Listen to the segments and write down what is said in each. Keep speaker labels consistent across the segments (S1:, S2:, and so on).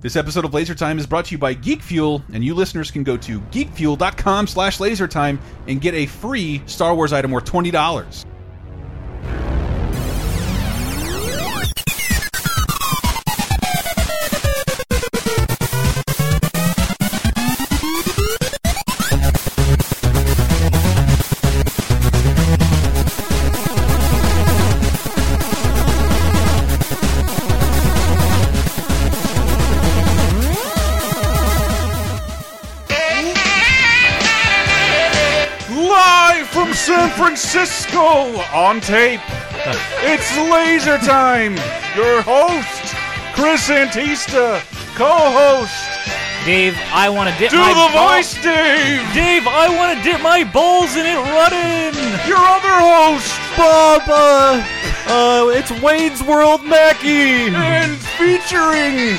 S1: This episode of Laser Time is brought to you by Geek Fuel, and you listeners can go to geekfuel.com slash lasertime and get a free Star Wars item worth $20.
S2: Live from San Francisco on tape. It's Laser Time. Your host, Chris Antista, co-host,
S3: Dave, I want to dip
S2: do
S3: my
S2: the
S3: ball-
S2: voice, Dave.
S3: Dave, I want to dip my balls in it running.
S2: Your other host
S3: Bob, uh, uh, it's Wayne's World Mackey.
S2: and featuring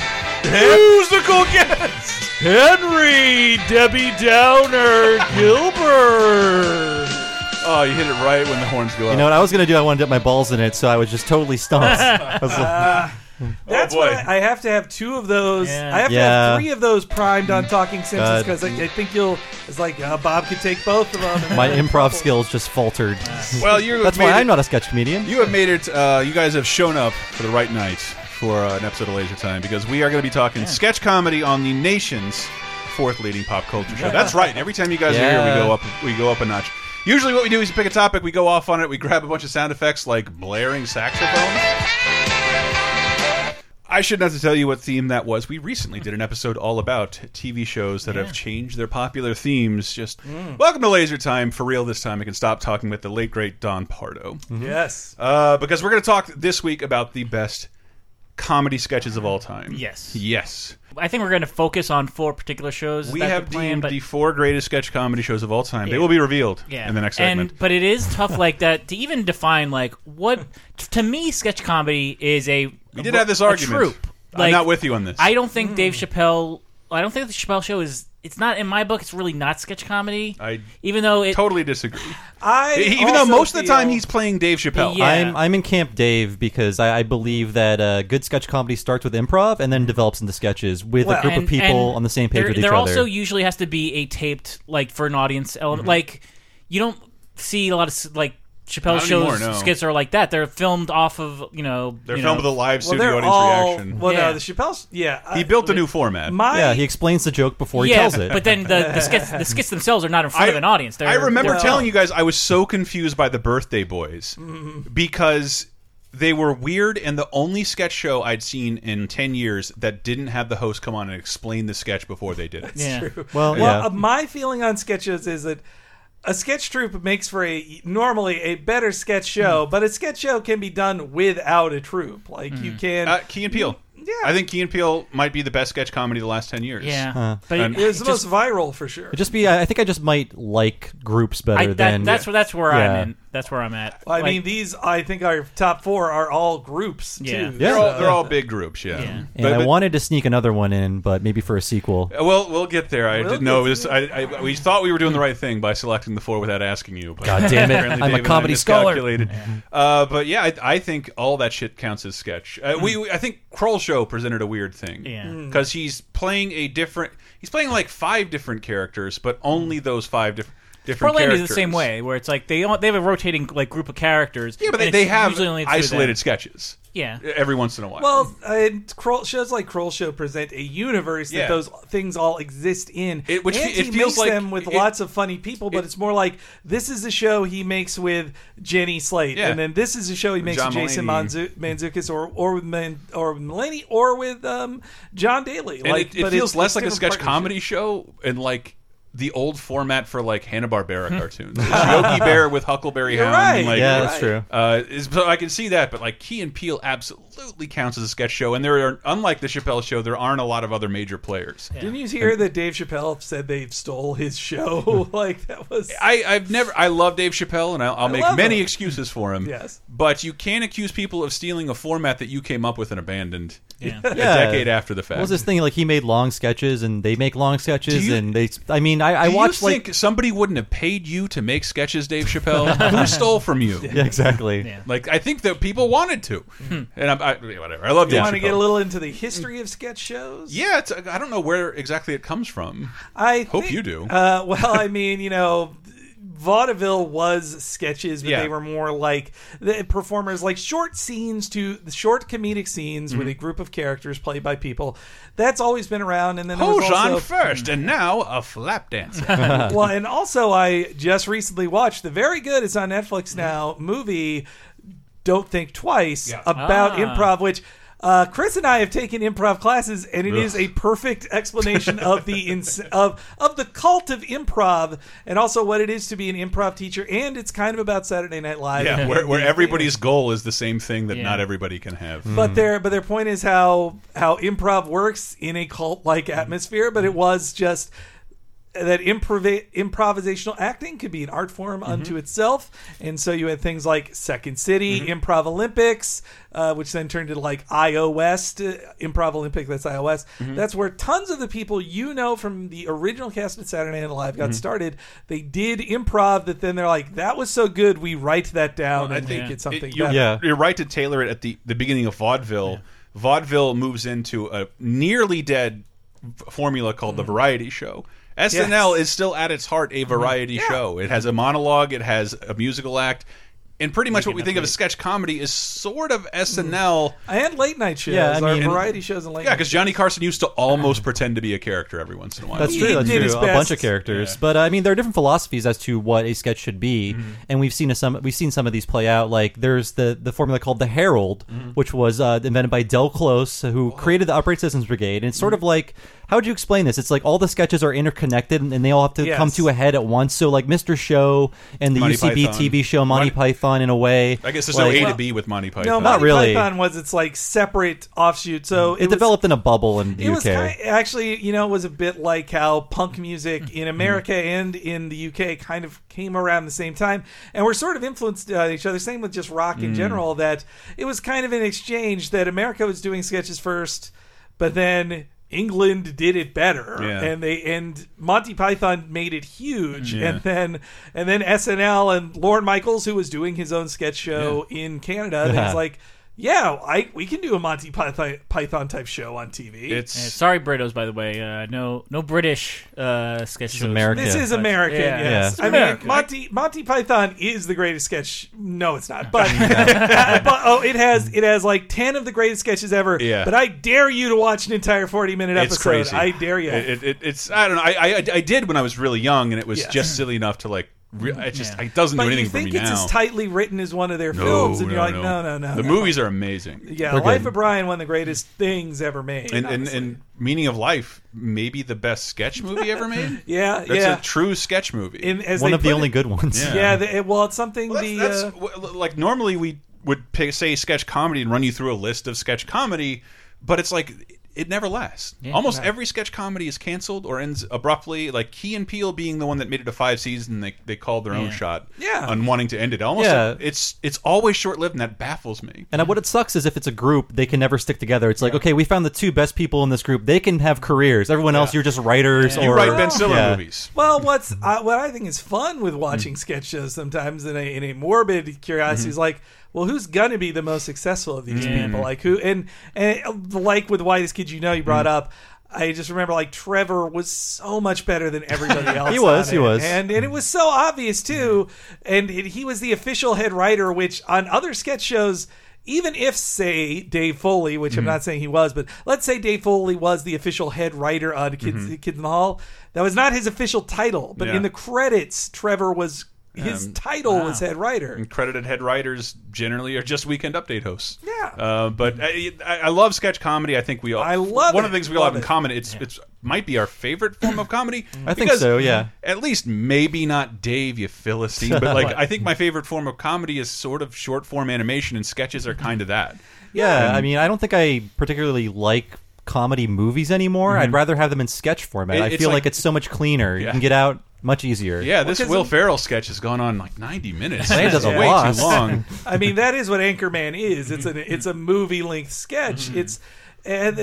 S2: musical guest.
S3: Henry, Debbie Downer, Gilbert.
S1: Oh, you hit it right when the horns go up.
S4: You know what I was gonna do? I wanted to dip my balls in it, so I was just totally stumped. I was like,
S1: Oh,
S5: That's
S2: boy.
S5: why I, I have to have two of those.
S3: Yeah.
S5: I have to
S4: Yeah.
S5: have three of those primed on Talking Simpsons
S4: God.
S5: because I, I think you'll. It's like uh, Bob could take both of them.
S4: my improv skills just faltered.
S1: well, you're
S4: That's why I'm not a sketch comedian.
S1: You have made it. Uh, you guys have shown up for the right night for uh, an episode of Laser Time because we are going to be talking sketch comedy on the nation's fourth leading pop culture show. That's right. Every time you guys are here,
S4: Yeah.
S1: we go up. We go up a notch. Usually, what we do is pick a topic, we go off on it, we grab a bunch of sound effects like blaring saxophones. I shouldn't have to tell you what theme that was. We recently did an episode all about TV shows that have changed their popular themes. Just welcome to Laser Time for real this time. I can stop talking with the late great Don Pardo.
S5: yes.
S1: Uh, because we're going to talk this week about the best comedy sketches of all time.
S3: Yes.
S1: Yes.
S3: I think we're going to focus on four particular shows. Is
S1: we
S3: that
S1: have
S3: the plan?
S1: deemed
S3: but,
S1: the four greatest sketch comedy shows of all time. They will be revealed
S3: yeah.
S1: in the next segment.
S3: And, but it is tough like that to even define like what to me sketch comedy is a
S1: we did have this argument.
S3: A troupe. Like,
S1: I'm not with you on this.
S3: I don't think Dave
S5: Hmm.
S3: Chappelle. I don't think the Chappelle Show is. It's not in my book. It's really not sketch comedy.
S1: I
S3: even though it.
S1: totally disagree.
S5: I
S1: E, Even though
S5: also
S1: most of the time
S5: feel-
S1: he's playing Dave Chappelle.
S3: Yeah.
S4: I'm I'm in Camp Dave because I, I believe that uh, good sketch comedy starts with improv and then develops into sketches with
S5: Well,
S4: a group
S3: and-
S4: of people
S3: and
S4: on the same page
S3: there,
S4: with each
S3: there
S4: other. Mm-hmm.
S3: also usually has to be a taped like for an audience element. Like you don't see a lot of s- like Chappelle
S1: Not
S3: shows
S1: anymore, no.
S3: skits are like that. They're filmed off of you know.
S1: They're
S3: you
S1: filmed
S3: know,
S1: with a live
S5: Well,
S1: studio
S5: they're
S1: audience
S5: all.
S1: reaction.
S5: Well,
S3: Yeah.
S5: no, the Chappelle's. Yeah. Uh, I-
S1: he built a new format.
S5: My,
S4: yeah, he explains the joke before he
S3: yeah,
S4: tells it.
S3: but then the, the skits the skits themselves are not in front of an audience. They're,
S1: I remember
S3: they're
S1: telling you guys I was so confused by the Birthday Boys because they were weird and the only sketch show I'd seen in 10 years that didn't have the host come on and explain the sketch before they did it.
S3: Yeah.
S4: well,
S5: Well,
S4: yeah.
S5: uh, my feeling on sketches is that a sketch troupe makes for a normally a better sketch
S4: Hmm.
S5: show, but a sketch show can be done without a troupe. Like you can.
S1: Uh, Key and Peele.
S5: Yeah.
S1: I think Key and Peele might be the best sketch comedy of the last 10 years.
S3: Yeah, but
S1: And-
S3: it,
S5: it was
S3: it
S5: the
S3: just-
S5: most viral for sure.
S4: It'd just be I I think I just might like groups better
S3: I, that,
S4: than
S3: that's where that's where
S4: Yeah.
S3: I'm in. That's where I'm at.
S5: Well, I
S3: Like,
S5: mean, these I think our top four are all groups
S3: Yeah.
S5: too.
S4: Yeah.
S1: They're, all,
S5: so-
S1: they're all big groups, yeah.
S3: Yeah.
S4: And
S1: But-
S4: I
S1: but-
S4: wanted to sneak another one in, but maybe for a sequel.
S1: Uh, Well, we'll get there. I
S5: We'll
S1: didn't know.
S5: get
S1: This, I, I, we thought we were doing the right thing by selecting the four without asking you. But
S4: God damn it.
S1: apparently
S4: I'm a
S1: Dave and I
S4: comedy scholar.
S1: miscalculated. Uh, but yeah, I, I think all that shit counts as sketch. Uh, we, we- I think Kroll Show presented a weird thing.
S3: Yeah. Mm.
S1: Because he's playing a different. He's playing like five different characters, but only those five different. Different
S3: Portland is
S1: characters.
S3: the same way, where it's like they all- they have a rotating like group of characters.
S1: Yeah, but they,
S3: and
S1: they
S3: it's
S1: have
S3: usually only the two of them.
S1: isolated sketches
S3: Yeah,
S1: every once in a while.
S5: Well, and Kroll, shows like Kroll Show present a universe that
S1: Yeah.
S5: those things all exist in.
S1: It- which
S5: and
S1: fe- it
S5: he
S1: feels
S5: makes
S1: like
S5: them with
S1: it-
S5: lots of funny people, but it's more like this is a show he makes with Jenny Slate,
S1: Yeah.
S5: and then this is a show he makes
S1: John
S5: with Jason
S1: Mulaney.
S5: Manzu- Manzukis, or or with Man, or with Mulaney, or with um, John Daly.
S1: and
S5: like,
S1: it, it
S5: but
S1: feels
S5: it's-
S1: less
S5: it's
S1: like a
S5: different
S1: sketch
S5: partnerships.
S1: comedy show and like the old format for like Hanna Barbera cartoons, It's Yogi Bear with Huckleberry
S5: You're
S1: Hound.
S5: right.
S1: and, like,
S4: Hmm. yeah,
S5: You're
S4: that's
S5: right.
S4: true.
S1: Uh, is, so I can see that, but like Key and Peele absolutely counts as a sketch show, and there are unlike the Chappelle show, there aren't a lot of other major players.
S5: Didn't you hear that Dave Chappelle said they stole his show? like that was
S1: I, I've never. I love Dave Chappelle, and I'll, I'll make
S5: love
S1: many
S5: him.
S1: excuses for him.
S5: Yes.
S1: but you can't accuse people of stealing a format that you came up with and abandoned.
S3: Yeah.
S1: a
S4: Yeah.
S1: decade after the fact.
S4: What was this thing like? He made long sketches, and they make long sketches,
S1: Do you-
S4: and they. I mean, I, I
S1: Do
S4: watched
S1: you
S4: like
S1: think somebody wouldn't have paid you to make sketches, Dave Chappelle? Who stole from you?
S4: yeah, exactly.
S3: Yeah. Hmm.
S1: Like I think that people wanted to, and I'm, I, whatever. I love
S5: You
S1: Dave
S5: want to
S1: Chappelle.
S5: get a little into the history of sketch shows?
S1: yeah, it's, I don't know where exactly it comes from.
S5: I
S1: Hope
S5: think-
S1: you do.
S5: Uh, well, I mean, you know, vaudeville was sketches, but
S1: Yeah.
S5: they were more like the performers, like short scenes to short comedic scenes with a
S1: Mm-hmm.
S5: group of characters played by people. That's always been around, and then there was
S1: Who's on
S5: also-
S1: first, and now a flap dancer.
S5: well, and also I just recently watched the very good. It's on Netflix now. Movie, don't think twice about
S3: Ah.
S5: improv, which. Uh, Chris and I have taken improv classes, and it is a perfect explanation of the ins- of of the cult of improv, and also what it is to be an improv teacher. And it's kind of about Saturday Night Live.
S1: yeah,
S5: and
S1: where, where
S5: the-
S1: everybody's goal is the same thing that
S3: Yeah.
S1: not everybody can have. Hmm.
S5: but their but their point is how how improv works in a cult
S1: Hmm.
S5: like atmosphere. But it was just that improv improvisational acting could be an art form
S1: Hmm.
S5: unto itself, and so you had things like Second City,
S1: Hmm.
S5: Improv Olympics, uh, which then turned into like IO West, uh, Improv Olympic. That's IO West.
S1: Hmm.
S5: That's where tons of the people you know from the original cast of Saturday Night Live got
S1: Hmm.
S5: started. They did improv that then they're like, that was so good, we write that down
S1: I
S5: and
S1: think
S5: make
S1: it-
S5: it something.
S1: you're,
S5: better.
S4: Yeah.
S1: you're right to tailor it at the, the beginning of vaudeville. Vaudeville moves into a nearly dead f- formula called
S4: Mm-hmm.
S1: the variety show. SNL is still at its heart a variety show. It has a monologue, it has a musical act, and pretty much what we think of as sketch comedy is sort of SNL.
S5: and late night shows,
S4: Mm-hmm. Yeah, I
S5: or
S4: mean-
S5: variety shows, and late
S1: Yeah,
S5: night
S1: because Johnny Carson used to almost pretend to be a character every once in a while.
S4: That's
S5: He
S4: true. That's
S5: did
S4: true.
S5: his
S4: A
S5: best.
S4: bunch of characters, but I mean, there are different philosophies as to what a sketch should be,
S1: Mm-hmm.
S4: and we've seen a, some. We've seen some of these play out. Like there's the the formula called the Herald,
S1: Mm-hmm.
S4: which was uh, invented by Del Close, who created the Upright Citizens Brigade. And it's sort of
S1: Mm-hmm.
S4: like, how would you explain this? It's like all the sketches are interconnected, and, and they all have to
S5: Yes.
S4: come to a head at once. So like Mr. Show and the E
S1: Monty
S4: UCB
S1: Python.
S4: TV show Monty Python, in a way.
S1: I guess there's
S4: like-
S1: no A to B with Monty Python.
S5: No,
S4: Not
S5: Monty
S4: really.
S5: Python was its like separate offshoot. So
S4: Mm. It,
S5: was-
S4: developed in a bubble in the
S5: It
S4: UK.
S5: was kind actually, you know, it was a bit like how punk
S4: Mm.
S5: music
S4: Mm-hmm.
S5: in America and in the UK kind of came around the same time, and we're sort of influenced uh, each other. Same with just rock
S4: Mm.
S5: in general. That it was kind of an exchange that America was doing sketches first, but then. England did it better,
S1: Yeah.
S5: and they and Monty Python made it huge, and then and then SNL and Lorne Michaels, who was doing his own sketch show in Canada, that was like, yeah, I we can do a Monty Python Python type show on TV.
S1: it's
S3: Yeah, sorry, Britos. By the way, uh, no, no British uh, sketch shows.
S4: American.
S5: This
S4: Yeah.
S5: is American.
S3: Yeah.
S5: Yes,
S3: Yeah.
S5: I
S3: American.
S5: mean Monty Monty Python is the greatest sketch. No, it's not. But, uh, but oh, it has it has like ten of the greatest sketches ever.
S1: Yeah.
S5: But I dare you to watch an entire forty minute episode.
S1: It's crazy.
S5: I dare you.
S1: It, it, it- it's I don't know. I, I I did when I was really young, and it was
S5: Yeah.
S1: just silly enough to like. Re- it just it doesn't
S5: but
S1: do
S5: you
S1: anything
S5: think
S1: for me
S5: it's
S1: now.
S5: as tightly written as one of their
S1: no,
S5: films, and
S1: no,
S5: you're like,
S1: no,
S5: no, no, no.
S1: The
S5: no.
S1: movies are amazing,
S5: Yeah,
S4: They're
S5: Life
S4: good.
S5: of Brian, one of the greatest things ever made.
S1: and, and
S5: honestly.
S1: and Meaning of Life, maybe the best sketch movie ever made.
S5: yeah,
S1: That's
S5: yeah.
S1: a true sketch movie.
S5: In- as
S4: One
S5: they
S4: of the
S5: put
S4: only
S5: it-
S4: good ones.
S1: Yeah.
S5: Yeah, the, it- well, it's something
S1: Well,
S5: the.
S1: that's,
S5: uh,
S1: that's w- like normally we would pick, say sketch comedy and run you through a list of sketch comedy, but it's like it never lasts. Almost every sketch comedy is canceled or ends abruptly. Like Key and Peele being the one that made it to five season, they they called their own
S3: Yeah.
S1: shot
S5: Yeah.
S1: on wanting to end it. Almost
S4: Yeah.
S1: it's it's always short lived, and that baffles me.
S4: And what it sucks is if it's a group, they can never stick together. It's like, okay, we found the two best people in this group. They can have careers. Everyone else, you're just writers
S1: You
S4: or
S1: write Ben Stiller
S4: Yeah.
S1: movies.
S5: Well, what's uh, what I think is fun with watching sketch shows sometimes, in a, in a morbid curiosity,
S4: Mm-hmm.
S5: is like, well, who's gonna be the most successful of these
S4: Mm.
S5: people? Like who? And and uh, like with Whitest Kid You Know, you
S4: Mm.
S5: brought up. I just remember like Trevor was so much better than everybody else.
S4: He was,
S5: on
S4: he
S5: it.
S4: was.
S5: and and it was so obvious too. And it, he was the official head writer, which on other sketch shows. Even if, say, Dave Foley, which I'm
S4: Mm-hmm.
S5: not saying he was, but let's say Dave Foley was the official head writer on Kids,
S4: Mm-hmm.
S5: Kids in the Hall, that was not his official title. But
S1: Mm-hmm. Yeah.
S5: in the credits, Trevor was his
S1: Um,
S5: title was head writer.
S1: credited head writers generally are just weekend update hosts.
S5: Yeah.
S1: Uh, but I, I I love sketch comedy. I think we all.
S5: I love
S1: one of
S5: it.
S1: the things we all have
S5: Love
S1: in
S5: it.
S1: common. It's it's might be our favorite form of comedy.
S4: I think
S1: because
S4: so, yeah.
S1: At least maybe not Dave, you philistine. But like I think my favorite form of comedy is sort of short form animation, and sketches are kind of that.
S4: Yeah, I mean, I don't think I particularly like comedy movies anymore. I'd rather have them in sketch format.
S1: Mm-hmm. It-
S4: I
S1: it's
S4: feel like,
S1: like-
S4: it's so much cleaner.
S1: Yeah.
S4: You can get out much easier.
S1: Yeah, this
S5: 'cause
S1: Will
S5: in-
S1: Ferrell sketch has gone on like ninety minutes.
S4: Land
S1: It's
S4: of the
S1: way
S4: Lost.
S1: too long. Mm-hmm.
S5: I mean, that is what Anchorman is. It's an it's a movie length sketch. It's and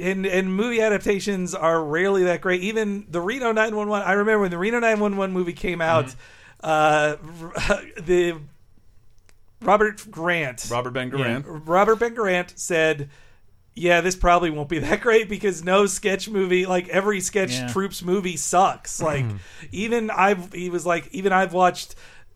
S5: and and movie adaptations are rarely that great. Even the Reno 911. I remember when the Reno 911 movie came out,
S1: Mm-hmm.
S5: uh, the Robert Grant,
S1: Robert Ben Garant.
S5: Robert Ben Grant said, "Yeah, this probably won't be that great because no sketch movie, like every sketch
S3: Yeah.
S5: troops movie, sucks. Like
S1: Mm-hmm.
S5: even I've he was like even I've watched."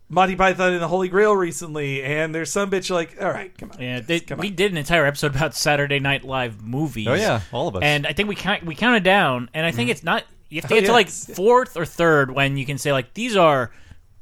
S5: Monty Python and the Holy Grail recently, and there's some bitch like, all right, come on,
S3: Yeah,
S5: guys,
S3: they,
S5: come on."
S3: we did an entire episode about Saturday Night Live movies.
S4: Oh, yeah, all of us. Mm-hmm.
S3: And I think we count we counted down, and I think it's not you have to
S5: Oh,
S3: get
S5: yeah.
S3: to like fourth or third when you can say like these are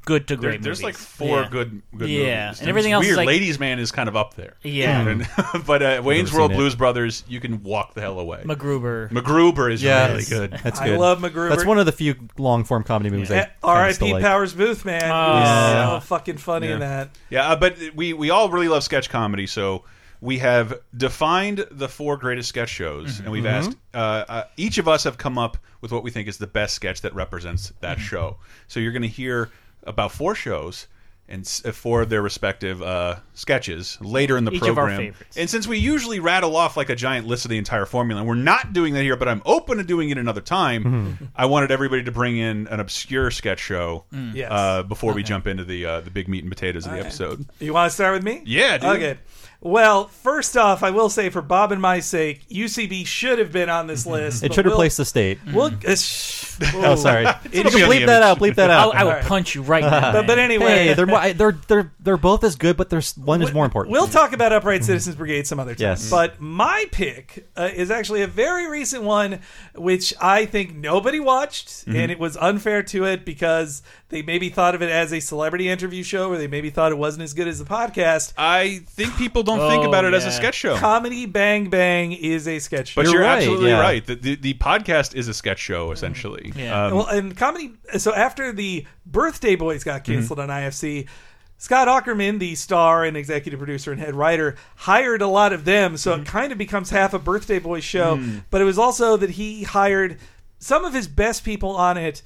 S3: good to
S1: There-
S3: great.
S1: there's like
S3: movies.
S1: four
S3: Yeah.
S1: good, good
S3: Yeah,
S1: movies.
S3: and
S1: It's
S3: everything else is
S1: Weird.
S3: like-
S1: Ladies Man is kind of up there.
S3: Yeah.
S1: And- but uh, Wayne's
S4: seen
S1: World
S4: it.
S1: Blues Brothers, you can walk the hell away.
S3: MacGruber.
S1: MacGruber is
S4: yeah,
S1: really
S4: it's-
S1: good.
S4: That's
S5: I
S4: good.
S5: love MacGruber.
S4: That's one of the few long form comedy movies I
S5: Eh,
S4: kinda still
S5: R.I.P.
S4: like.
S5: Powers Booth, man. He
S1: Oh.
S3: Yeah.
S5: was so fucking funny in that.
S1: Uh, Yeah, uh, but we we all really love sketch comedy, so we have defined the four greatest sketch shows,
S3: Mm-hmm.
S1: and we've asked uh, uh, each of us have come up with what we think is the best sketch that represents that
S3: Mm-hmm.
S1: show. So you're going to hear about four shows. And s- uh, four of their respective uh, sketches later in the
S3: Each of our
S1: program.
S3: favorites.
S1: and since we usually rattle off like a giant list of the entire formula, and we're not doing that here, but I'm open to doing it another time,
S4: Mm-hmm.
S1: I wanted everybody to bring in an obscure sketch show
S5: Yes.
S1: uh, before we jump into the uh, the big meat and potatoes of the episode.
S5: You want to start with me?
S1: Yeah, dude.
S5: Okay. Well, first off, I will say for Bob and my sake, UCB should have been on
S3: Mm-hmm.
S5: this list.
S4: It should replace the state.
S5: Well, uh, sh-
S4: Oh, sorry. you
S1: be
S4: can
S1: on the
S4: bleep that
S1: image.
S4: out. Bleep that
S3: I'll,
S4: out.
S3: I will
S5: Alright.
S3: punch you right now.
S5: but, but
S3: man.
S5: anyway,
S4: hey, they're more, I- they're they're they're both as good, but there's one is more important. Mm-hmm.
S5: We'll talk about Upright Citizens Brigade some other time.
S4: Yes.
S5: But my pick uh, is actually a very recent one, which I think nobody watched,
S4: Mm-hmm.
S5: and it was unfair to it because they maybe thought of it as a celebrity interview show, or they maybe thought it wasn't as good as the podcast.
S1: I think people don't think
S3: Oh,
S1: about it as a
S3: yeah.
S1: sketch show.
S5: Comedy Bang Bang is a sketch show.
S1: but
S4: You're
S1: you're,
S4: right,
S1: absolutely
S4: yeah.
S1: right. The, the the podcast is a sketch show
S5: Mm.
S1: essentially.
S3: Yeah.
S1: Um,
S5: well, and comedy. So after the Birthday Boys got canceled on IFC, Scott Ackerman, the star and executive producer and head writer, hired a lot of them. So it kind of becomes half a Birthday Boys show. But it was also that he hired some of his best people on it.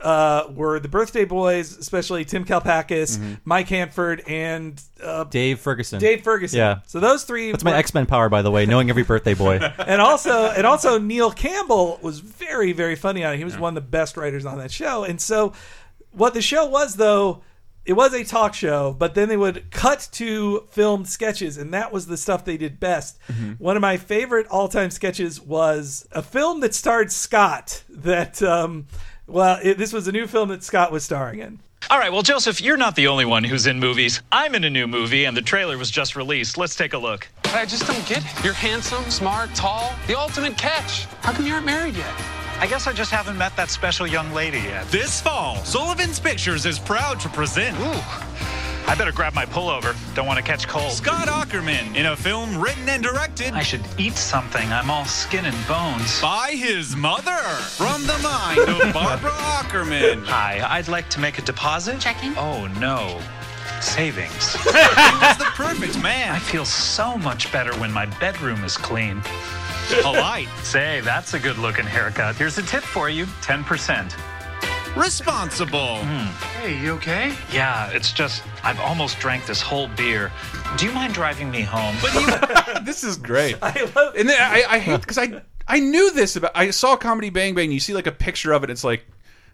S5: Uh, were the birthday boys, especially Tim Kalpakis, Mike Hanford, and uh,
S4: Dave Ferguson.
S5: Dave Ferguson?
S4: Yeah.
S5: So those three.
S4: That's my
S5: were-
S4: X Men power, by the way. Knowing every birthday boy.
S5: and also and also Neil Campbell was very very funny on it. He was one of the best writers on that show. And so what the show was though, it was a talk show, but then they would cut to filmed sketches and that was the stuff they did best.
S3: Mm-hmm.
S4: Mm-hmm.
S5: One of my favorite all-time sketches was a film that starred Scott that um well, it, this was a new film that Scott was starring in.
S6: All right, well, Joseph, you're not the only one who's in movies. I'm in a new movie, and the trailer was just released. Let's take a look.
S7: I just don't get it. You're handsome, smart, tall, the ultimate catch. How come you aren't married yet?
S8: I guess I just haven't met that special young lady yet.
S6: This fall, Sullivan's Pictures is proud to present
S8: I better grab my pullover. Don't want to catch cold.
S6: Scott Ackerman in a film written and directed
S8: I should eat something. I'm all skin and bones.
S6: by his mother. From the mind of Barbara Ackerman.
S8: Hi, I'd like to make a deposit.
S9: Checking.
S8: Oh, no. Savings.
S6: He's the perfect
S8: I
S6: man.
S8: feel so much better when my bedroom is clean.
S6: A light,
S8: Say, that's a good looking haircut. Here's a tip for you 10%.
S6: responsible.
S7: Hey, you okay?
S8: Hmm. Yeah, it's just, I've almost drank this whole beer. Do you mind driving me home?
S1: but you- this is great.
S5: I love
S1: And then I, I hate because I I knew this about. I saw Comedy Bang Bang. You see like a picture of it. It's like.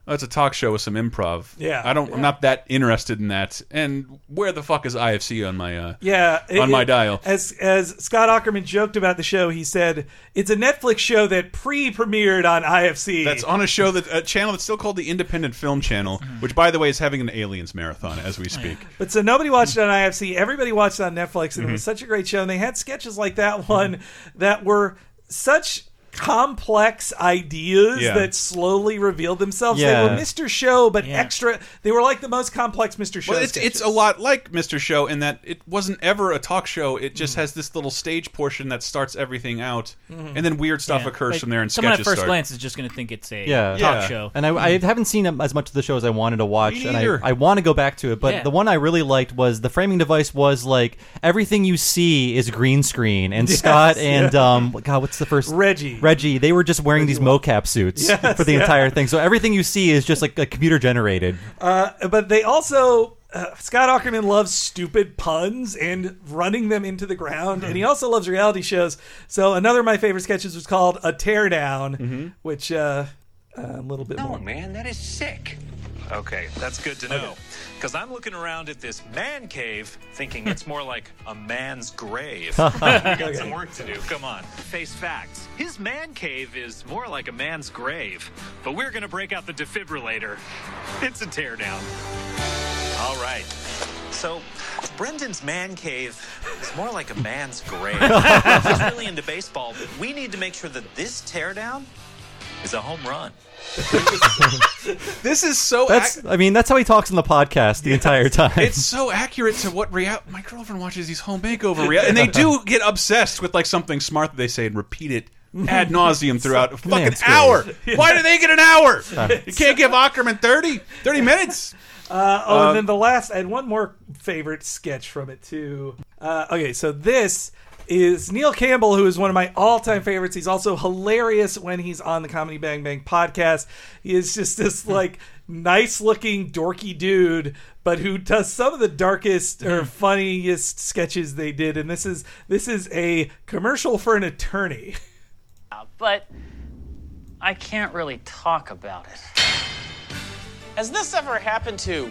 S1: Oh, it's a talk show with some improv.
S5: Yeah.
S1: I don't. I'm not that interested in that. And where the fuck is IFC on my? Uh,
S5: Yeah, it-
S1: On my
S5: it-
S1: dial.
S5: As as Scott Ackerman joked about the show, he said it's a Netflix show that pre-premiered on IFC.
S1: That's on a show that a channel that's still called the Independent Film Channel,
S5: Mm-hmm.
S1: which by the way is having an Aliens marathon as
S5: Oh,
S1: we speak.
S5: but so nobody watched it on IFC. Everybody watched it on Netflix, and it was
S1: Mm-hmm.
S5: such a great show. And they had sketches like that one that were such complex ideas
S1: Yeah.
S5: that slowly revealed themselves. They
S4: Yeah.
S5: were Mr. Show, but
S3: Yeah.
S5: extra. They were like the most complex Mr. Show.
S1: Well, it's
S5: sketches.
S1: it's a lot like Mr. Show in that it wasn't ever a talk show. It
S4: Mm-hmm.
S1: just has this little stage portion that starts everything out, and then weird stuff
S3: Yeah.
S1: occurs
S3: Like,
S1: from there. And
S3: someone
S1: sketches
S3: at first
S1: start.
S3: glance is just going to think it's a
S4: Yeah.
S3: talk
S1: Yeah.
S3: show. Mm.
S4: And I, I haven't seen as much of the show as I wanted to watch,
S1: Me
S4: and I,
S1: neither.
S4: I want to go back to it. But
S3: Yeah.
S4: the one I really liked was the framing device was like everything you see is green screen, and Scott and um, God, what's the first
S5: Reggie.
S4: Reggie, they were just wearing these mocap suits for the entire thing, so everything you see is just like a computer generated.
S5: Uh, but they also uh, Scott Ackerman loves stupid puns and running them into the ground, and he also loves reality shows. So another of my favorite sketches was called "A Teardown," which uh, a little bit more.
S9: man, that is sick.
S8: Okay, that's good to know. Because I'm looking around at this man cave thinking it's more like a man's grave. we got some work to do. Come on. Face facts. His man cave is more like a man's grave. But we're going to break out the defibrillator. It's a teardown. All right. So, Brendan's man cave is more like a man's grave. He's really into baseball, but we need to make sure that this teardown is a home run.
S1: This is so.
S5: Oh,
S1: ac-
S4: That's I mean that's how he talks in the podcast the entire time.
S1: It's so accurate to what real. My girlfriend watches these home makeover real, and they do get obsessed with like something smart that they say and repeat it ad nauseum throughout a fucking
S4: it's great.
S1: hour. Why do they get an hour? You can't give Ackerman 30, 30 minutes.
S5: Oh, and then the last, I had one more favorite sketch from it too. Uh, okay, so this is Neil Campbell, who is one of my all-time favorites. He's also hilarious when he's on the Comedy Bang Bang podcast. He is just this like nice-looking dorky dude, but who does some of the darkest or funniest sketches they did. And this is this is a commercial for an attorney.
S10: but I can't really talk about it. Has this ever happened to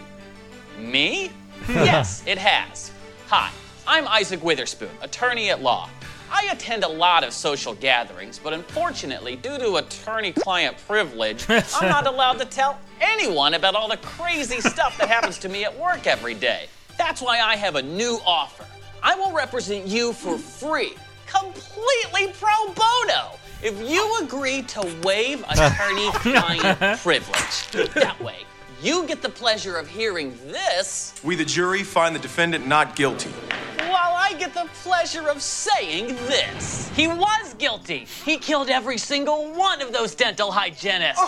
S10: me? yes, it has. Hi, I'm Isaac Witherspoon, attorney at law. I attend a lot of social gatherings, but unfortunately, due to attorney client privilege, I'm not allowed to tell anyone about all the crazy stuff that happens to me at work every day. That's why I have a new offer. I will represent you for free, completely pro bono, if you agree to waive attorney client privilege. That way, you get the pleasure of hearing this
S9: We, the jury, find the defendant not guilty.
S10: while I get the pleasure of saying this. He was guilty. He killed every single one of those dental hygienists.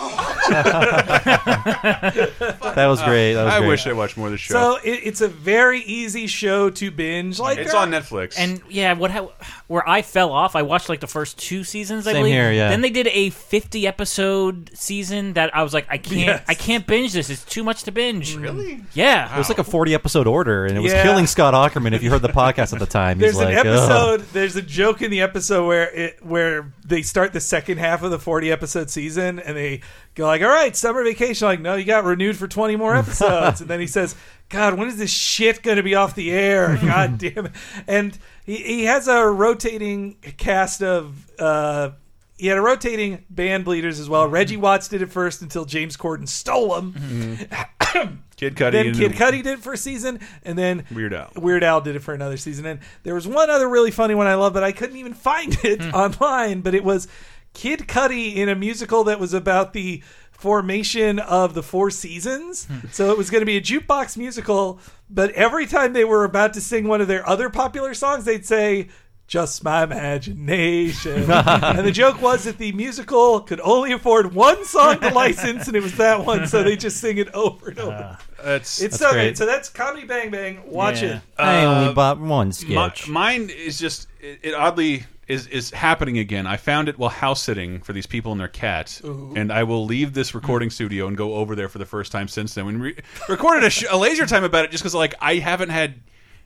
S4: that was great. That was
S1: I
S4: great.
S1: wish I watched more of the show.
S5: So it, it's a very easy show to binge. Like
S1: it's
S5: there
S1: on Netflix.
S3: And yeah, what how, where I fell off, I watched like the first two seasons. I
S4: Same
S3: believe.
S4: here, yeah.
S3: Then they did a fifty episode season that I was like, I can't,
S5: Yes.
S3: I can't binge this. It's too much to binge. Really? Yeah.
S4: It was like a 40 episode order, and it was
S5: Yeah.
S4: killing Scott Ackerman. If you heard the podcast at the time,
S5: There's
S4: he's like,
S5: an
S4: "Ugh."
S5: episode. There's a joke in the episode where it where they start the second half of the 40 episode season, and they go like, "All right, summer vacation." Like, no, you got renewed for 20 more episodes. and then he says, "God, when is this shit going to be off the air? God damn it!" And he, he has a rotating cast of. Uh, he had a rotating band bleeders as well. Reggie Watts did it first until James Corden stole him.
S4: Mm-hmm.
S1: Kid Cudi.
S5: Then
S1: and-
S5: Kid Cudi did it for a season, and then
S1: Weird Al.
S5: Weird Al did it for another season. And there was one other really funny one I love, but I couldn't even find it
S1: Hmm.
S5: online. But it was Kid Cudi in a musical that was about the formation of the Four Seasons.
S1: Hmm.
S5: so it was going to be a jukebox musical, but every time they were about to sing one of their other popular songs, they'd say. Just my imagination. and the joke was that the musical could only afford one song to license, and it was that one, so they just sing it over and over.
S1: Ah, That's-
S5: It's so
S4: great.
S5: good. So that's Comedy Bang Bang. Watch
S3: Yeah.
S5: it. Uh,
S4: I only bought one
S1: Mi-
S4: sketch.
S1: mine is just it, it oddly is is happening again. I found it while house sitting for these people and their cat, and I will leave this recording studio and go over there for the first time since then. And re recorded a, sh a laser time about it just because like I haven't had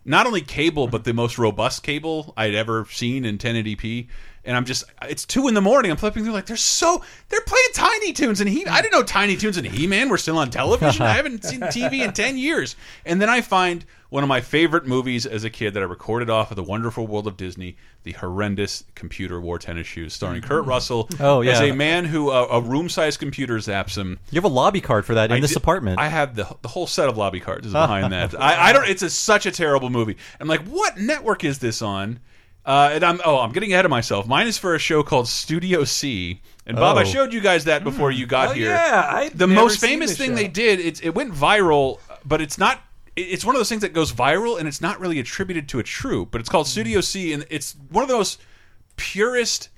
S1: not only cable but the most robust cable I'd ever seen in 1080p. And I'm just, it's two in the morning. I'm flipping through, like, they're so, they're playing Tiny Toons and He. I didn't know Tiny Toons and He Man were still on television. I haven't seen TV in 10 years. And then I find one of my favorite movies as a kid that I recorded off of The Wonderful World of Disney, the horrendous computer wore tennis shoes, starring Kurt Russell
S4: Oh, yeah.
S1: as a man who uh, a room sized computer zaps him.
S4: you have a lobby card for that in
S1: I
S4: this
S1: did-
S4: apartment.
S1: I have the the whole set of lobby cards is behind that. I, I don't. It's a, such a terrible movie. I'm like, what network is this on? Uh, and I'm oh, I'm getting ahead of myself. Mine is for a show called Studio C. And Bob, I
S4: Oh.
S1: showed you guys that before you got
S5: Oh,
S1: here.
S5: yeah, I'd
S1: the
S5: never
S1: most
S5: seen
S1: famous
S5: this
S1: thing
S5: show.
S1: they did. It, it went viral, but it's not. it- It's one of those things that goes viral, and it's not really attributed to a true. But it's called Studio C, and it's one of those purest,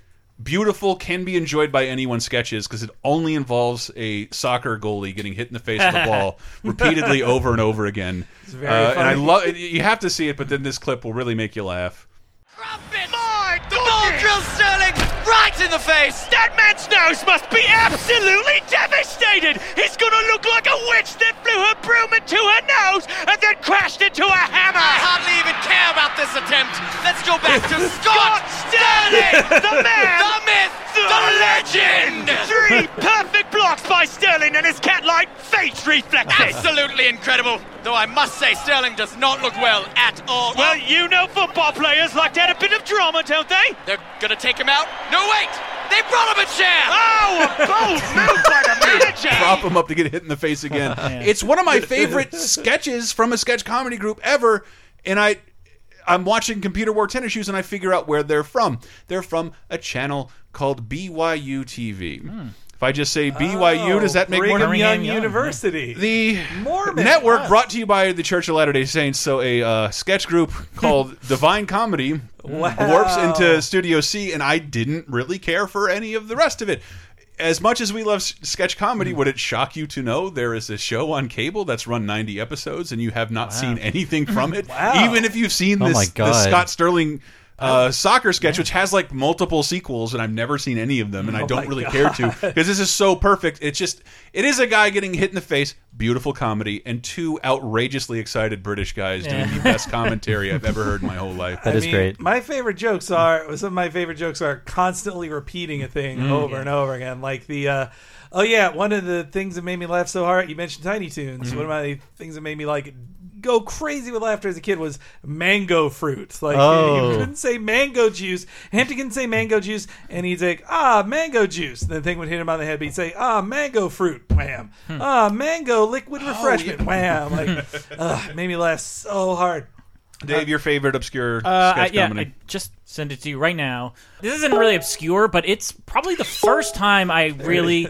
S1: beautiful, can be enjoyed by anyone sketches because it only involves a soccer goalie getting hit in the face with a ball repeatedly over and over again. Uh, and I love it. You have to see it, but then this clip will really make you laugh.
S2: Ball drill Sterling right
S11: in the face. That man's nose must be absolutely devastated. He's gonna look like a witch that blew her broom into her nose and then crashed into a hammer. I hardly even care about this attempt. Let's go back to Scott, Sterling, the man, the myth, the, legend. Three perfect blocks by Sterling and his cat-like face reflexes.
S7: Absolutely incredible. Though I must say, Sterling does not look well at all.
S11: Well, you know football players like to add a bit of drama, don't they?
S7: They're gonna take him out. No, wait! They brought him a chair!
S11: Oh, a bold move by the manager!
S1: prop him up to get hit in the face again. It's one of my favorite sketches from a sketch comedy group ever, and I. I'm watching Computer War Tennis Shoes and I figure out where they're from. They're from a channel called BYU TV. If I just say BYU, does that make
S5: Oh, Brigham
S1: more
S5: Young University?
S1: The
S5: Mormon
S1: network
S5: What?
S1: brought to you by the Church of Latter Day Saints. So a uh, sketch group called Divine Comedy warps into Studio C, and I didn't really care for any of the rest of it. As much as we love s- sketch comedy, would it shock you to know there is a show on cable that's run 90 episodes and you have not seen anything from it?
S2: Wow.
S1: Even if you've seen
S4: Oh
S1: this,
S4: my
S1: this
S4: God.
S1: Scott Sterling uh, soccer sketch, which has like multiple sequels, and I've never seen any of them, and I
S2: Oh
S1: don't
S2: my
S1: really care to
S2: God.
S1: because this is so perfect. It's just it is a guy getting hit in the face, beautiful comedy, and two outrageously excited British guys doing
S5: Yeah.
S1: the best commentary I've ever heard in my whole life.
S5: I mean, My favorite jokes are some of my favorite jokes are constantly repeating a thing
S1: Mm.
S5: over and over again. Like the uh, oh yeah, one of the things that made me laugh so hard. You mentioned Tiny Toons.
S4: Mhm.
S5: One of my things that made me like go crazy with laughter as a kid was mango fruit. Like
S4: Oh.
S5: he couldn't say mango juice. Hampton couldn't say mango juice, and he'd say ah mango juice. The thing would hit him on the head, but he'd say ah mango fruit. Wham. Ah mango liquid refreshment. Wham. Like ugh, made me laugh so hard.
S1: Dave, your favorite obscure
S3: Uh, I,
S1: sketch
S3: yeah,
S1: comedy?
S3: I just send it to you right now. This isn't really obscure, but it's probably the first time I
S2: it
S3: really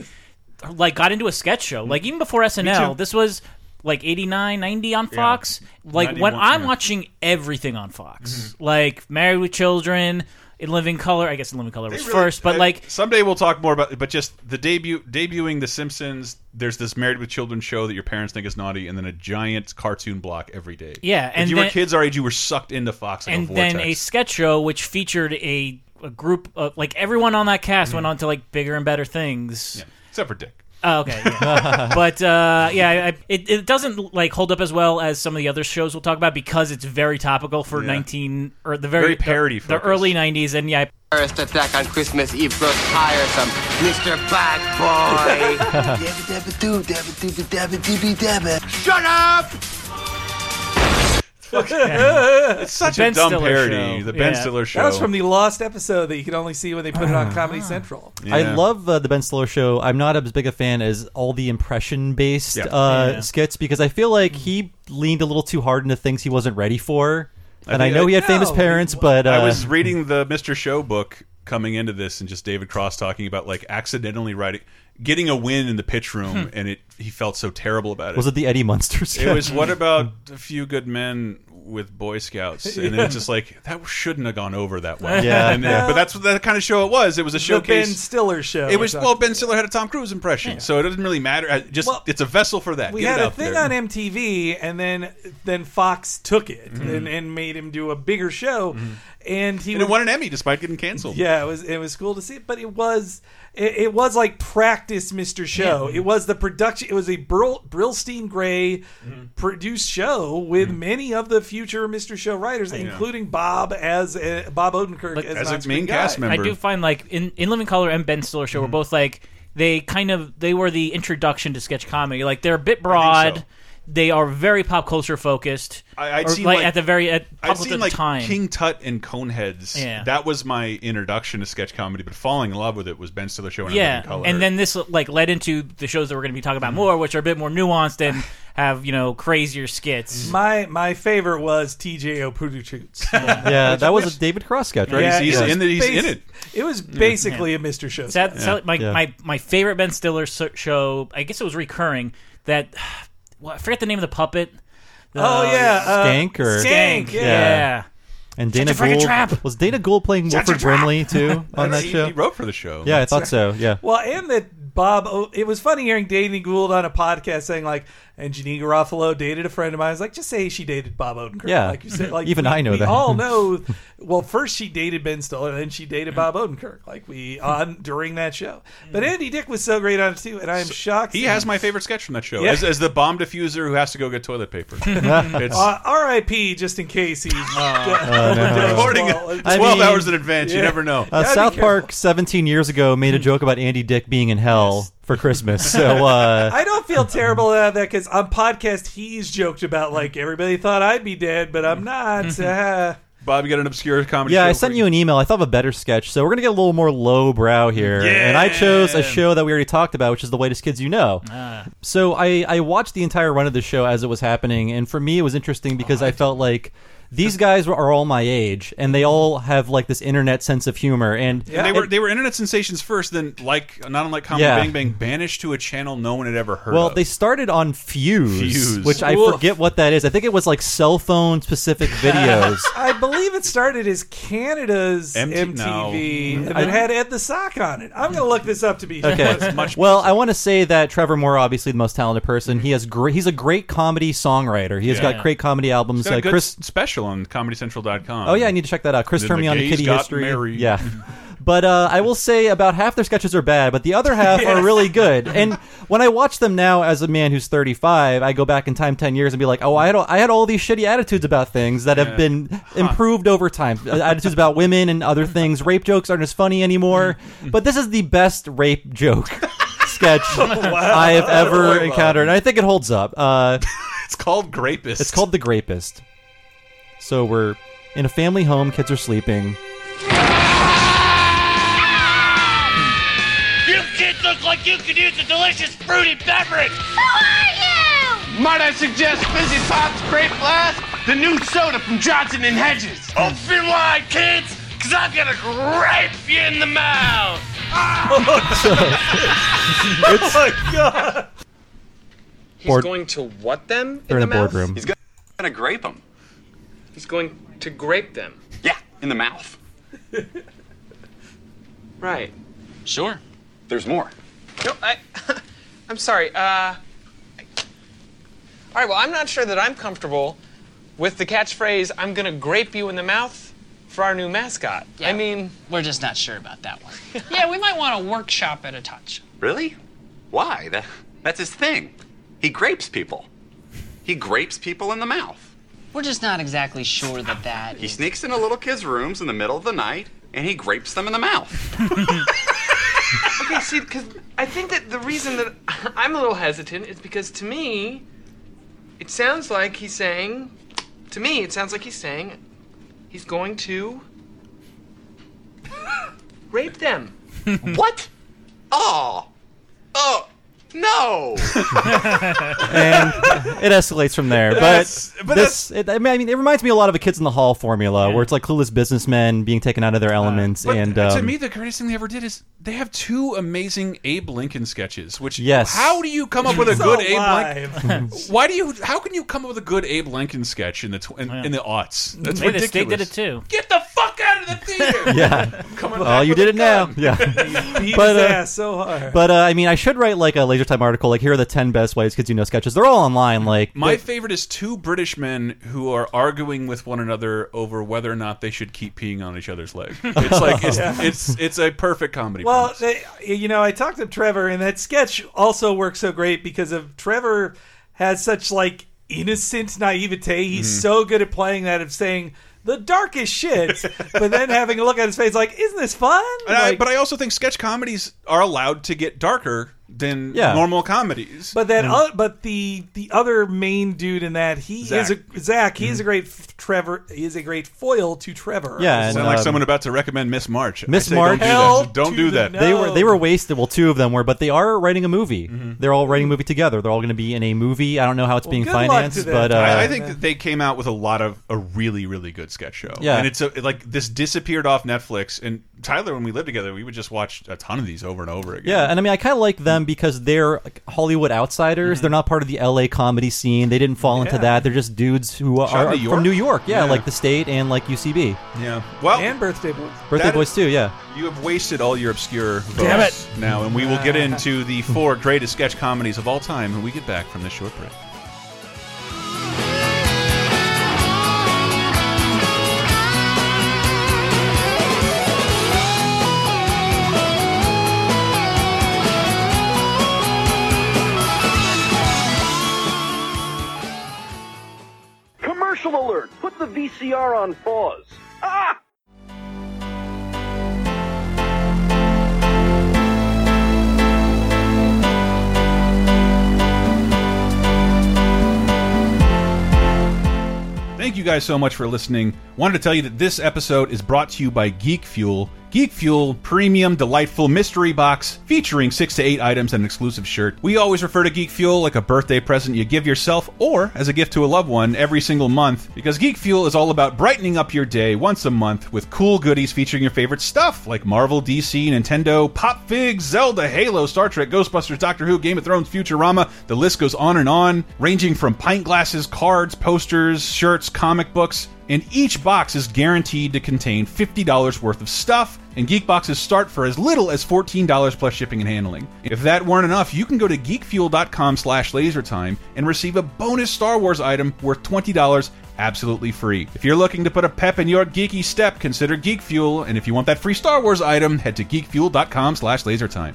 S3: like got into a sketch show. Like even before
S2: too.
S3: SNL, this was like 89, 90 on
S2: Yeah.
S3: Fox. Like when
S2: 91,
S3: I'm
S2: yeah.
S3: watching everything on Fox, like Married with Children, In Living Color. I guess In Living Color was
S1: really-
S3: first, but
S1: I-
S3: like
S1: someday we'll talk more about. But just the debut, debuting The Simpsons. There's this Married with Children show that your parents think is naughty, and then a giant cartoon block every day.
S3: Yeah,
S1: if
S3: and
S1: you were
S3: then-
S1: kids our age, you were sucked into Fox like
S3: and
S1: a
S3: then a
S1: vortex.
S3: sketch show which featured a, a group of like everyone on that cast went on to like bigger and better things.
S1: Mm-hmm. Except for Dick.
S3: Oh, okay. yeah. but uh, yeah, I, I- it, it doesn't like hold up as well as some of the other shows we'll talk about because it's very topical for
S7: Yeah.
S3: nineteen or the very,
S7: Very parody
S3: the, the
S7: focused.
S3: early nineties. And yeah,
S7: Terrorist attack on Christmas Eve grows tiresome. Mr. Bad Boy.
S2: Shut up!
S1: it's such a dumb parody. The Ben Stiller show.
S5: That was from the lost episode that you could only see when they put it on Comedy Central.
S4: I love uh, the Ben Stiller show. I'm not as big a fan as all the impression based
S5: Yeah.
S4: uh,
S5: Yeah.
S4: skits because I feel like he leaned a little too hard into things he wasn't ready for.
S1: I
S4: And I,
S1: think
S4: know
S1: I-
S4: he had famous
S1: No,
S4: parents, but uh,
S1: I was reading the Mr. Show book coming into this, and just David Cross talking about like accidentally writing, getting a win in the pitch
S5: Hmm.
S1: room, and it he felt so terrible about it.
S4: Was it the Eddie Munster
S1: It was
S4: sketch?
S1: what about a few good men with Boy Scouts, and
S5: Yeah.
S1: it's just like that shouldn't have gone over that well.
S5: Yeah.
S1: And then- but that's what that kind of show it was. It was a
S5: The
S1: showcase.
S5: Ben Stiller show.
S1: It was
S5: We're
S1: well, Ben Stiller had a Tom Cruise impression, so it doesn't really matter. I- Just
S5: Well,
S1: it's a vessel for that.
S5: We
S1: Get
S5: had
S1: it
S5: a
S1: out
S5: thing
S1: there.
S5: on MTV, and then then Fox took it and, and made him do a bigger show, and he
S1: Mm-hmm. And it
S5: would-
S1: won an Emmy despite getting canceled.
S5: Yeah, it was it was cool to see, it, but it was it, it was like practice, Mister Show.
S1: Yeah.
S5: It was the production. It was a Bril, Brilstein Gray
S1: Mm-hmm.
S5: produced show with many of the future Mister Show writers, including Bob as uh, Bob Odenkirk as, an on-screen guy.
S3: I do find like in in Living Color and Ben Stiller show
S1: Mm-hmm.
S3: were both like they kind of they were the introduction to sketch comedy. Like they're a bit broad. They are very pop culture focused.
S1: I, I'd
S3: or,
S1: seen
S3: like,
S1: like,
S3: at the very at pop
S1: I'd
S3: culture
S1: seen like
S3: time.
S1: King Tut and Coneheads.
S3: Yeah.
S1: that was my introduction to sketch comedy. But falling in love with it was Ben Stiller show. And
S3: yeah,
S1: Living color. Mm-hmm.
S3: and then this like led into the shows that we're going to be talking about more, which are a bit more nuanced and have you know crazier skits.
S5: My my favorite was TJO Productions.
S4: yeah, that was a David Cross sketch, right?
S5: basi- It was basically a Mr. Show.
S3: That,
S5: sketch.
S3: so- my, my my favorite Ben Stiller so- show. I guess it was recurring. That well, I forget the name of the puppet.
S5: Oh, yeah, uh,
S4: Skank or
S3: Skank. Yeah.
S4: And
S3: Such a
S4: Dana
S3: friggin'
S4: Gould
S3: trap.
S4: was Dana Gould playing
S5: Such a
S4: Wilford
S5: trap.
S4: Brimley too on that
S5: He-
S4: show.
S5: he wrote for the show.
S4: Yeah, I thought so. Yeah.
S5: Well, and that Bob, O- it was funny hearing Danny Gould on a podcast saying like, And Janine Garofalo dated a friend of mine. I was like, just say she dated Bob Odenkirk.
S4: Yeah.
S5: like you said, like
S4: Even
S5: we-
S4: I know
S5: we
S4: that.
S5: all know. Well, first she dated Ben Stiller, then she dated Bob Odenkirk. Like we on during that show.
S4: Hmm.
S5: But Andy Dick was so great on it too, and I am shocked.
S1: He has my favorite sketch from that show
S5: Yeah.
S1: as, as the bomb diffuser who has to go get toilet paper. It's-
S5: Uh, R.I.P. Just in case he's
S1: Oh, no. Recording it
S5: Well,
S1: 12 hours in advance, you never know.
S4: Uh,
S5: Gotta be
S4: South
S5: careful.
S4: Park 17 years ago made a joke about Andy Dick being in hell for Christmas. So uh,
S5: I don't feel terrible about that because on podcast he's joked about like everybody thought I'd be dead, but I'm not. Uh,
S1: Bob, you got an obscure comedy.
S4: yeah, I
S1: show
S4: sent you an email. I thought of a better sketch, so we're gonna get a little more lowbrow here. And I chose a show that we already talked about, which is The Whitest Kids You Know.
S3: Uh,
S1: Ah.
S4: So I I watched the entire run of the show as it was happening, and for me it was interesting because I felt like. These guys were- are all my age, and they all have like this internet sense of humor. And
S1: And they were they were internet sensations first, then like not unlike Comedy
S4: Yeah.
S1: Bang Bang, banished to a channel no one had ever heard
S4: Well,
S1: of.
S4: they started on Fuse,
S1: Fuse.
S4: which I
S1: Woof.
S4: forget what that is. I think it was like cell phone specific videos.
S5: I believe it started as Canada's
S4: MT
S5: MTV,
S4: no.
S5: and
S4: I-
S5: it had Ed the Sock on it. I'm gonna look this up to be sure.
S4: Okay. well, I want to say that Trevor Moore, obviously the most talented person, he has great. He's a great comedy songwriter. He has
S1: Yeah.
S4: got great comedy
S1: It's
S4: albums.
S1: got a
S4: Uh,
S1: good
S4: Chris.
S1: special on ComedyCentral.com.
S4: Oh yeah, I need to check that out. Chris
S1: Then
S4: turned
S1: the
S4: me on to
S1: gays
S4: Kitty
S1: got
S4: History.
S1: married.
S4: Yeah. But uh, I will say about half their sketches are bad, but the other half are
S2: Yes.
S4: really good. And when I watch them now, as a man who's 35, I go back in time 10 years and be like, "Oh, I had all, I had all these shitty attitudes about things that
S2: Yeah.
S4: have been improved over time. Uh, attitudes about women and other things. Rape jokes aren't as funny anymore.
S1: Mm-hmm.
S4: but this is the best rape joke sketch
S1: Oh,
S4: I have ever encountered, and I think it holds up. Uh,
S1: it's called Grapist.
S4: It's called the Grapist. So we're in a family home. Kids are sleeping.
S11: You kids look like you could use a delicious fruity beverage. Who
S7: Might I suggest Fizzy Pop's Grape Blast? The new soda from Johnson and Hedges.
S11: Open wide, kids, because I'm going to grape you in the mouth.
S4: It's-
S11: God.
S12: He's
S4: Board-
S12: going to what them?
S4: They're in
S12: the
S4: a
S12: mouth?
S4: boardroom.
S12: He's going to grape them. He's going to grape them. Yeah, in the mouth. right. Sure. There's more. No, I. I'm sorry. Uh. I- All right. Well, I'm not sure that I'm comfortable with the catchphrase "I'm going to grape you in the mouth" for our new mascot. I mean, we're just not sure about that one.
S13: yeah, we might want to workshop it a touch.
S12: Really?
S9: Why? That, that's his thing. He grapes people. He grapes people in the mouth.
S13: We're just not exactly sure that that.
S9: He sneaks into little kids' rooms in the middle of the night and he grapes them in the mouth.
S12: okay, see, because I think that the reason that I'm a little hesitant is because to me, it sounds like he's saying, to me, it sounds like he's saying he's going to rape them.
S9: what? Oh. Oh. No.
S4: and it escalates from there. But,
S9: That's- but
S4: this, it, I mean, I mean, it reminds me a lot of a Kids in the Hall formula, where it's like clueless businessmen being taken out of their elements. and um,
S1: to me, the greatest thing they ever did is they have two amazing Abe Lincoln sketches. Which
S4: Yes.
S1: how do you come up with a
S4: He's
S1: good
S4: alive.
S1: Abe Lincoln? Why do you? How can you come up with a good Abe Lincoln sketch in the tw- in, in the aughts? That's
S3: Hey, the
S1: ridiculous.
S3: state did it too.
S1: Get the fuck out of the theater!
S4: yeah.
S1: Coming
S4: oh,
S1: back
S4: you
S1: with
S4: did
S1: a
S4: it now.
S1: gun.
S4: Yeah.
S5: Beat
S4: But,
S5: his
S4: uh,
S5: ass so hard.
S4: But uh, I mean, I should write like a Laser Time article. Like, here are the ten best ways kids you know sketches. They're all online. Like,
S1: My favorite is two British men who are arguing with one another over whether or not they should keep peeing on each other's leg. It's like it's
S5: Yeah.
S1: it's, it's a perfect comedy.
S5: Well, they, you know, I talked to Trevor, and that sketch also works so great because of Trevor has such like innocent naivete. He's
S1: Mm-hmm.
S2: Mhm.
S5: so good at playing that of saying the darkest shit, but then having a look at his face like, isn't this fun?
S1: And I-
S5: Like,
S1: but I also think sketch comedies are allowed to get darker than
S5: Yeah.
S1: normal comedies.
S5: But that, oth- but the the other main dude in that, he
S1: Zach.
S5: is a Zach. He is a great f- Trevor. He is a great foil to Trevor.
S1: sound like someone about to recommend um, Miss March. I
S4: Miss
S1: say
S4: March.
S1: don't do
S4: Hell
S1: that. Don't do that.
S4: They were they were wasted. Well, two of them were, but they are writing a movie.
S1: Mm-hmm.
S4: They're all writing a movie together. They're all going to be in a movie. I don't know how it's being financed, but uh,
S1: I, I think that they came out with a lot of a really really good sketch show.
S4: Yeah.
S1: and it's a, like this disappeared off Netflix. And Tyler, when we lived together, we would just watch a ton of these over and over again.
S4: Yeah, and I mean, I kind of like
S1: Mm-hmm.
S4: them because they're like, Hollywood outsiders. They're not part of the LA comedy scene. They didn't fall into
S1: Yeah.
S4: that. They're just dudes who
S1: Shot in
S4: are,
S1: New
S4: from
S1: York?
S4: New York. Yeah,
S1: Yeah.
S4: like the state and like UCB.
S1: Yeah. Well,
S5: and birthday boy.
S4: Birthday Boys too. Yeah.
S1: You have wasted all your obscure votes
S4: Damn
S1: now, and we will get into the four greatest sketch comedies of all time when we get back from this short break.
S14: the VCR on pause. Ah!
S1: Thank you guys so much for listening. Wanted to tell you that this episode is brought to you by Geek Fuel. Geek Fuel premium delightful mystery box featuring 6 to 8 items and an exclusive shirt. We always refer to Geek Fuel like a birthday present you give yourself or as a gift to a loved one every single month because Geek Fuel is all about brightening up your day once a month with cool goodies featuring your favorite stuff like Marvel, DC, Nintendo, Pop Figs, Zelda, Halo, Star Trek, Ghostbusters, Doctor Who, Game of Thrones, Futurama. The list goes on and on, ranging from pint glasses, cards, posters, shirts, comic books, and each box is guaranteed to contain $50 worth of stuff, and geek boxes start for as little as $14 plus shipping and handling. If that weren't enough, you can go to geekfuel.com slash lasertime and receive a bonus Star Wars item worth $20 absolutely free. If you're looking to put a pep in your geeky step, consider Geek Fuel, and if you want that free Star Wars item, head to geekfuel.com slash lasertime.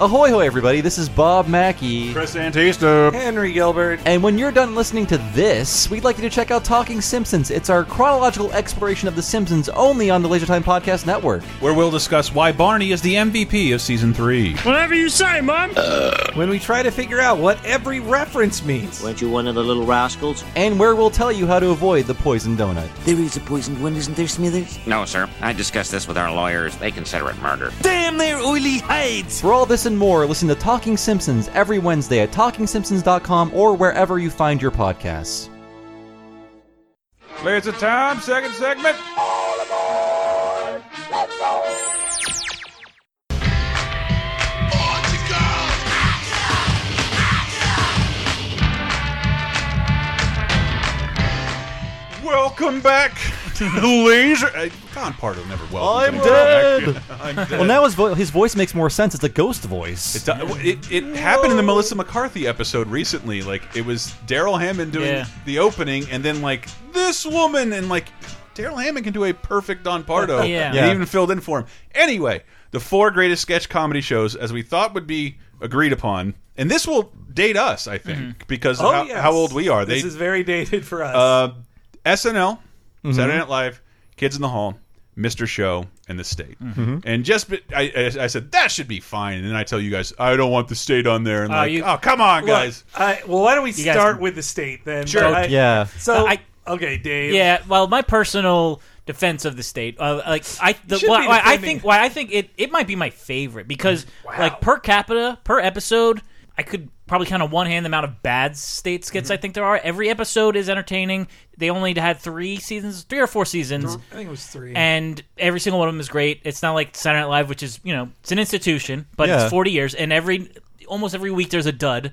S4: Ahoy, hoy, everybody! This is Bob Mackey,
S1: Chris Antista,
S4: Henry Gilbert, and when you're done listening to this, we'd like you to check out Talking Simpsons. It's our chronological exploration of the Simpsons, only on the Laser Time Podcast Network.
S1: Where we'll discuss why Barney is the MVP of season 3.
S5: Whatever you say, Mom. when we try to figure out what every reference means.
S4: Uh. Weren't you one of the little rascals? And where we'll tell you how to avoid the poison donut.
S15: There is a poisoned one, isn't there, Smithers?
S16: No, sir. I discussed this with our lawyers. They consider it murder.
S15: Damn their oily hides!
S4: For all this and more, listen to Talking Simpsons every Wednesday at TalkingSimpsons.com or wherever you find your podcasts.
S2: Laser time, second segment.
S1: Welcome back to the laser. Uh, Con Pardo never welcome.
S4: I'm dead.
S1: I'm dead.
S4: Well, now his, vo- his voice makes more sense. It's a ghost voice.
S1: It, do- it, it happened in the Melissa McCarthy episode recently. Like it was Daryl Hammond doing
S4: Yeah.
S1: the opening, and then like this woman, and like Daryl Hammond can do a perfect Don Pardo.
S2: Yeah.
S1: and
S2: Yeah.
S1: he even filled in for him. Anyway, the four greatest sketch comedy shows, as we thought would be agreed upon, and this will date us, I think, because of
S5: Oh,
S1: how,
S5: yes.
S1: how old we are. They
S5: This is very dated for us.
S1: uh, SNL,
S3: Mm-hmm.
S5: Mhm.
S1: Saturday Night Live, Kids in the Hall, Mr. Show, and The State.
S3: Mm-hmm.
S4: Mm-hmm.
S5: Mhm.
S1: And just be- I, I, I said that should be fine, and then I tell you guys I don't want The State on there, and
S3: Uh,
S5: Oh,
S1: like,
S5: you-
S1: oh come on,
S5: Look,
S1: guys.
S5: I, well, why don't we
S3: You guys-
S5: start with the state then?
S3: Sure.
S5: I-
S4: Yeah.
S5: So,
S3: Uh, I-
S5: okay, Dave.
S3: Yeah, well, my personal defense of the state, uh, like I, the,
S5: should
S3: why,
S5: be
S3: why I
S5: defending.
S3: think, why I think it, it might be my favorite because, like per capita, per episode, I could probably count on one hand the amount of bad state skits
S5: Mm-hmm.
S3: I think there are. Every episode is entertaining. They only had three seasons, three or four seasons.
S5: I think it was three.
S3: And every single one of them is great. It's not like Saturday Night Live, which is you know it's an institution, but
S4: Yeah.
S3: it's forty years, and every almost every week there's a dud.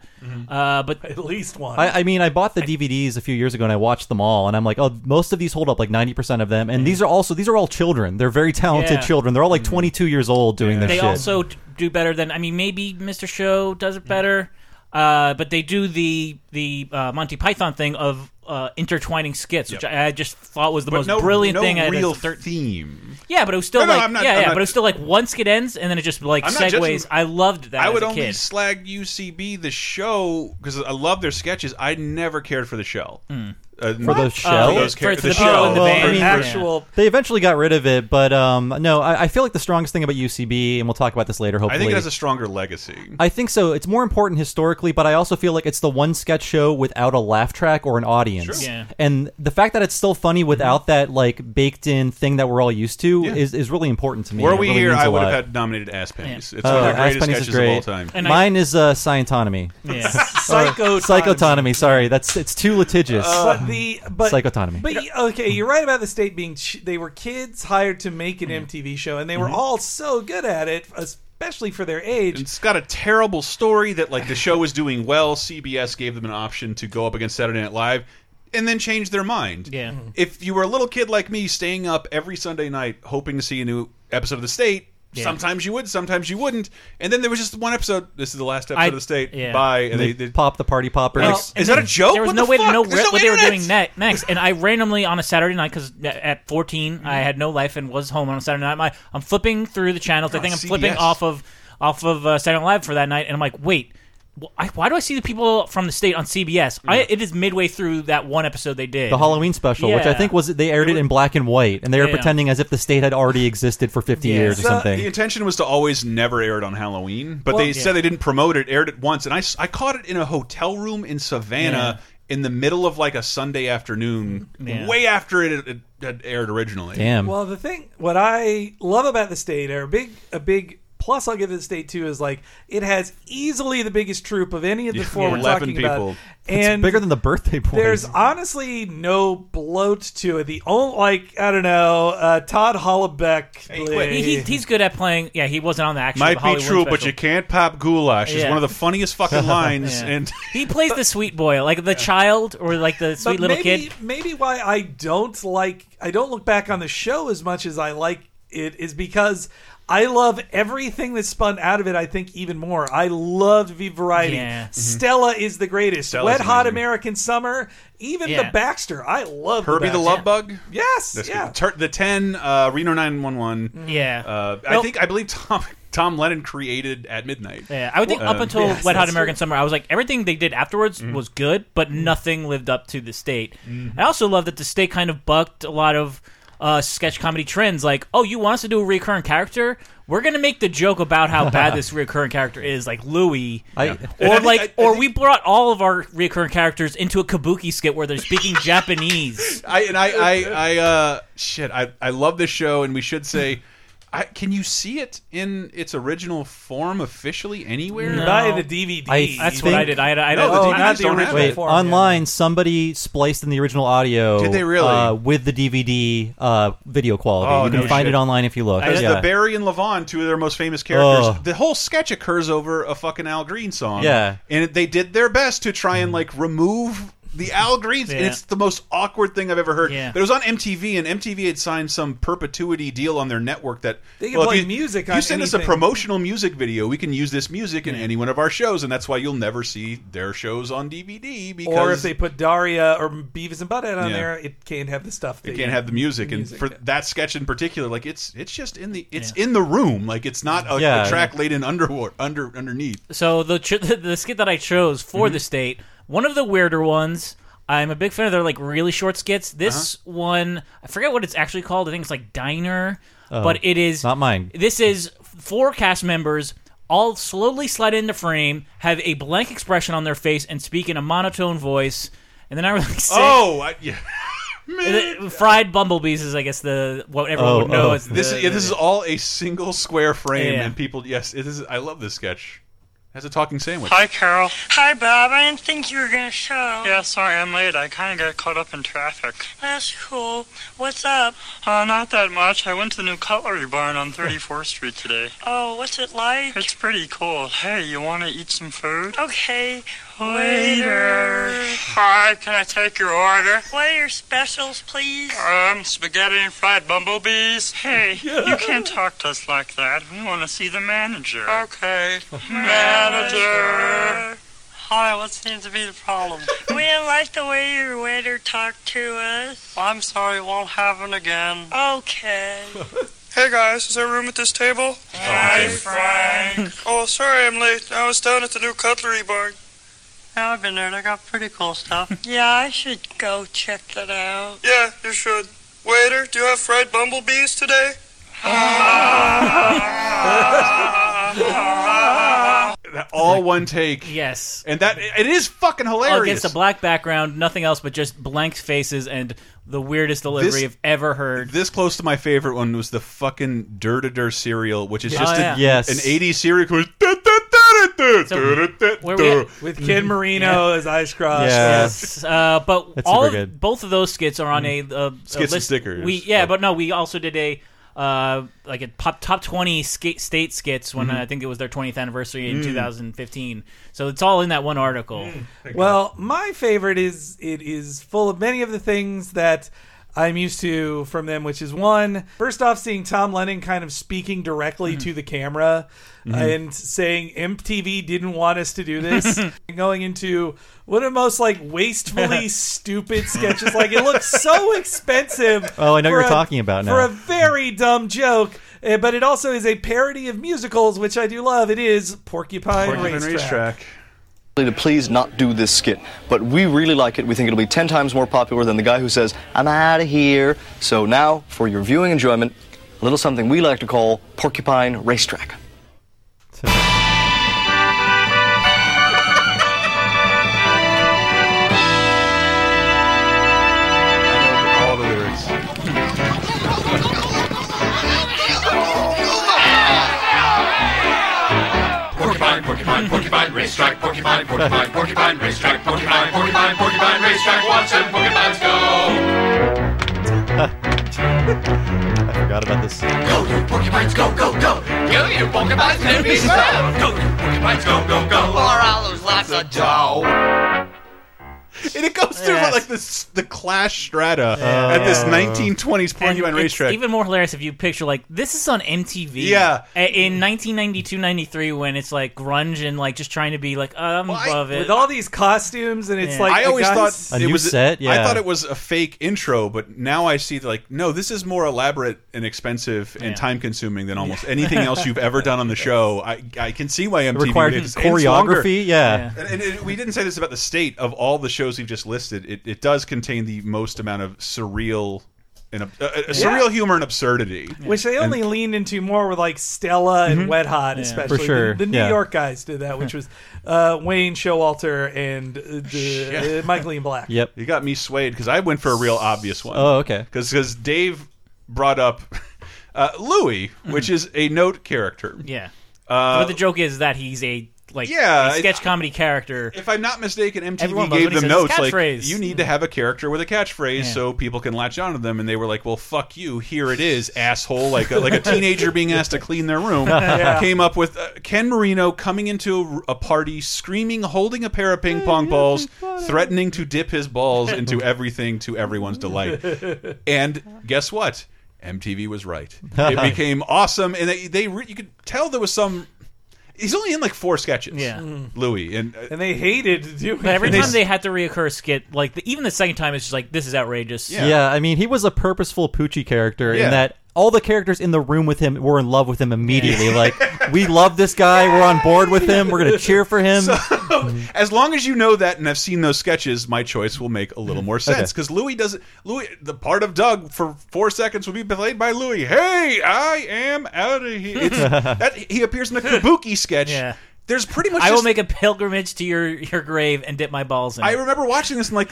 S3: Uh, but at
S5: Mm-hmm. least one.
S4: I, I mean, I bought the DVDs a few years ago and I watched them all, and I'm like, oh, most of these hold up, like 90% of them. And these are also, these are all children. They're very talented
S3: Yeah.
S4: children. They're all like
S1: Mm-hmm.
S4: 22 years old doing this
S3: they
S4: shit.
S3: also t- do better than I mean maybe Mr. Show does it better, uh, but they do the the uh, Monty Python thing of uh, intertwining skits, which I, I just thought was the
S1: But
S3: most
S1: no-
S3: brilliant
S1: no
S3: thing. I had
S1: real
S3: as a third-
S1: theme.
S3: Yeah, but it was still
S1: No, no,
S3: like
S1: I'm not-
S3: yeah,
S1: I'm
S3: yeah,
S1: not-
S3: but it was still like one skit ends and then it just like
S1: I'm not
S3: segues.
S1: judging-
S3: I loved that.
S1: I
S3: as
S1: would
S3: a
S1: only
S3: kid.
S1: slag UCB the show because I love their sketches. I never cared for the shell.
S3: Mm.
S1: Uh,
S4: for the shell,
S1: for those char- the,
S4: Oh,
S1: shell,
S4: well,
S1: For-
S4: I mean,
S1: for-
S4: They eventually got rid of it, but um, no, I, I feel like the strongest thing about UCB, and we'll talk about this later. Hopefully,
S1: I think it has a stronger legacy.
S4: I think so. It's more important historically, but I also feel like it's the one sketch show without a laugh track or an audience.
S1: Sure. Yeah.
S4: And the fact that it's still funny without that like baked in thing that we're all used to
S1: Yeah.
S4: is, is really important to me.
S1: Were
S4: It
S1: we
S4: really
S1: here,
S4: means
S1: I
S4: a
S1: would have
S4: lot.
S1: had nominated Ass Pennies. It's
S4: Uh,
S1: one of the
S4: Ass
S1: greatest
S4: Pennies is
S1: sketches
S4: great.
S1: of all time.
S4: Mine is uh, Scientonomy.
S5: Yeah. Psychotonomy.
S4: Psychotonomy. Sorry, that's it's too litigious.
S5: Uh,
S1: Uh,
S5: but the but
S4: Psychotonomy.
S5: But okay, you're right about the state being. Ch- they were kids hired to make an
S3: Mm-hmm.
S5: MTV show, and they were
S1: Mhm.
S5: all so good at it, especially for their age.
S1: It's got a terrible story that like the show was doing well. CBS gave them an option to go up against Saturday Night Live, and then change their mind.
S3: Yeah.
S1: If you were a little kid like me, staying up every Sunday night hoping to see a new episode of The State,
S3: Yeah.
S1: Sometimes you would, sometimes you wouldn't. And then there was just one episode. This is the last episode
S3: I-
S1: of the state.
S3: yeah.
S1: Bye.
S4: And
S1: And
S4: they,
S1: they,
S4: pop the party poppers.
S3: Well, and
S1: is that
S3: then
S1: a joke?
S3: There was
S1: What
S3: no
S1: the
S3: way to
S1: fuck?
S3: know
S1: There's
S3: what
S1: no
S3: they were
S1: internet.
S3: doing ne- next. And I randomly on a Saturday night because at 14 I
S1: Mm-hmm.
S3: had no life and was home on a Saturday night. My, I'm flipping through the channels. I
S1: God,
S3: think I'm
S1: CBS.
S3: flipping off of off of uh, Saturday Night Live for that night, and I'm like, wait. wh- I, why do I see the people from the state on CBS?
S1: Mm.
S3: I, it is midway through that one episode they did,
S4: the Halloween special, which I
S3: Yeah.
S4: think was they aired it in black and white, and they were
S3: Yeah.
S4: pretending as if the state had already existed for fifty years or
S1: So, The
S4: something.
S1: intention was to always never air it on Halloween, but
S4: Well-
S1: they
S4: Yeah.
S1: said they didn't promote it. Aired it once, and I, s- I caught it in a hotel room in Savannah in the middle of like a Sunday afternoon,
S5: Yeah.
S1: way after it, it had aired originally.
S5: Well, the thing, what I love about the state, or a big, a big plus I'll give the state too, is like it has easily the biggest troop of any of the
S4: Yeah,
S5: four we're
S4: 11
S5: talking
S4: people.
S5: about,
S4: It's
S5: and
S4: bigger than the birthday boys.
S5: There's honestly no bloat to it. The only, like, I don't know, uh, Todd Hollebeck.
S3: He, he, he's good at playing. Yeah, he wasn't on the actual.
S1: Might be
S3: Halloween
S1: true, but
S3: special.
S1: you can't pop goulash. It's
S3: Yeah.
S1: one of the funniest fucking lines.
S3: Yeah.
S1: And
S3: he plays the sweet boy, like the child or like the sweet
S5: But
S3: little
S5: maybe,
S3: kid.
S5: Maybe why I don't like I don't look back on the show as much as I like it is because I love everything that's spun out of it. I think even more. I loved V Variety.
S11: Yeah.
S3: mm-hmm.
S11: Mhm.
S5: Stella is the greatest.
S11: Stella's
S5: Wet Hot
S11: amazing.
S5: American Summer. Even
S1: Yeah.
S5: the Baxter. I love
S1: Herbie the
S5: Baxter.
S1: Love Bug.
S5: Yes.
S1: That's
S5: yeah.
S1: good. Tur- the ten uh, Reno nine one one.
S3: Yeah.
S1: Uh, I
S3: Well-
S1: think I believe Tom Tom Lennon created at midnight.
S3: Yeah, I would think up
S1: Um,
S3: until
S1: yes, Mm-hmm.
S3: Wet Hot
S1: that's
S3: American Summer, I was like everything they did afterwards was good, but nothing lived up to the state.
S1: Mm-hmm.
S3: I also love that the state kind of bucked a lot of uh, sketch comedy trends, like oh, you want us to do a recurring character? We're gonna make the joke about how bad this recurring character is, like Louis,
S4: I-
S3: or
S4: And I think-
S3: like, or we brought all of our recurring characters into a kabuki skit where they're speaking Japanese.
S1: I and I I, I uh shit I I love this show and we should say I, can you see it in its original form officially anywhere?
S5: No. Buy the DVD.
S4: I
S3: That's what I
S4: think-
S3: did. I had, I had
S1: No,
S3: a-
S1: the
S3: I-
S1: DVDs
S5: not the
S1: don't have
S5: original
S1: it.
S4: Wait, online somebody spliced in the original audio.
S1: Did they really?
S4: uh, with the DVD uh, video quality?
S1: Oh,
S4: you can
S1: no
S4: find
S1: shit.
S4: it online if you look.
S1: Because
S4: yeah.
S1: the Barry and Levon, two of their most famous characters,
S4: Ugh.
S1: the whole sketch occurs over a fucking Al Green song.
S4: Yeah.
S1: and they did their best to try and like remove the Al Greens, and
S4: Yeah.
S1: it's the most awkward thing I've ever heard.
S5: Yeah.
S1: But it was on MTV, and MTV had signed some perpetuity deal on their network that
S5: They can
S1: if
S5: play
S1: you,
S5: music
S1: You
S5: on
S1: send us a
S5: anything.
S1: promotional music video, we can use this music in any one of our shows, and that's why you'll never see their shows on DVD because
S5: or if they put Daria or Beavis and Butthead on
S1: Yeah.
S5: there, it can't have the stuff.
S1: they
S5: that
S1: can't
S5: you-
S1: have the music, and for that sketch in particular like it's it's just in the it's in the room like it's not a,
S4: Yeah.
S1: a track laid in underwater under underneath
S3: So the ch- the skit that I chose for
S1: Mm-hmm.
S3: the state, one of the weirder ones. I'm a big fan of their like really short skits. This
S1: Uh-huh.
S3: one, I forget what it's actually called. I think it's like diner,
S4: Oh,
S3: but it is
S4: not mine.
S3: This is four cast members all slowly slide into frame, have a blank expression on their face, and speak in a monotone voice. And then I really say,
S1: oh I, yeah
S3: Uh, fried bumblebees is I guess the what everyone
S4: Oh,
S3: would know is
S1: Oh, this
S3: the-
S1: is yeah, this is all a single square frame
S3: Yeah.
S1: and people yes it is I love this sketch as a talking sandwich
S17: Carol. Hi, Bob. I didn't think you were gonna show. Yeah, sorry, I'm late. I kind of got caught up in traffic. That's cool. What's up? Uh, not that much. I went to the new cutlery barn on 34th Street today.
S15: Oh, what's it like?
S17: It's pretty cool. Hey, you want to eat some food?
S15: Okay.
S17: Waiter. Hi, can I take your order?
S15: What are your specials, please?
S17: Um, spaghetti and fried bumblebees. Hey, you can't talk to us like that. We want to see the manager. Okay. Manager.
S15: Hi, what seems to be the problem? we didn't like the way your waiter talked to us.
S17: I'm sorry, it won't happen again.
S15: Okay.
S17: Hey guys, is there room at this table? Hi, Frank. oh, sorry I'm late. I was down at the new cutlery barn.
S15: Now I've been there. They got pretty cool stuff. yeah, I should go check that out.
S17: Yeah, you should. Waiter, do you have fried bumblebees today?
S1: all one take
S3: yes
S1: and that it is fucking
S3: all
S1: hilarious
S3: against a black background, nothing else but just blank faces and the weirdest delivery
S1: This-
S3: I've ever heard.
S1: This close to my favorite one was the fucking Dur to Dur cereal, which is
S3: Yeah.
S1: just
S3: Oh, yeah.
S1: a,
S4: Yes.
S1: an 80s cereal. quiz. Du- du- du- du- du- du- du- du-
S5: with Kid Marino as Ice Cross.
S3: Yes, uh, but
S5: That's
S3: all
S5: super
S3: of-
S5: good. Mm-hmm.
S3: both of those skits are on a, uh,
S1: Skits
S3: a
S1: and
S3: list.
S1: stickers.
S3: We yeah, but no, we also did a uh, like a pop, top twenty sk- state skits when
S1: Mm-hmm.
S5: Mhm.
S3: I think it was their 20th anniversary in
S5: Mm.
S3: 2015. So it's all in that one
S1: Mm.
S3: article.
S5: Well, my favorite is it is full of many of the things that I'm used to from them, which is one, first off, seeing Tom Lennon kind of speaking directly
S4: Mm-hmm.
S5: to the camera
S18: Mhm.
S5: and saying MTV didn't want us to do this, And going into one of the most like wastefully stupid sketches. Like it looks so expensive.
S4: Oh, I know
S5: for
S4: you're
S5: a-
S4: talking about
S5: for
S4: now.
S5: a very dumb joke. uh, But it also is a parody of musicals, which I do love. It is Porcupine,
S1: Porcupine
S5: Racetrack.
S1: Racetrack.
S19: To please not do this skit, but we really like it. We think it'll be 10 times more popular than the guy who says, I'm out of here. So now, for your viewing enjoyment, a little something we like to call Porcupine Racetrack.
S1: All the lyrics.
S20: Porcupine, porcupine, porcupine, racetrack, porcupine, porcupine, porcupine, racetrack, porcupine, porcupine, porcupine, racetrack, watch them porcupines go.
S4: I forgot about this.
S20: Go, you porcupines, go, go, go. Go, you porcupines, and be slow. Go, you porcupines, go, go, go. Or I'll lose lots of dough.
S1: And it goes through
S3: Yes.
S1: like this the clash strata at this 1920s Porcupine
S3: And it's
S1: Racetrack.
S3: Even more hilarious if you picture like this is on MTV.
S1: Yeah.
S3: a- in 1992-93 when it's like grunge and like just trying to be like I'm above it
S5: With all these costumes, and it's
S3: Yeah.
S5: like
S1: I
S5: the
S1: always
S5: guys-
S1: thought it was I thought it was a fake intro, but now I see like no, this is more elaborate and expensive and time consuming than almost anything else you've ever done on the show. I I can see why MTV did
S4: required
S1: it. It's- it's longer.
S4: choreography, yeah.
S1: And, and it- we didn't say this about the state of all the shows we've just listed. It it does contain the most amount of surreal and ab- uh, uh, surreal humor and absurdity,
S5: Which they only leaned into more with like Stella and
S1: Mhm.
S5: Wet Hot,
S1: Yeah.
S5: especially.
S1: For sure,
S5: The, the New
S1: yeah.
S5: York guys did that, which was uh, Wayne Showalter and uh, the, uh, Michael Ian Black.
S4: Yep.
S1: You got me swayed because I went for a real obvious one.
S4: Oh, okay.
S1: Because Dave brought up uh, Louis, which is a note character.
S3: Mm-hmm. yeah
S1: Uh,
S3: but the joke is that he's a like
S1: Yeah,
S3: a sketch comedy character
S1: if I'm not mistaken MTV
S3: Everyone loves
S1: gave
S3: when he says
S1: them
S3: his
S1: notes like
S3: catchphrase.
S1: you need to have a character with a catchphrase
S3: Yeah.
S1: so people can latch onto them, and they were like, "Well, fuck you, here it is, asshole!" Like a, like a teenager being asked to clean their room
S4: Yeah.
S1: came up with uh, Ken Marino coming into a party screaming, holding a pair of ping pong balls, threatening to dip his balls into everything to everyone's delight. And guess what? MTV was right. It became awesome, and they, they re you could tell there was some. He's only in like four sketches.
S3: Yeah. Mm.
S1: Louis and uh,
S5: and they hated doing.
S3: but every
S1: it. They
S3: time
S1: s-
S3: they had to reoccur a skit like the, even the second time it's just like this is outrageous
S4: Yeah. I mean, he was a purposeful Poochie character
S3: Yeah.
S4: in that all the characters in the room with him were in love with him immediately. Like, we love this guy. We're on board with him. We're going to cheer for him.
S1: as long as you know that and have seen those sketches, my choice will make a little more sense
S4: Okay.
S1: because Louis doesn't. Louis, the part of Doug for four seconds will be played by Louis. Hey, I am out of here. It's, that, he appears in a Kabuki sketch.
S3: Yeah.
S1: There's pretty much.
S3: I will
S1: just-
S3: make a pilgrimage to your your grave and dip my balls in
S1: I
S3: it.
S1: remember watching this and like,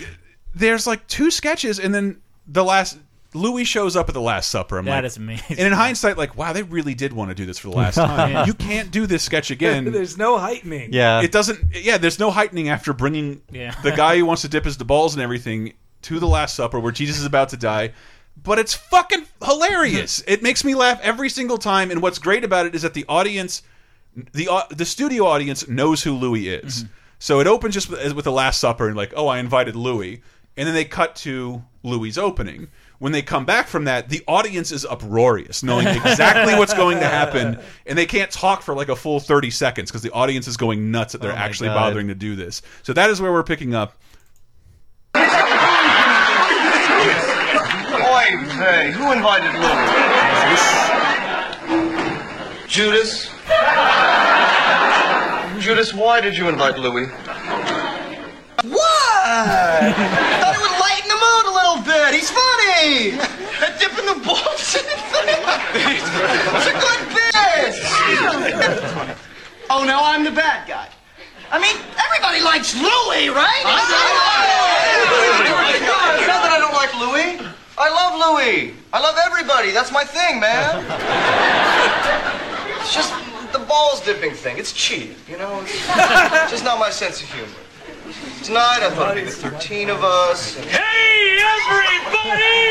S1: there's like two sketches, and then the last Louis shows up at the Last Supper. I'm
S3: That
S1: like,
S3: is amazing.
S1: And in hindsight, like, wow, they really did want to do this for the last time.
S3: Yeah.
S1: You can't do this sketch again.
S5: There's no heightening.
S1: It doesn't. Yeah, there's no heightening after bringing
S5: Yeah.
S1: the guy who wants to dip his balls and everything to the Last Supper where Jesus is about to die. But it's fucking hilarious. it makes me laugh every single time. And what's great about it is that the audience, the au- the studio audience knows who Louis is. So it opens just with, with the Last Supper and like, oh, I invited Louis, and then they cut to Louis opening. When they come back from that, the audience is uproarious, knowing exactly what's going to happen, and they can't talk for like a full thirty seconds because the audience is going nuts
S3: Oh
S1: that they're actually
S4: God.
S1: bothering to do this. So that is where we're picking up.
S19: Oi, hey, who invited Louis? Judas? Judas, why did you invite Louis?
S21: What? Thought it would lighten the mood a little bit. He's funny. Dipping the balls in the thing. It's a good bit. oh, now I'm the bad guy. I mean, everybody likes Louis, right? Oh,
S19: It's not that I don't like Louis. I love Louis. I love everybody. That's my thing, man. It's just the balls dipping thing. It's cheap, you know? It's just not my sense of humor. Tonight, I thought it'd be the 13 of us. Hey, everybody!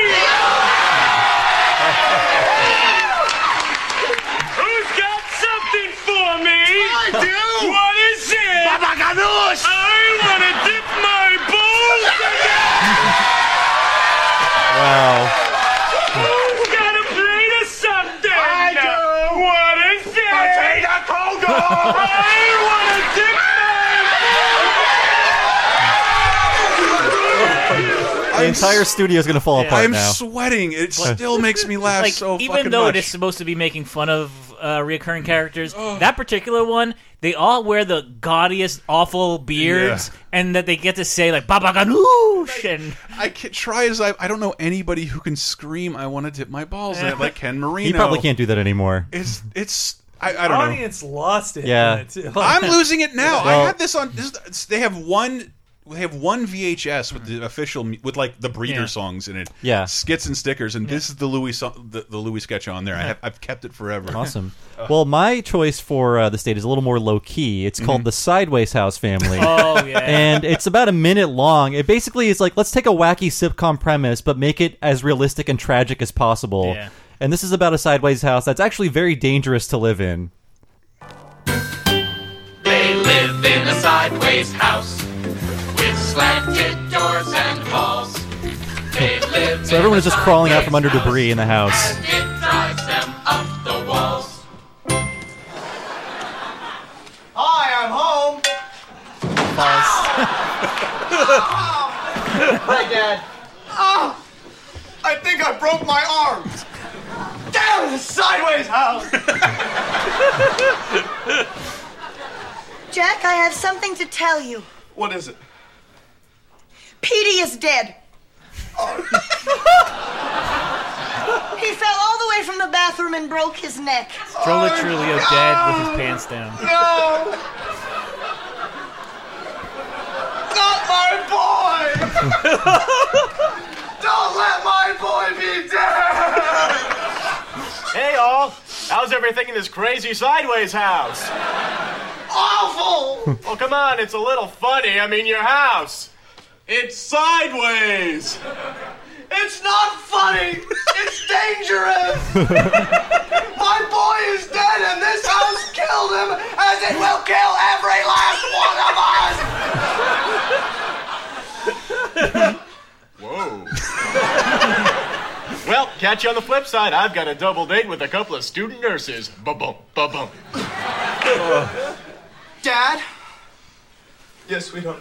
S11: Who's got something for me?
S21: I do.
S11: What is it?
S21: Papa Ganoush.
S11: I want to dip my balls.
S4: Wow. entire studio is going to fall apart
S1: I'm
S4: now.
S1: sweating. It
S4: Uh.
S1: still makes me laugh
S3: like,
S1: so
S3: even
S1: fucking
S3: though
S1: much.
S3: it is supposed to be making fun of uh, reoccurring characters,
S1: Oh.
S3: that particular one, they all wear the gaudiest, awful beards, and that they get to say like "Baba
S1: Oh
S3: Ganoush," and
S1: I can try as I. I don't know anybody who can scream. I want to dip my balls in it like Ken Marino.
S4: He probably can't do that anymore.
S1: It's it's. I, I don't
S5: Audience lost it.
S4: Yeah.
S1: I'm losing it now.
S4: Well-
S1: I had this on. This, they have one. They have one VHS with the official, mu- with like the breather
S4: Yeah.
S1: songs in it,
S4: Yeah.
S1: skits and stickers, and this is the Louis song, the, the Louis sketch on there. I have, I've kept it forever.
S4: Awesome. Well, my choice for uh, the state is a little more low key. It's
S3: Mm-hmm.
S4: called the Sideways House Family.
S1: Oh, yeah.
S4: And it's about a minute long. It basically is like let's take a wacky sitcom premise, but make it as realistic and tragic as possible.
S3: Yeah.
S4: And this is about a sideways house that's actually very dangerous to live in.
S20: They live in a sideways house with slanted doors and walls. They live
S4: So everyone is just crawling out from under debris in the house.
S20: it drives them up the walls.
S21: Hi, I'm home. Hi, Dad. Oh, I think I broke my arm. Down the sideways house.
S18: Jack, I have something to tell you.
S21: What is it?
S18: Petey is dead. he fell all the way from the bathroom and broke his neck.
S3: Stroller Trulio dead with his pants down.
S21: Oh, No. Not my boy. Don't let my boy be dead.
S22: Hey, all. How's everything in this crazy sideways house?
S21: Awful!
S22: Well, come on, it's a little funny. I mean, your house. It's sideways.
S21: It's not funny. It's dangerous. my boy is dead, and this house killed him, as it will kill every last one of us.
S22: Whoa. well, catch you on the flip side. I've got a double date with a couple of student nurses. Bum bum bum bum.
S21: Dad? Yes, sweetheart.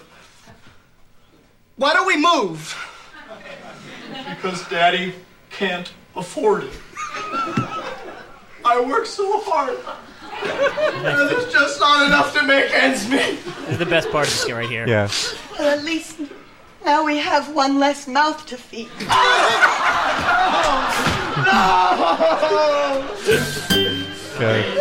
S21: Why don't we move? Because Daddy can't afford it. I work so hard. and there's just not enough to make ends meet.
S3: This is the best part of the skit right here.
S4: Yeah.
S18: Well, at least now we have one less mouth to feed.
S4: Okay.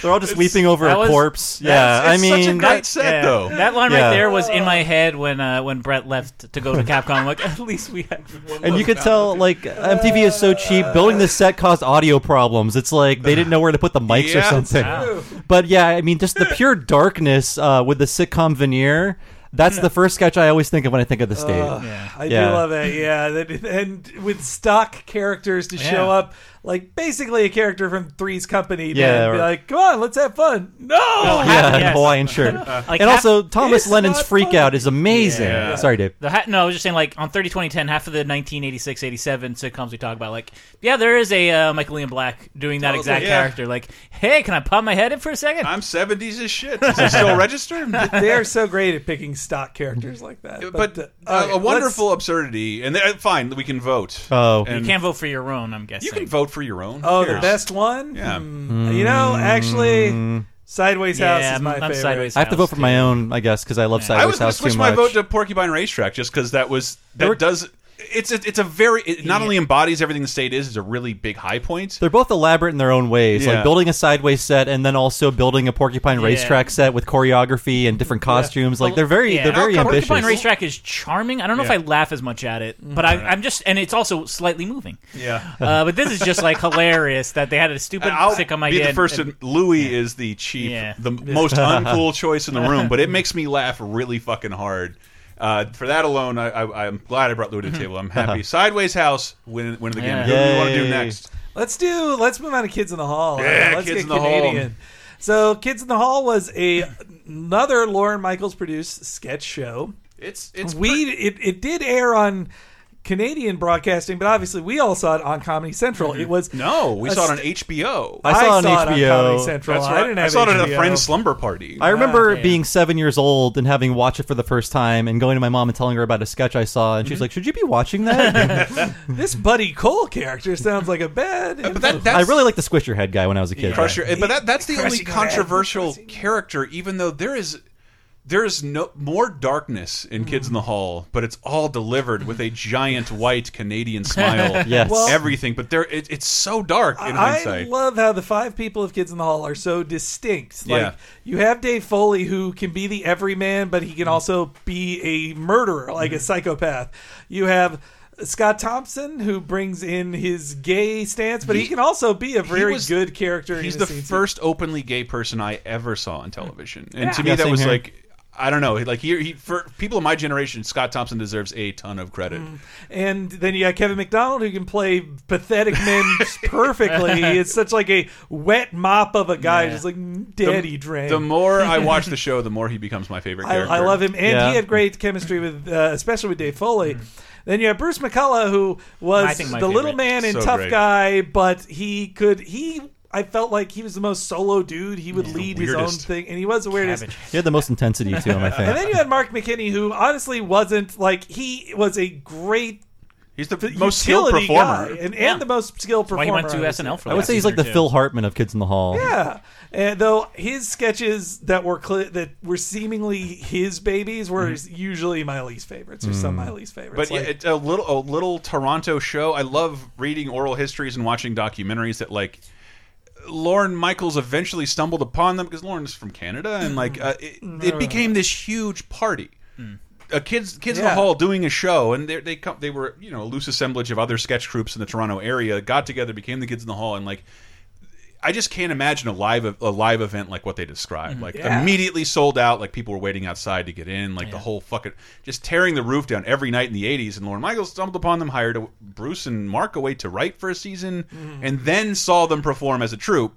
S4: They're all just weeping over a
S3: That was-
S4: corpse. Yeah,
S3: that's-
S4: I
S3: it's
S4: mean,
S3: such a great set, though. That line right there was in my head when uh, when Brett left to go to Capcom. I'm like, at least we have.
S4: And you could tell, like, MTV is so cheap.
S1: Uh,
S4: Building this set caused audio problems. It's like they didn't know where to put the mics or
S3: Yeah.
S4: something.
S3: Wow.
S4: But yeah, I mean, just the pure darkness uh, with the sitcom veneer. That's the first sketch I always think of when I think of the state.
S5: I do love it. Yeah, that, and with stock characters to
S4: Yeah.
S5: show up, like basically a character from Three's Company, to
S4: Yeah,
S5: be
S4: or-
S5: like, "Come on, let's have fun." No,
S1: Oh,
S4: yeah, and Hawaiian shirt.
S1: Uh,
S3: Like
S4: and
S3: half-
S4: also, Thomas
S3: It's
S4: Lennon's
S3: not
S4: freak out is amazing.
S3: Yeah.
S4: Uh, Sorry, Dave.
S3: The ha- no, I was just saying, like on 30, 20, 10, half of the 1986, 87 sitcoms we talk about, like, yeah, there is a uh, Michael Ian Black doing that
S1: Totally.
S3: exact
S1: Yeah.
S3: character. Like, hey, can I pop my head in for a second?
S1: I'm 70s as shit. Does it still register?
S5: they are so great at picking stock characters like that.
S1: But
S5: uh,
S1: uh,
S5: okay,
S1: a
S5: let's-
S1: wonderful absurdity, and uh, fine, we can vote.
S4: Oh.
S1: And
S3: you can't vote for your own, I'm guessing.
S1: you can vote for your own.
S5: Oh,
S1: Who
S5: the
S1: cares?
S5: best one.
S1: Yeah.
S5: Hmm. You know, actually, Sideways House is my favorite.
S4: Mm. I have to vote for my own, I guess, because I love Sideways
S1: I was going to
S4: House too
S1: switch
S4: much.
S1: my vote to Porcupine Racetrack just because that was that does. It's a, it's a very it not only embodies everything the state is. It's a really big high point.
S4: They're both elaborate in their own ways,
S1: Yeah.
S4: like building a sideways set and then also building a porcupine
S1: Yeah.
S4: racetrack set with choreography and different costumes. Like they're very,
S3: Yeah.
S4: they're very
S1: Oh,
S3: Outcome-
S4: ambitious.
S3: Porcupine Racetrack is charming. I don't know
S4: Yeah.
S3: if I laugh as much at it, but I, I'm just, and it's also slightly moving.
S1: Mm-hmm. Yeah.
S3: Uh, but this is just like hilarious that they had a stupid
S1: I'll
S3: sitcom
S1: be
S3: idea.
S1: the first.
S3: and-
S1: to- Louis is the cheap, the most uncool choice in the room, but
S5: Mm.
S1: it makes me laugh really fucking hard. Uh, for that alone, I, I, I'm glad I brought Louis to the
S5: Mm-hmm.
S1: table. I'm
S5: Uh-huh.
S1: happy. Sideways House win win the game. Who do we want to do next?
S5: Let's do. Let's move on to Kids in the Hall.
S1: Yeah,
S5: let's
S1: Kids
S5: get
S1: in the Hall.
S5: Canadian. So, Kids in the Hall was a another Lauren Michaels produced sketch show.
S1: It's it's
S5: we it, it did air on Canadian broadcasting, but obviously we all saw it on Comedy Central. It was
S1: Mm-hmm. no, Oh, we saw it on HBO.
S5: I saw it on Comedy Central.
S1: That's
S5: I
S1: right.
S5: didn't
S1: I
S5: have
S1: saw it at a
S5: HBO.
S1: friend's slumber party.
S4: I remember being seven years old and having watched it for the first time and going to my mom and telling her about a sketch I saw, and
S1: Mm-hmm.
S4: she's like, "Should you be watching that?"
S5: this Buddy Cole character sounds like a bad. But
S4: I really like the squish your head guy when I was a kid.
S1: Crush your- but that, that's the only
S5: Crushing your head.
S1: controversial character. Even though there is there is no more darkness in Kids
S5: Mm.
S1: in the Hall, but it's all delivered with a giant white Canadian smile.
S5: Yes. Well-
S1: everything. But there, it, it's so dark in
S5: I
S1: hindsight.
S5: love how the five people of Kids in the Hall are so distinct. Like
S1: Yeah.
S5: you have Dave Foley who can be the everyman, but he can
S1: Mm.
S5: also be a murderer, like a
S1: Mm-hmm.
S5: psychopath. You have Scott Thompson who brings in his gay stance, but he,
S1: He-
S5: can also be a
S1: he
S5: very
S1: was-
S5: good character. in
S1: He's
S5: his
S1: the
S5: scenes.
S1: first openly gay person I ever saw on television, and
S5: Yeah.
S1: to me
S5: Yeah,
S1: that
S5: same
S1: was
S5: here.
S1: like. I don't know. Like he, he, for people of my generation, Scott Thompson deserves a ton of credit.
S5: Mm. And then you got Kevin McDonald who can play pathetic men perfectly. It's such like a wet mop of a guy, just like "Mm, daddy
S1: the,
S5: drain.
S1: The more I watch the show, the more he becomes my favorite
S5: I,
S1: character.
S5: I love him, and he had great chemistry with, uh, especially with Dave Foley. Then you have Bruce McCullough, who
S1: I
S5: was the
S1: think my
S5: little
S1: favorite.
S5: man and
S1: So
S5: tough
S1: great.
S5: guy, but he could he. I felt like he was the most solo dude. He would lead his own
S4: weirdest.
S5: thing, and he was the weirdest.
S4: He had the most intensity to him, I
S5: And
S4: think.
S5: then you had Mark McKinney, who honestly wasn't like he was a great.
S1: He's the
S4: most skilled performer.
S5: guy, and, and
S4: Yeah.
S5: the most skilled
S4: why
S5: performer.
S4: he
S3: went to
S5: I would
S3: SNL
S5: say.
S4: I would say he's like the Phil Hartman of Kids in the Hall.
S5: Yeah, and though his sketches that were cli that were seemingly his babies were
S4: Mm-hmm.
S5: usually my least favorites or some of
S4: Mm.
S5: my least favorites.
S1: But yeah, it's a little a little Toronto show. I love reading oral histories and watching documentaries that like Lauren Michaels eventually stumbled upon them because Lauren's from Canada and
S5: Mm-hmm.
S1: like uh, it, it became this huge party.
S3: Mm.
S1: A kids kids in
S2: Yeah.
S1: the hall doing a show and they they come they were you know a loose assemblage of other sketch groups in the Toronto area got together became the kids in the hall and like I just can't imagine a live a live event like what they described. Like
S2: Mm-hmm. Yeah.
S1: immediately sold out. Like people were waiting outside to get in. Like the whole fucking just tearing the roof down every night in the '80s. And Lauren Michaels stumbled upon them, hired a, Bruce and Mark away to write for a season, and then saw them perform as a troupe.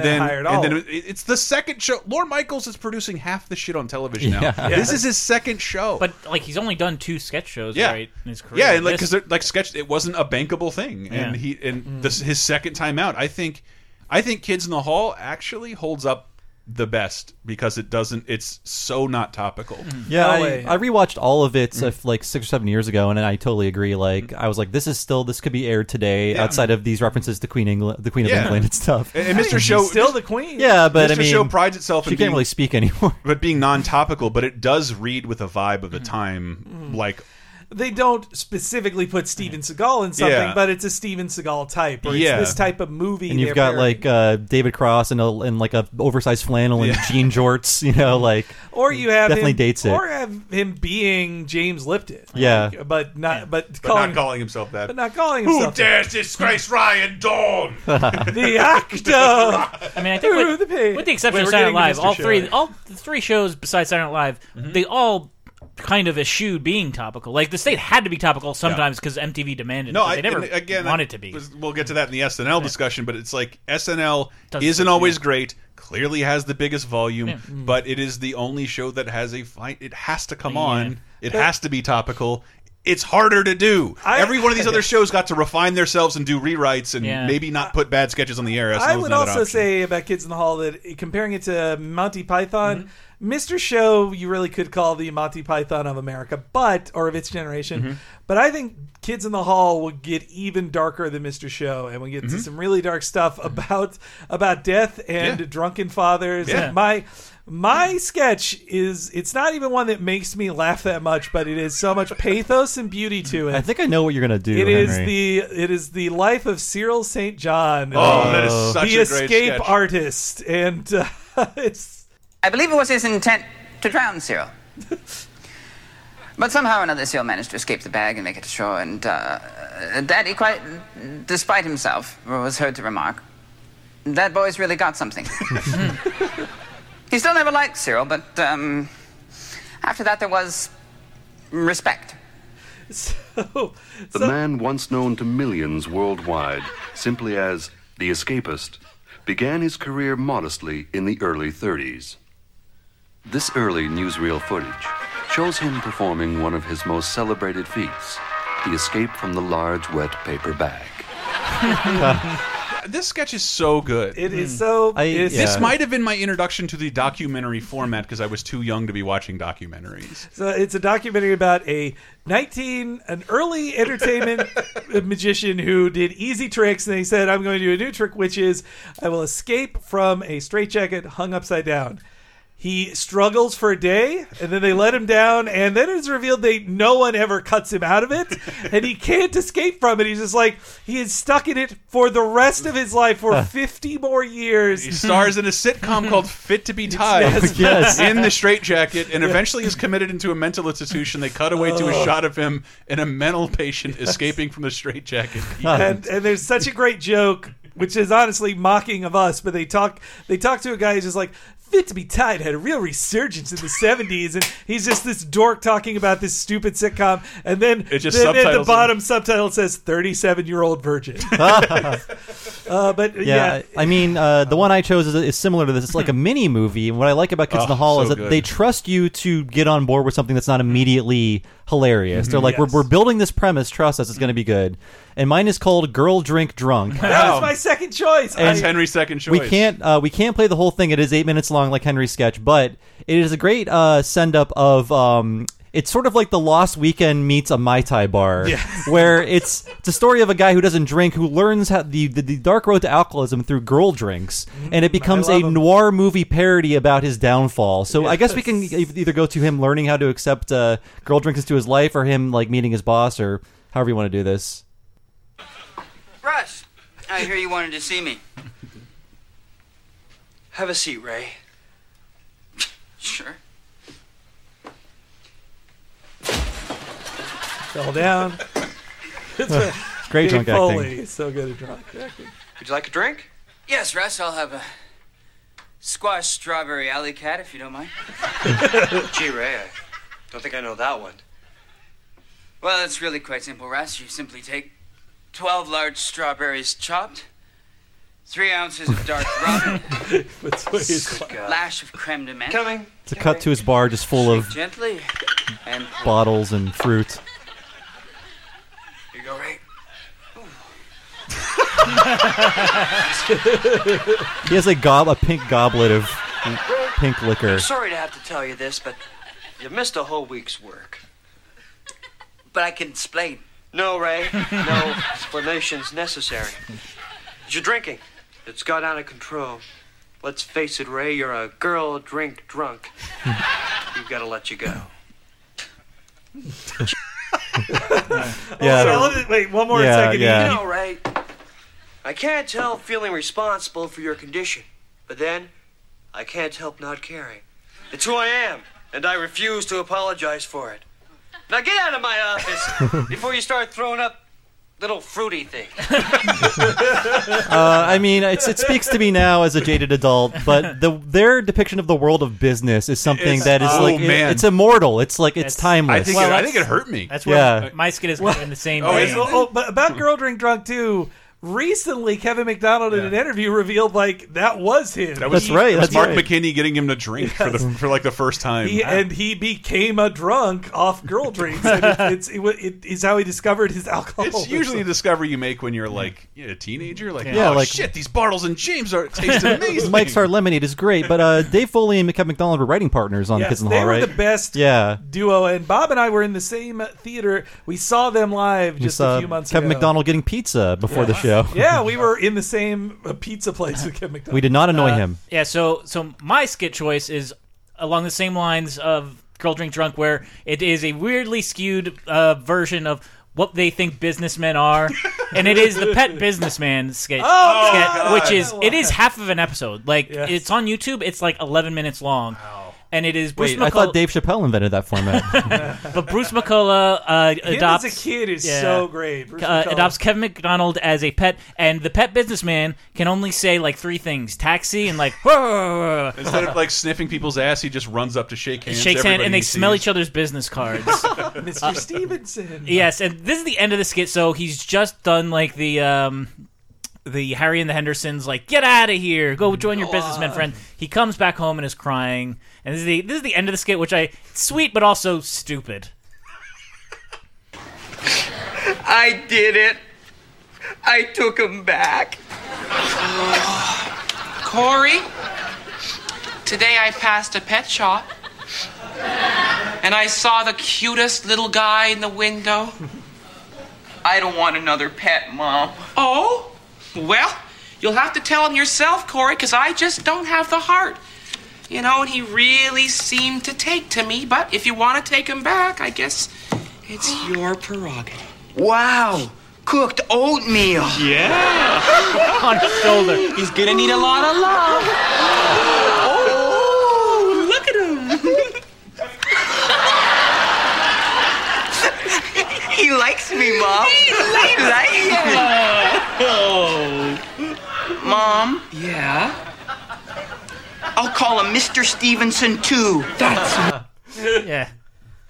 S2: And Mm-hmm. then
S1: then,
S2: hired all
S1: and then
S2: of
S1: it, it's the second show. Lauren Michaels is producing half the shit on television now.
S3: Yeah.
S1: This is his second show.
S3: But like he's only done two sketch shows, right? In his career.
S1: Yeah, and like
S3: This-
S1: because like sketch, it wasn't a bankable thing, and
S3: Yeah. Mm-hmm.
S1: he and this his second time out. I think, I think Kids in the Hall actually holds up the best because it doesn't. It's so not topical.
S3: Mm-hmm.
S4: Yeah, I, I rewatched all of
S5: Mm.
S4: it uh, like six or seven years ago, and I totally agree. Like, I was like, "This is still this could be aired today."
S1: Yeah.
S4: Outside of these references to Queen England, the Queen of
S1: Yeah.
S4: England and stuff.
S1: And- and Mr. Show
S5: still the queen.
S4: yeah, but
S1: Mr.
S4: I mean,
S1: Show prides itself.
S4: She
S1: in
S4: can't
S1: being-
S4: really speak anymore.
S1: but being non-topical, but it does read with a vibe of
S3: Mm-hmm.
S1: the time, like
S5: they don't specifically put Steven Seagal in something,
S4: Yeah.
S5: but it's a Steven Seagal type, or
S4: Yeah.
S5: it's this type of movie.
S4: and you've
S5: they're
S4: got
S5: very-
S4: like uh, David Cross and a, and like a oversized flannel and jean jorts. You know, like
S5: or you have
S4: definitely
S5: him,
S4: dates it.
S5: or have him being James Lipton.
S4: Yeah.
S5: Like, but not but,
S1: but
S5: calling,
S1: not calling himself that.
S5: but not calling
S1: Who
S5: himself
S1: dares disgrace Ryan Dawn?
S5: the uh, actor.
S3: I mean, I think with, with the exception
S5: Wait,
S3: of Saturday
S5: we're getting
S3: Night
S5: to
S3: Live,
S5: Mr.
S3: all
S5: Show. Mm-hmm.
S3: three, all the three shows besides Saturday Night Live, they all kind of eschewed being topical. Like the state had to be topical sometimes because MTV demanded.
S1: No,
S3: it, but
S1: I,
S3: they never
S1: and again,
S3: wanted
S1: that
S3: to be.
S1: was- we'll get to that in the SNL discussion, but it's like SNL
S3: Doesn't-
S1: isn't always
S3: yeah.
S1: great. Clearly has the biggest volume,
S3: Yeah.
S5: Mm-hmm.
S3: Mm.
S1: but it is the only show that has a fight. It has to come
S2: Yeah.
S1: on. It
S2: But-
S1: has to be topical. It's harder to do. Every one of these other shows got to refine themselves and do rewrites and
S5: Yeah.
S1: maybe not put bad sketches on the air. SNL
S5: I
S1: was
S5: would
S1: another
S5: also
S1: option.
S5: say about Kids in the Hall that uh, comparing it to Monty Python, Mr. Show, you really could call the Monty Python of America, but or of its generation.
S2: Mhm.
S5: But I think Kids in the Hall will get even darker than Mr. Show, and we get to
S2: Mhm.
S5: some really dark stuff about about death and
S2: Yeah.
S5: drunken fathers.
S2: Yeah.
S5: And my my sketch is it's not even one that makes me laugh that much, but it is so much pathos and beauty to it.
S4: I think I know what you're gonna do.
S5: It is
S4: Henry.
S5: the it is the life of Cyril St. John.
S4: Oh,
S5: Uh,
S4: that is such
S5: the
S4: a great
S5: escape
S4: sketch.
S5: artist, and uh, it's
S6: I believe it was his intent to drown Cyril. but somehow or another, Cyril managed to escape the bag and make it to shore, and uh, Daddy, quite despite himself, was heard to remark, That boy's really got something. he still never liked Cyril, but um, after that, there was respect.
S5: so
S8: The man once known to millions worldwide simply as the escapist began his career modestly in the early 30s. This early newsreel footage shows him performing one of his most celebrated feats the escape from the large wet paper bag.
S1: this sketch is so good.
S5: It
S4: Hmm.
S3: Hmm.
S5: is so.
S8: I-
S5: it's-
S1: This
S5: yeah.
S1: might have been my introduction to the documentary format because I was too young to be watching documentaries.
S5: So it's a documentary about a 19, an early entertainment magician who did easy tricks, and they said, "I'm going to do a new trick, which is I will escape from a straitjacket hung upside down." He struggles for a day, and then they let him down, and then it's revealed that no one ever cuts him out of it, and he can't escape from it. He's just like he is stuck in it for the rest of his life for 50 more years. He
S1: stars in a sitcom called Fit to Be Tied
S5: yes.
S1: in the straitjacket and eventually is committed into a mental institution. They cut away to a
S5: Oh.
S1: shot of him in a mental patient escaping from the straitjacket.
S5: and, and there's such a great joke, which is honestly mocking of us. But they talk, they talk to a guy who's just like, "Fit to be tied" had a real resurgence in the '70s, and he's just this dork talking about this stupid sitcom. And then,
S1: It just
S5: then at the
S1: subtitles him.
S5: bottom subtitle says "37-year-old virgin." uh, but uh,
S4: yeah,
S5: yeah,
S4: I mean, uh, the one I chose is, is similar to this. It's like a mini movie. And what I like about Kids in the
S1: Oh,
S4: Hall is
S1: so
S4: that
S1: good. Mm-hmm.
S4: they trust you to get on board with something that's not immediately hilarious. They're
S1: Mhm.
S4: like, we're, we're building this premise. Trust us, it's going to be good. And mine is called Girl Drink Drunk.
S5: that was my second choice.
S1: That's
S5: I-
S1: Henry's second choice.
S4: We can't uh, we can't play the whole thing. It is eight minutes long, like Henry's sketch, but it is a great uh, send up of. Um, it's sort of like the Lost Weekend meets a Mai Tai bar, where it's, it's a story of a guy who doesn't drink who learns how the, the, the dark road to alcoholism through girl drinks,
S1: Mm-hmm.
S4: and it becomes a noir movie parody about his downfall. So I guess we can e- either go to him learning how to accept uh, girl drinks into his life, or him like meeting his boss, or however you want to do this.
S6: Russ, I hear you wanted to see me.
S21: Have a seat, Ray.
S6: Sure.
S5: fell down.
S4: It's great
S5: Dave
S4: drunk acting.
S5: Foley is so good at drunk acting.
S6: Would you like a drink? Yes, Russ, I'll have a squash strawberry alley cat if you don't mind.
S21: Gee, Ray, I don't think I know that one.
S6: Well, it's really quite simple, Russ. You simply take 12 large strawberries chopped, 3 ounces of dark rum, lash of creme de menthe. Coming.
S4: It's a cut to his bar just full of
S6: Gently. And
S4: bottles and fruit.
S6: Here you go, Ray.
S4: He has a gob, a pink goblet of pink liquor.
S21: I'm sorry to have to tell you this, but you missed a whole week's work.
S6: But I can explain.
S21: No, Ray. No explanations necessary. You're drinking. It's got out of control. Let's face it, Ray, you're a girl drink drunk. We've got to let you go.
S5: Oh,
S4: Yeah.
S21: Also,
S4: the- yeah, Yeah.
S21: You know, Ray, I can't help feeling responsible for your condition, but then I can't help not caring. It's who I am, and I refuse to apologize for it. Now get out of my office before you start throwing up little fruity things.
S4: Uh, I mean, it's, it speaks to me now as a jaded adult, but the their depiction of the world of business is something
S3: It's-
S4: that is
S3: oh,
S4: like it-
S3: man.
S4: it's immortal. It's like
S3: That's-
S4: it's, timeless.
S5: Well,
S3: that's- That's where
S4: Yeah.
S3: my skin is in the same.
S5: Oh,
S3: vein.
S5: it's- oh, but about Girl Drink Drunk too. Recently, Kevin McDonald in an interview revealed like that was him.
S1: That was,
S5: He-
S1: That was Mark McKinney getting him to drink for the for like the first time.
S5: He, and he became a drunk off girl drinks. and it, it's it, wa- it is how he discovered his alcohol.
S1: it's usually a discovery you make when you're like yeah, a teenager. Like,
S4: Yeah,
S1: oh
S4: like-
S1: shit, these Bartles and James are taste amazing.
S4: Mike's Hard Lemonade is great, but uh, Dave Foley and Kevin McDonald were writing partners on
S5: Yes,
S4: Kids in the
S5: they
S4: Hall,
S5: were
S4: right?
S5: the best
S4: Yeah.
S5: duo, and Bob and I were in the same theater. We saw them live
S4: we
S5: just
S4: saw
S5: a few months
S4: Kevin
S5: ago.
S4: McDonald getting pizza before the show.
S5: Yeah, we were in the same uh, pizza place with Kevin McDonald.
S4: We did not annoy him.
S3: Uh, Yeah, so so my skit choice is along the same lines of Girl Drink Drunk, where it is a weirdly skewed uh, version of what they think businessmen are, and it is the pet businessman skit,
S5: Oh,
S3: skit,
S5: God.
S3: which is it is half of an episode. Like it's on YouTube, it's like eleven minutes long, and it is Bruce
S4: Wait, I
S3: McCullough.
S4: thought Dave Chappelle invented that format.
S3: but Bruce McCullough uh,
S5: as
S3: adopts
S5: a kid is so great. Bruce
S3: uh,
S5: McCullough.
S3: adopts Kevin McDonald as a pet, and the pet businessman can only say like three things: taxi and like.
S1: Instead of like sniffing people's ass, he just runs up to shake hands.
S3: shakes hand,
S1: everybody
S3: and they
S1: he
S3: smell
S1: sees.
S3: each other's business cards.
S5: Mr.
S3: Uh,
S5: Stevenson.
S3: yes, and this is the end of the skit. So he's just done like the um, the Harry and the Hendersons, like get out of here, go join your businessman friend. He comes back home and is crying, and this is the this is the end of the skit, which I sweet but also stupid.
S11: I did it. I took him back. Corey, today I passed a pet shop and I saw the cutest little guy in the window. I don't want another pet, Mom. Oh? Well, you'll have to tell him yourself, Corey, because I just don't have the heart. You know, and he really seemed to take to me, but if you want to take him back, I guess it's your prerogative. Wow! Cooked oatmeal! Yeah!
S3: On his shoulder.
S11: He's gonna need a lot of love. Oh, look at him! he likes me, Mom.
S23: He likes
S11: me. Mom? Yeah? I'll call him Mr. Stevenson, too. That's.
S3: yeah.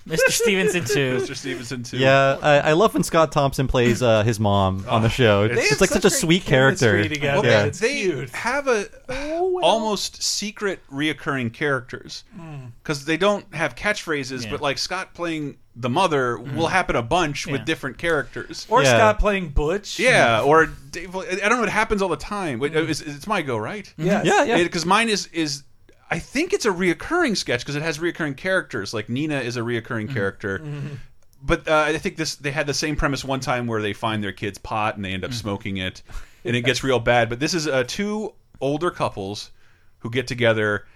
S3: Mr. Stevenson too.
S1: Mr. Stevenson too.
S4: Yeah, I, I love when Scott Thompson plays uh, his mom on the show. It's, it's like such a sweet character.
S1: Ah, Well,
S4: Yeah. Oh,
S1: they have a almost secret reoccurring characters
S5: Hmm.
S1: because they don't have catchphrases, but like Scott playing the mother will happen a bunch with different characters.
S5: Hmm. Or Scott playing Butch. Hmm.
S1: Yeah, or Dave, I don't know. It happens all the time. Wait, it's, it's my go, right?
S5: Mm-hmm. Yes. Yeah, yeah.
S1: Because mine is is I think it's a reoccurring sketch because it has reoccurring characters. Like Nina is a reoccurring
S5: Mm-hmm.
S1: character. But uh, I think this they had the same premise one time where they find their kid's pot and they end up smoking it, and it gets real bad. But this is uh, two older couples who get together.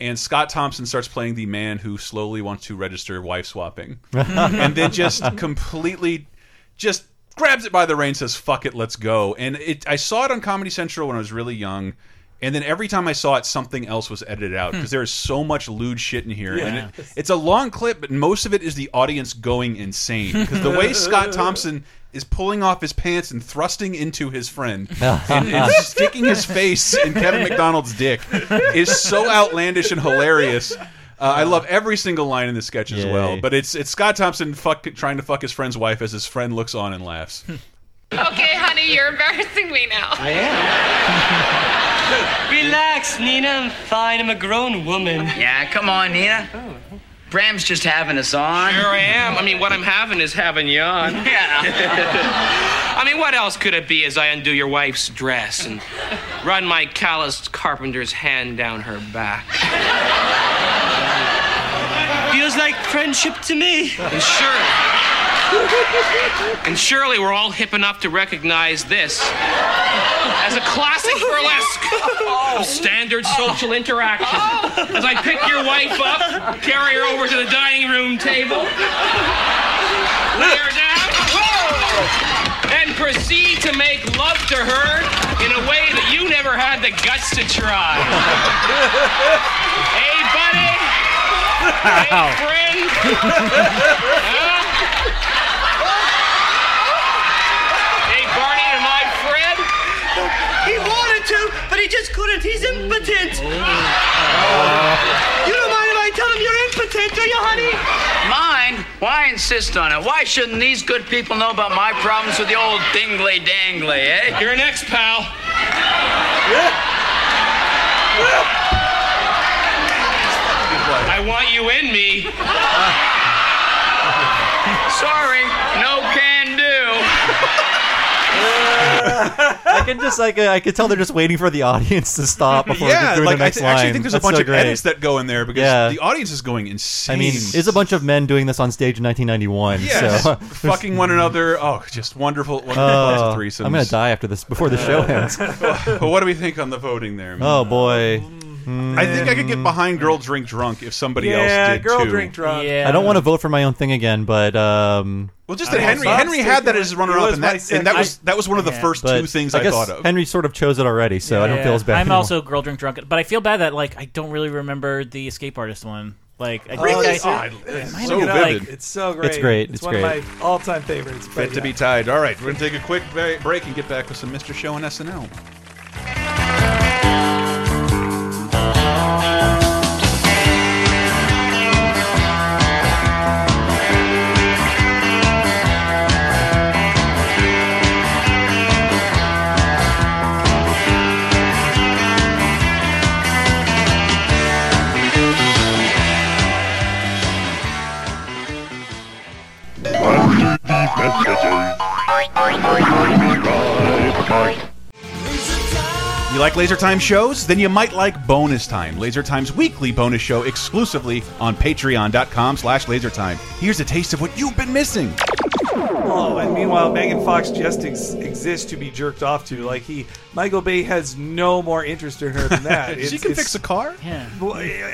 S1: And Scott Thompson starts playing the man who slowly wants to register wife swapping, and then just completely just grabs it by the rein and says fuck it let's go and it i saw it on comedy central when i was really young and then every time i saw it something else was edited out because
S24: Hmm.
S1: there is so much lewd shit in here
S24: Yeah.
S1: and it, it's a long clip but most of it is the audience going insane because the way scott thompson is pulling off his pants and thrusting into his friend and, and sticking his face in kevin mcdonald's dick is so outlandish and hilarious uh, I love every single line in the sketch as well, but it's it's Scott Thompson fuck, trying to fuck his friend's wife as his friend looks on and laughs.
S25: Okay, honey, you're embarrassing me now.
S1: I am.
S11: Relax, Nina. I'm fine. I'm a grown woman. Oh, Yeah, come on, Nina. Bram's just having us on.
S12: Sure I am. I mean, what I'm having is having you on.
S11: Yeah.
S12: I mean, what else could it be as I undo your wife's dress and run my calloused carpenter's hand down her back?
S11: Feels like friendship to me.
S12: And surely, and surely we're all hip enough to recognize this as a classic burlesque of standard social interaction. As I pick your wife up, carry her over to the dining room table, lay her down, and proceed to make love to her in a way that you never had the guts to try. hey, buddy.
S3: Wow.
S12: Hey, friend. Hey, Barney, am I Fred?
S11: He wanted to, but he just couldn't. He's impotent.
S12: You
S11: don't mind if I tell him you're impotent, do you, honey? Mind? Why insist on it? Why shouldn't these good people know about my problems with the old dingley dangly, eh?
S12: You're next, pal. I want you in me.
S11: Sorry, no can do.
S4: I can just like uh, I could tell they're just waiting for the audience to stop before
S1: yeah,
S4: doing
S1: like
S4: the
S1: I
S4: next
S1: th-
S4: line.
S1: actually think there's
S4: That's
S1: a bunch
S4: so
S1: of
S4: great.
S1: edits that go in there because
S4: Yeah.
S1: the audience is going insane.
S4: I mean, it's a bunch of men doing this on stage in 1991.
S1: yes,
S4: so
S1: fucking one another. Oh, just wonderful, wonderful
S4: Oh,
S1: lots of threesomes.
S4: I'm gonna die after this before the show ends.
S1: but what do we think on the voting there?
S4: Oh boy.
S1: um, I think I could get behind "Girl Drink Drunk" if somebody
S5: Yeah,
S1: else did
S5: Girl
S1: too.
S5: Drink Drunk.
S4: I don't want to vote for my own thing again, but um.
S1: Well, just that
S5: I
S1: Henry
S5: was
S1: Henry had that as his
S5: thinking- it
S1: runner-up,
S5: was
S1: and
S5: my
S1: that,
S5: second-
S1: and that was
S5: I-
S1: that was one of the
S5: Yeah.
S1: first
S4: but
S1: two things
S4: I,
S1: I,
S4: guess
S1: thought of.
S4: Henry sort of chose it already, so I don't
S3: Yeah.
S4: feel as bad.
S3: I'm
S4: anymore.
S3: also girl drink drunk, but I feel bad that like I don't really remember the escape artist one. Like I
S5: Really?
S3: I,
S5: Oh, I- it's
S3: might
S5: so
S3: have,
S1: vivid.
S3: Like,
S5: It's so great.
S1: It's great,
S5: It's,
S1: it's
S5: one
S1: great.
S5: of my all-time favorites. but uh,
S1: Fit to
S5: yeah.
S1: be tied. All right, we're gonna take a quick ba- break and get back with some Mr. Show and SNL.
S26: Messages.
S1: like Laser Time shows? Then you might like Bonus Time, Laser Time's weekly bonus show exclusively on patreon.com slash lasertime. Here's a taste of what you've been missing.
S5: Oh, and meanwhile, Megan Fox just ex- exists to be jerked off to. Like he, Michael Bay has no more interest in her than that.
S1: She can fix a car.
S3: Yeah.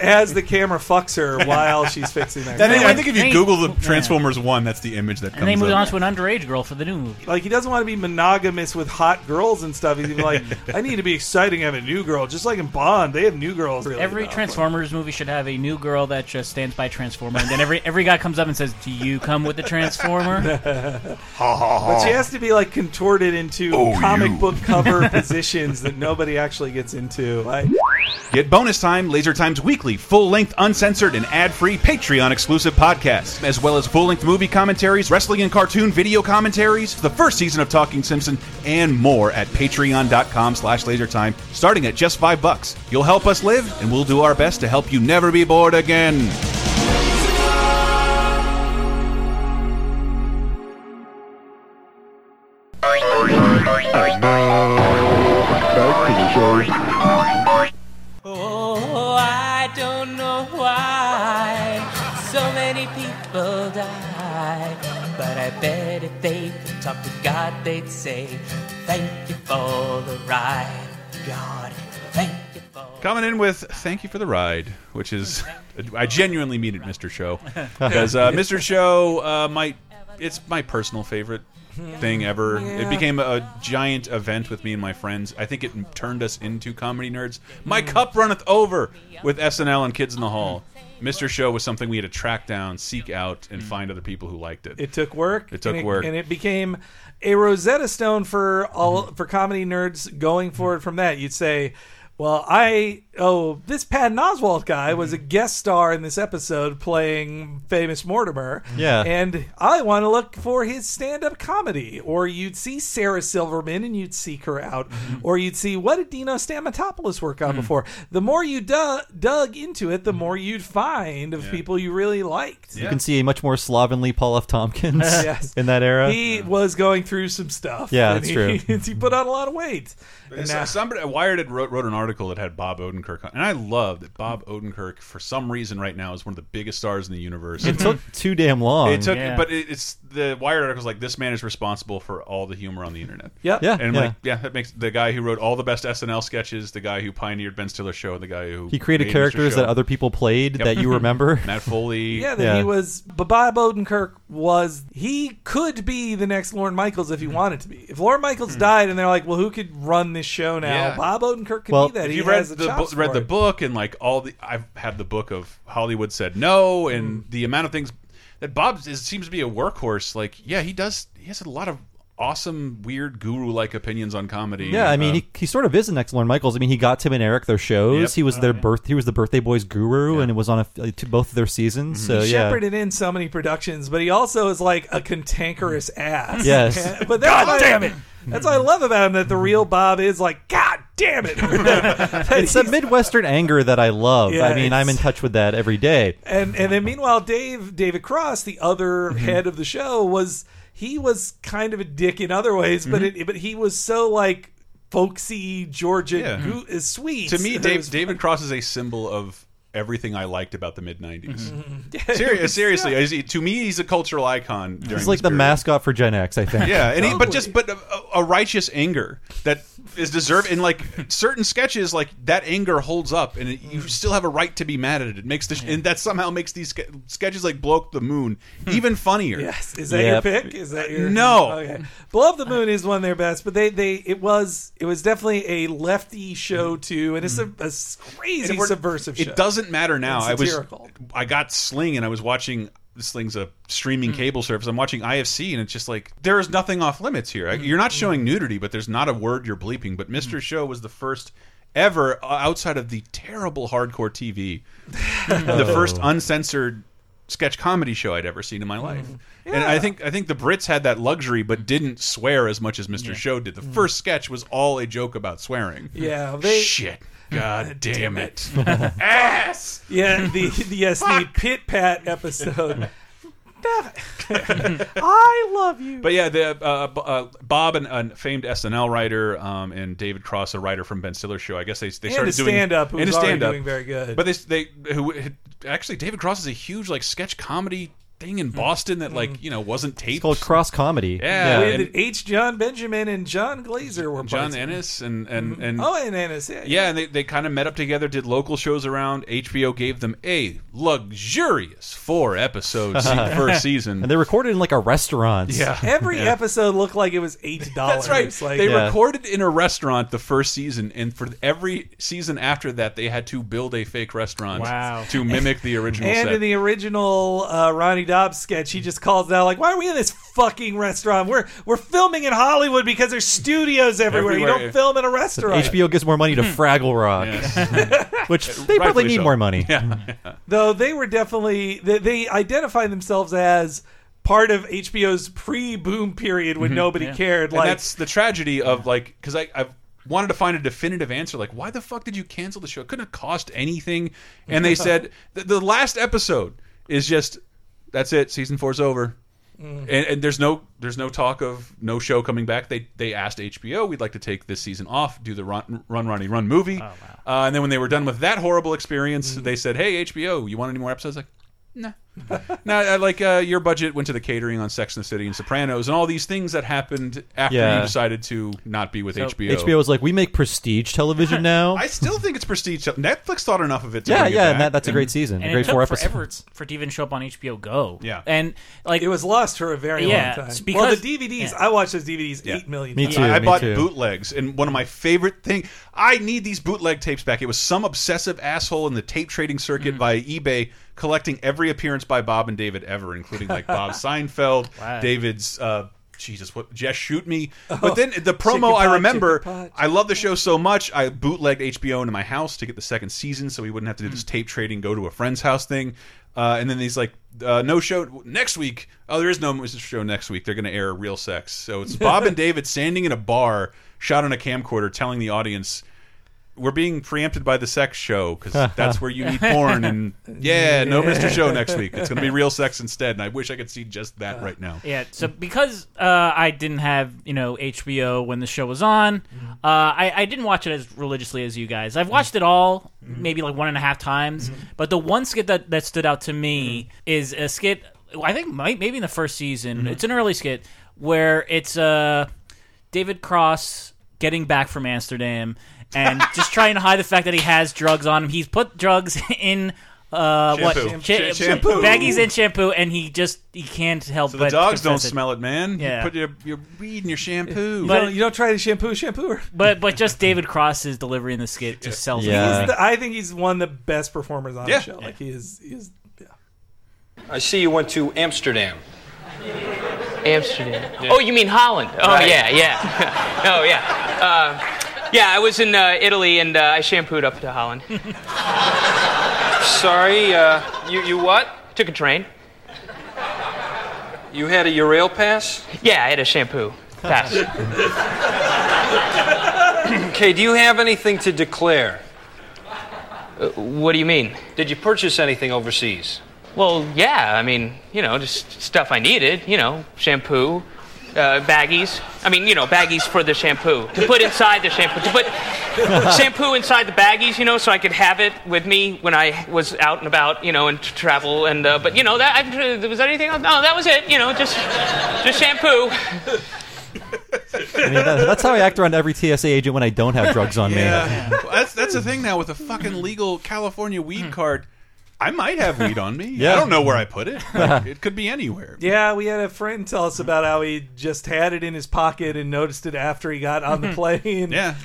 S5: As the camera fucks her while she's fixing that.
S1: That
S5: car.
S1: is- I think if you
S3: Hey.
S1: Google the
S3: Yeah.
S1: Transformers 1, that's the image that comes
S3: and they moved
S1: up.
S3: on to an underage girl for the new movie.
S5: Like he doesn't want to be monogamous with hot girls and stuff. He's even like, I need to be exciting. I have a new girl, just like in Bond. They have new girls. Really
S3: Every
S5: now.
S3: Transformers movie should have a new girl that just stands by Transformer, and then every every guy comes up and says, "Do you come with the Transformer?"
S5: But she has to be like contorted into comic book cover positions that nobody actually gets into. I,
S1: Get bonus time, Laser Time's weekly, full length, uncensored, and ad free Patreon exclusive podcast, as well as full length movie commentaries, wrestling and cartoon video commentaries, the first season of Talking Simpson, and more at patreon.com slash lasertime, starting at just five bucks. You'll help us live, and we'll do our best to help you never be bored again.
S12: Oh, I don't know why so many people die. But I bet if they could talk to God, they'd say, Thank you for the ride, God. Thank you for
S1: Coming in with thank you for the ride, which is I genuinely mean it, Mr. Show, because uh, Mr. Show uh, my it's my personal favorite thing ever. It
S5: Yeah.
S1: became a giant event with me and my friends. I think it turned us into comedy nerds. My cup runneth over with SNL and Kids in the Hall. Mr. Show was something we had to track down, seek out, and find other people who liked it.
S5: it took work.
S1: It took
S5: and
S1: work.
S5: and it became a Rosetta Stone for all
S1: Mm-hmm.
S5: for comedy nerds going forward. From that, you'd say, "Well, I oh this Patton Oswald guy was
S1: Mm-hmm.
S5: a guest star in this episode playing famous Mortimer,
S4: Yeah.
S5: and I want to look for his stand-up comedy." Or you'd see Sarah Silverman and you'd seek her out,
S1: Mm-hmm.
S5: or you'd see what did Dino Stamatopoulos work
S1: Mm.
S5: on before. The more you du- dug into it, the
S1: Mm-hmm.
S5: more you'd find of people you really liked.
S4: You can see a much more slovenly Paul F. Tompkins
S5: Yes.
S4: in that era.
S5: He was going through some stuff.
S4: Yeah,
S5: and
S4: that's
S5: he,
S4: true.
S5: he put on a lot of weight. And uh, now-
S1: somebody Wired had wrote, wrote an article that had Bob Odenkirk on, and I love that Bob Odenkirk, for some reason, right now is one of the biggest stars in the universe.
S4: it took too damn long.
S1: It took, but it, it's the Wired article's like this man is responsible for all the humor on the internet.
S4: Yep. Yeah,
S1: and
S4: yeah.
S1: like yeah, that makes the guy who wrote all the best SNL sketches, the guy who pioneered Ben Stiller's show, the guy who
S4: he created
S1: made Mr.
S4: characters that
S1: Show.
S4: other people played
S1: Yep.
S4: that you remember.
S1: Matt Foley.
S5: yeah, that he was. But Bob Odenkirk was. He could be the next Lauren Michaels
S1: Hmm.
S5: if he wanted to be. If Lauren Michaels died and they're like, well, who could run this show now?
S1: Yeah.
S5: Bob Odenkirk could be that.
S1: If
S5: He
S1: you read
S5: has
S1: the,
S5: the chops
S1: bo- read
S5: for
S1: the
S5: it.
S1: book and like all the I've had the book of Hollywood said no and
S5: Mm.
S1: the amount of things that Bob is, seems to be a workhorse. Like yeah, he does. He has a lot of awesome, weird guru like opinions on comedy.
S4: Yeah, I mean,
S1: Uh,
S4: he, he sort of is the next Lauren Michaels. I mean, he got Tim and Eric their shows.
S1: Yep.
S4: He was
S5: Oh,
S4: their birth. He was the birthday boys guru, and it was on a, like, to both of their
S1: Mm-hmm.
S4: seasons.
S1: Hmm.
S4: So
S5: he
S4: yeah,
S5: shepherded in so many productions, but he also is like a cantankerous ass.
S4: Hmm. Yes.
S5: but that's God damn it! That's what I love about him. That the real Bob is like, God damn it!
S4: it's a midwestern anger that I love.
S5: Yeah,
S4: I mean, I'm in touch with that every day.
S5: And and then meanwhile, Dave David Cross, the other
S1: Mm-hmm.
S5: head of the show, was he was kind of a dick in other ways, but
S1: Mm-hmm.
S5: it, but he was so like folksy Georgian
S1: Yeah.
S5: goo- is sweet.
S1: to me,
S5: It
S1: Dave,
S5: was-
S1: David Cross is a symbol of everything I liked about the mid '90s.
S5: Mm-hmm.
S1: Serious, seriously, is he- to me, he's a cultural icon. During
S4: He's like
S1: this
S4: the
S1: period.
S4: mascot for Gen X, I think.
S1: Yeah, and he, but just but a, a righteous anger that is deserved in like certain sketches, like that anger holds up, and it, you still have a right to be mad at it. It makes the and that somehow makes these ske- sketches like blow up the moon even funnier. Uh,
S5: Yes, is that your pick? Is that your
S1: No.
S5: Okay, Below the Moon is one of their best, but they they it was it was definitely a lefty show too, and it's a, a s-
S1: Mm-hmm. And
S5: crazy
S1: we're-
S5: subversive show.
S1: It doesn't matter now.
S5: It's
S1: I was
S5: satirical.
S1: I got Sling and I was watching Sling's a
S5: Hmm.
S1: streaming cable service. I'm watching IFC and it's just like there is nothing off limits here.
S5: Hmm.
S1: You're not showing nudity, but there's not a word you're bleeping. But Mr. Show was the first ever uh, outside of the terrible hardcore TV, the first uncensored sketch comedy show I'd ever seen in
S5: Hmm.
S1: my life. And I think I think the Brits had that luxury but didn't swear as much as Mr. Show did. The first sketch was all a joke about swearing.
S5: Hmm. Yeah, they-
S1: shit. God damn it.
S5: Yeah, the the yes the pit pat episode. I love you.
S1: But yeah, the uh, B- uh, Bob, an, a famed SNL writer, um, and David Cross, a writer from Ben Stiller's show. I guess they they
S5: And
S1: started
S5: a
S1: doing
S5: stand-up who's
S1: and a
S5: already
S1: stand-up.
S5: doing very good.
S1: But they they who actually David Cross is a huge like sketch comedy thing
S5: Hmm.
S1: in Boston that like you know wasn't taped.
S4: It's called cross comedy.
S1: Yeah,
S5: With
S1: and
S5: H. John Benjamin and John Glazer were
S1: John
S5: parts of it.
S1: Ennis and and and
S5: oh, and Ennis. Yeah,
S1: yeah, and they, they kind of met up together, did local shows around. HBO gave them a luxurious four episodes first season.
S4: and they recorded in like a restaurant.
S1: Yeah.
S5: Every
S1: Yeah.
S5: episode looked like it was eight dollars.
S1: That's right.
S5: Like,
S1: they recorded in a restaurant the first season, and for every season after that, they had to build a fake restaurant
S5: Wow.
S1: to mimic the original
S5: And
S1: set.
S5: in the original uh, Ronnie Dobbs sketch, he just calls out like, "Why are we in this fucking restaurant? We're we're filming in Hollywood because there's studios everywhere. You
S1: Everywhere.
S5: don't film in a
S4: So
S5: restaurant."
S4: HBO gives more money to Fraggle Rock, which they probably
S1: Hmm. Rightfully
S4: need
S1: so.
S4: more money.
S5: Though they were definitely they, they identified themselves as part of HBO's pre-boom period when
S1: Mhm.
S5: nobody
S1: Yeah.
S5: cared.
S1: And
S5: Like
S1: that's the tragedy of like because I I've wanted to find a definitive answer like why the fuck did you cancel the show? It couldn't have cost anything. And they said the, the last episode is just that's it. Season four's over.
S20: Mm.
S1: And, and there's no there's no talk of no show coming back. They they asked HBO we'd like to take this season off, do the Run Run Ronnie Run movie.
S5: Oh,
S1: uh, and then when they were done with that horrible experience,
S5: Mm-hmm.
S1: they said, "Hey HBO, you want any more episodes?" Like,
S20: No.
S1: no, I like uh, your budget went to the catering on Sex and the City and Sopranos and all these things that happened after
S4: Yeah.
S1: you decided to not be with HBO.
S4: HBO was like, we make prestige television now.
S1: I still think it's prestige. Netflix thought enough of it. To
S4: Yeah,
S1: bring it
S4: yeah,
S1: back.
S4: and that- that's a great season.
S3: And
S4: Great
S3: it took
S4: four
S3: forever for it to even show up on HBO Go.
S1: Yeah.
S3: and like
S5: it was lost for a very
S3: yeah,
S5: long
S3: it's
S5: time.
S3: Because,
S5: well, the DVDs. I watched those DVDs
S1: Yeah.
S5: eight million. times.
S1: I, I bought bootlegs, and one of my favorite thing. I need these bootleg tapes back. It was some obsessive asshole in the tape trading circuit
S5: Mm.
S1: via eBay collecting every appearance by Bob and David ever, including like Bob Seinfeld,
S20: Wow.
S1: David's. Uh, Jesus, what? Just shoot me.
S20: Oh,
S1: but then the promo
S20: chicken pot,
S1: I remember.
S20: chicken pot,
S1: I love the show so much. I bootlegged HBO into my house to get the second season, so we wouldn't have to do
S3: Hmm.
S1: this tape trading, go to a friend's house thing. Uh, and then he's like, uh, "No show next week." Oh, there is no show next week. They're going to air Real Sex. So it's Bob and David standing in a bar, shot on a camcorder, telling the audience, "We're being preempted by the sex show because that's where you need porn." And yeah, no Mr. Show next week. It's going to be Real Sex instead. And I wish I could see just that right now.
S3: Uh, Yeah, so because uh, I didn't have you know HBO when the show was on,
S1: Mm-hmm.
S3: uh, I, I didn't watch it as religiously as you guys. I've watched it all
S1: Mm-hmm.
S3: maybe like one and a half times, but the one skit that that stood out to me
S1: Mm-hmm.
S3: is a skit I think might maybe in the first season. It's an early skit where it's uh, David Cross getting back from Amsterdam and just trying to hide the fact that he has drugs on him. He's put drugs in. Uh,
S1: Shampoo.
S3: what
S1: Sh- shampoo.
S3: baggies in shampoo, and he just he can't help
S1: So the
S3: but
S1: dogs don't
S3: confess it.
S1: smell it, man.
S3: Yeah.
S1: You put your, your weed in your shampoo.
S3: But- don't-
S5: you don't try to shampoo shampooer.
S3: But but just David Cross's delivery in the skit just sells
S1: uh,
S5: He's
S3: it.
S5: the- I think he's one of the best performers on
S3: Yeah.
S5: the show. Like he is, he is
S9: I see you went to Amsterdam.
S13: Amsterdam.
S9: Yeah.
S13: Oh, you mean Holland? Oh,
S9: Right.
S13: yeah, yeah. oh, yeah. Uh, yeah, I was in uh, Italy and uh, I shampooed up to Holland.
S9: Sorry, uh, you, you what?
S13: Took a train.
S9: You had a Urail pass?
S13: Yeah, I had a shampoo. Pass.
S9: okay, do you have anything to declare?
S13: Uh, what do you mean?
S9: Did you purchase anything overseas?
S13: well, yeah, I mean, you know, just stuff I needed, you know, shampoo. Uh, baggies. I mean, you know, baggies for the shampoo to put inside the shampoo. To put shampoo inside the baggies, you know, so I could have it with me when I was out and about, you know, and t- travel. And uh, but you know, that I, was there anything else? No, that was it. You know, just just shampoo.
S4: I mean, that- that's how I act around every TSA agent when I don't have drugs on me.
S1: Yeah. Well, that's that's the thing now with a fucking legal California weed card. I might have weed on me.
S4: Yeah.
S1: I don't know where I put it. Like, it could be anywhere.
S5: Yeah, we had a friend tell us about how he just had it in his pocket and noticed it after he got on the plane.
S1: Yeah.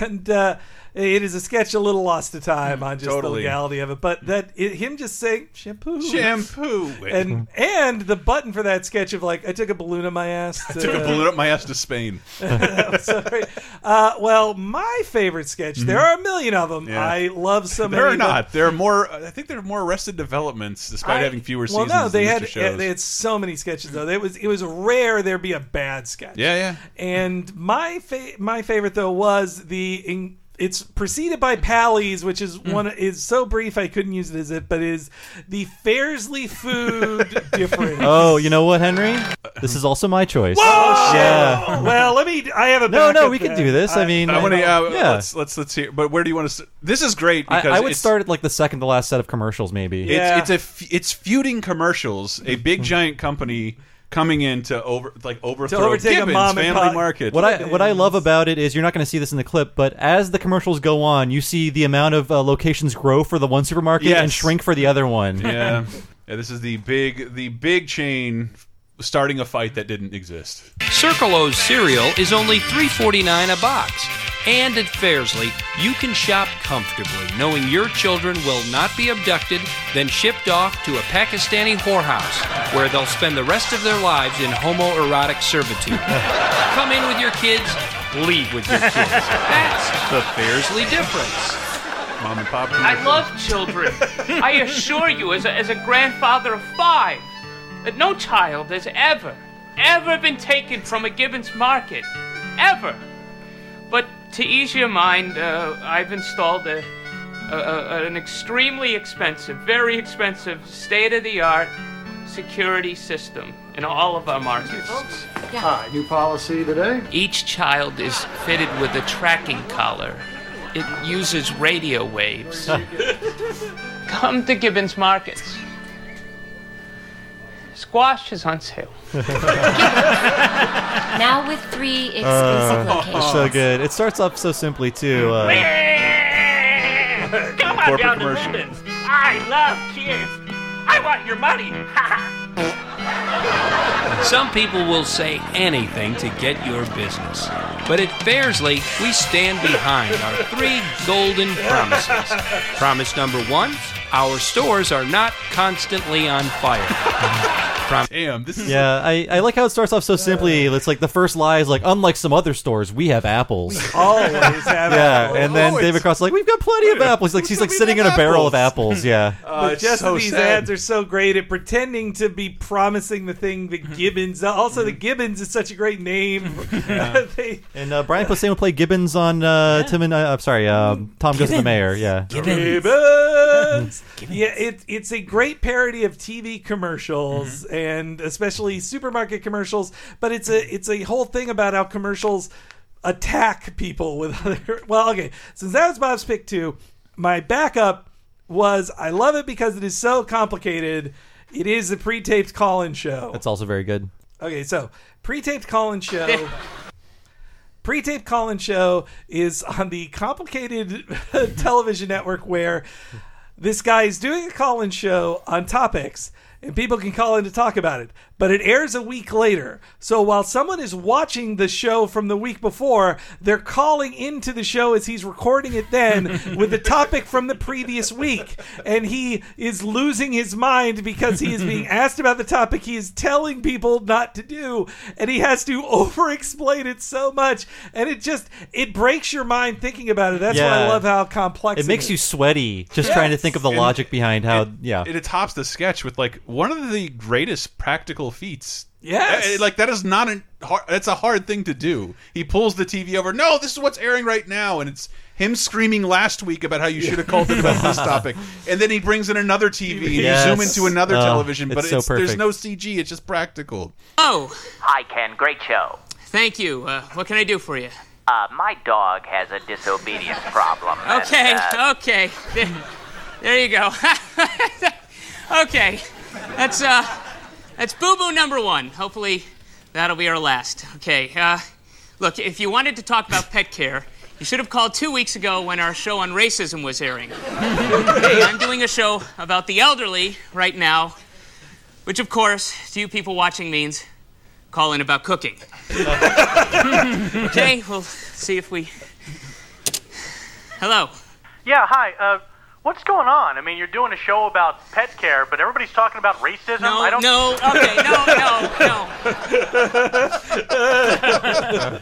S5: and uh, it is a sketch a little lost to time on just the
S1: Totally.
S5: legality of it, but that it, him just saying shampoo,
S1: Shampoo,
S5: and and the button for that sketch of like I took a balloon up my ass.
S1: I took a bullet up my ass to Spain.
S5: I'm sorry. Uh, well, my favorite sketch. There
S1: Mhm.
S5: are a million of them.
S1: Yeah.
S5: I love some.
S1: there
S5: of
S1: are
S5: them.
S1: not. There are more. I think there are more Arrested Developments, despite having fewer
S5: well,
S1: seasons.
S5: no, they
S1: than
S5: had
S1: Mr. shows.
S5: they had so many sketches though. It was it was rare there'd be a bad sketch.
S1: yeah, yeah.
S5: And my fa- my favorite though was the in- It's preceded by Pally's, which is
S1: Hmm.
S5: one is so brief I couldn't use it as it, but is the Fairsley food difference.
S4: Oh, you know what, Henry? This is also my choice.
S5: Whoa!
S4: Yeah.
S5: Oh, Well, let me. I have a
S4: No, no,
S5: backup
S4: we can
S5: there.
S4: do this. I mean,
S1: I want to. Uh,
S4: yeah.
S1: Let's let's let's hear. But where do you want to? St- this is great
S4: I,
S1: because
S4: I would
S1: it's,
S4: start at like the second to last set of commercials, maybe.
S1: It's it's a f- it's feuding commercials. A big giant company coming in to over like overthrow
S5: overtake a
S1: Gibbons
S5: mom and
S1: Family
S5: pop-
S1: Market.
S4: What I what I love about it is you're not going to see this in the clip, but as the commercials go on, you see the amount of uh, locations grow for the one supermarket
S1: Yes.
S4: and shrink for the other one.
S1: yeah. yeah, this is the big the big chain starting a fight that didn't exist.
S14: Circle O's cereal is only $3.49 a box. And at Fairsley, you can shop comfortably, knowing your children will not be abducted, then shipped off to a Pakistani whorehouse, where they'll spend the rest of their lives in homoerotic servitude. Come in with your kids, leave with your kids. That's the Fairsley difference.
S1: Mom and Pop.
S13: I love children. I assure you, as a, as a grandfather of five, that no child has ever, ever been taken from a Gibbons market. Ever. But to ease your mind, uh, I've installed a, a, a, an extremely expensive, very expensive, state of the art security system in all of our markets.
S16: Hi, new policy today?
S14: Each child is fitted with a tracking collar.
S13: It uses radio waves. Come to Gibbons Markets. Squash is on sale.
S27: Now with three exclusive
S4: Uh,
S27: locations.
S4: so good. It starts off so simply too. Uh,
S11: Come on
S4: Corporate
S11: down
S4: commercial.
S11: to Gibbons. I love kids. I want your money.
S14: Some people will say anything to get your business. But at Fairsley, we stand behind our three golden promises. Promise number one our stores are not constantly on fire. Prom-
S1: Damn, this
S4: yeah, I, I like how it starts off so simply. It's like the first lie is like, unlike some other stores, we have apples.
S5: Always have
S4: yeah,
S5: apples.
S4: and then David Cross is like, we've got plenty of apples. Like she's like sitting in a barrel of apples. Yeah.
S1: Uh,
S5: but just these ads are so great at pretending to be promising the thing
S1: Mm-hmm.
S5: that Gibbons. Also, the Gibbons is such a great name. They-
S4: And uh, Brian Posehn will play Gibbons on uh, Tim and uh, I'm sorry, um, Tom goes to the
S5: Gibbons.
S4: mayor. Yeah.
S5: Gibbons. Yeah, it, it's a great parody of TV commercials and especially supermarket commercials. But it's a it's a whole thing about how commercials attack people with other. Well, okay, since that was Bob's pick too, my backup was I love it because it is so complicated. It is the pre-taped call-in show.
S4: That's also very good.
S5: Okay, so pre-taped call-in show. pre-taped call-in show is on the complicated television network where this guy is doing a call-in show on topics and people can call in to talk about it but it airs a week later so while someone is watching the show from the week before they're calling into the show as he's recording it then with the topic from the previous week and he is losing his mind because he is being asked about the topic he is telling people not to do and he has to over explain it so much and it just it breaks your mind thinking about it that's why i
S4: Yeah.
S5: love how complex
S4: It makes
S5: is.
S4: you sweaty just
S5: Yes.
S4: trying to think of the
S5: And-
S4: logic behind how. yeah.
S1: it tops the sketch with like one of the greatest practical feats.
S5: Yes.
S1: Uh, like that is not a hard, that's a hard thing to do. He pulls the TV over. No, this is what's airing right now, and it's him screaming last week about how you should have called it about this topic, and then he brings in another TV and
S4: Yes.
S1: you zoom into another
S4: Oh,
S1: television.
S4: it's
S1: But
S4: so
S1: it's, there's
S4: perfect.
S1: no CG; it's just practical.
S27: Oh,
S28: Hi, Ken. Great show.
S27: thank you. Uh, what can I do for you?
S28: Uh, my dog has a disobedience problem. and,
S27: Okay,
S28: uh,
S27: okay. There, there you go. okay, that's uh, that's boo boo number one. Hopefully, that'll be our last. Okay. Uh, look, if you wanted to talk about pet care, you should have called two weeks ago when our show on racism was airing. hey, I'm doing a show about the elderly right now, which, of course, to you people watching means call in about cooking. okay, we'll see if we. Hello.
S29: Yeah, hi. Uh, what's going on? I mean, you're doing a show about pet care, but everybody's talking about racism.
S27: No,
S29: I don't.
S27: no, okay, no, no, no.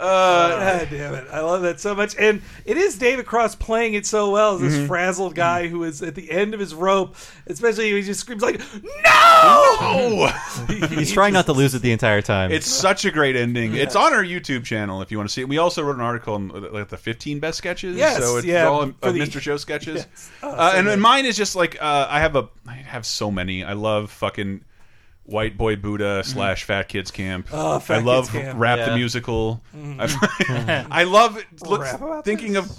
S5: Uh, God damn it! I love that so much, and it is David Cross playing it so well. As this
S1: Mm-hmm.
S11: Mhm.
S5: frazzled guy who is at the end of his rope, especially he just screams like, "No!"
S4: He's trying not to lose it the entire time.
S1: It's such a great ending.
S4: Yeah.
S1: It's on our YouTube channel if you want to see it. We also wrote an article on uh, like the 15 best sketches.
S5: Yes,
S1: so it's
S5: yeah,
S1: all of
S5: for the-
S1: Mr. Show sketches.
S5: Yes. Oh,
S1: uh,
S5: so
S1: and,
S5: good.
S1: and mine is just like uh, I have a I have so many. I love fucking White Boy Buddha slash Fat Kids Camp.
S5: Mm-hmm. Oh, Fat
S1: I love
S5: Kids Camp.
S1: Rap
S5: Yeah.
S1: the Musical.
S5: Mhm.
S1: I- I love look,
S5: Rap about
S1: thinking of.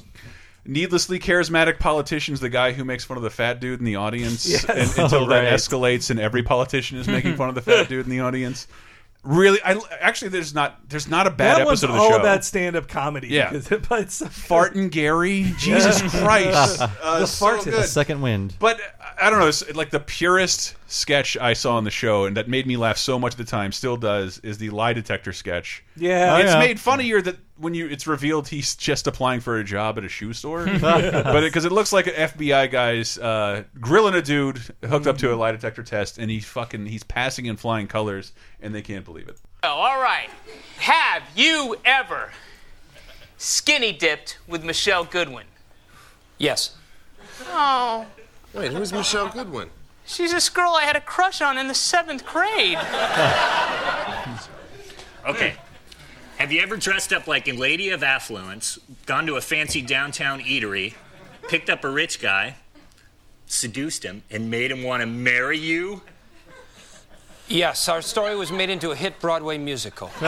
S1: Needlessly charismatic politicians, the guy who makes fun of the fat dude in the audience
S5: Yes.
S1: and, until
S5: Oh,
S1: that
S5: right.
S1: escalates and every politician is making fun of the fat dude in the audience. Really, I actually there's not there's not a bad
S5: that one's
S1: episode of the
S5: all
S1: show.
S5: about stand-up comedy.
S1: Yeah.
S5: because it, but it's so
S1: Fart and Gary. Jesus Christ, uh,
S4: the
S1: so
S4: fart
S1: good.
S4: a second wind.
S1: But I- I don't know, it's like the purest sketch I saw on the show, and that made me laugh so much at the time, still does, is the lie detector sketch.
S5: Yeah. Oh,
S1: it's
S5: yeah.
S1: made funnier that when you it's revealed he's just applying for a job at a shoe store, but because it, looks like an FBI guy's uh, grilling a dude hooked up to a lie detector test, and he fucking he's passing in flying colors, and they can't believe it.
S13: Oh, all right. Have you ever skinny dipped with Michelle Goodwin?
S9: Yes.
S13: Oh,
S8: Wait, who's Michelle Goodwin?
S13: she's this girl I had a crush on in the seventh grade.
S1: Mm-hmm.
S15: Okay. Have you ever dressed up like a lady of affluence, gone to a fancy downtown eatery, picked up a rich guy, seduced him, and made him want to marry you?
S9: Yes, our story was made into a hit Broadway musical.
S15: All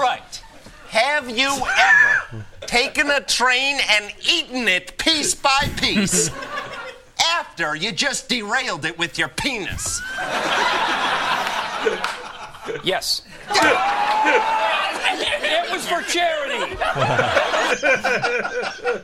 S15: right.
S17: Have you ever taken a train and eaten it piece by piece after you just derailed it with your penis?
S9: Yes.
S15: it was for charity.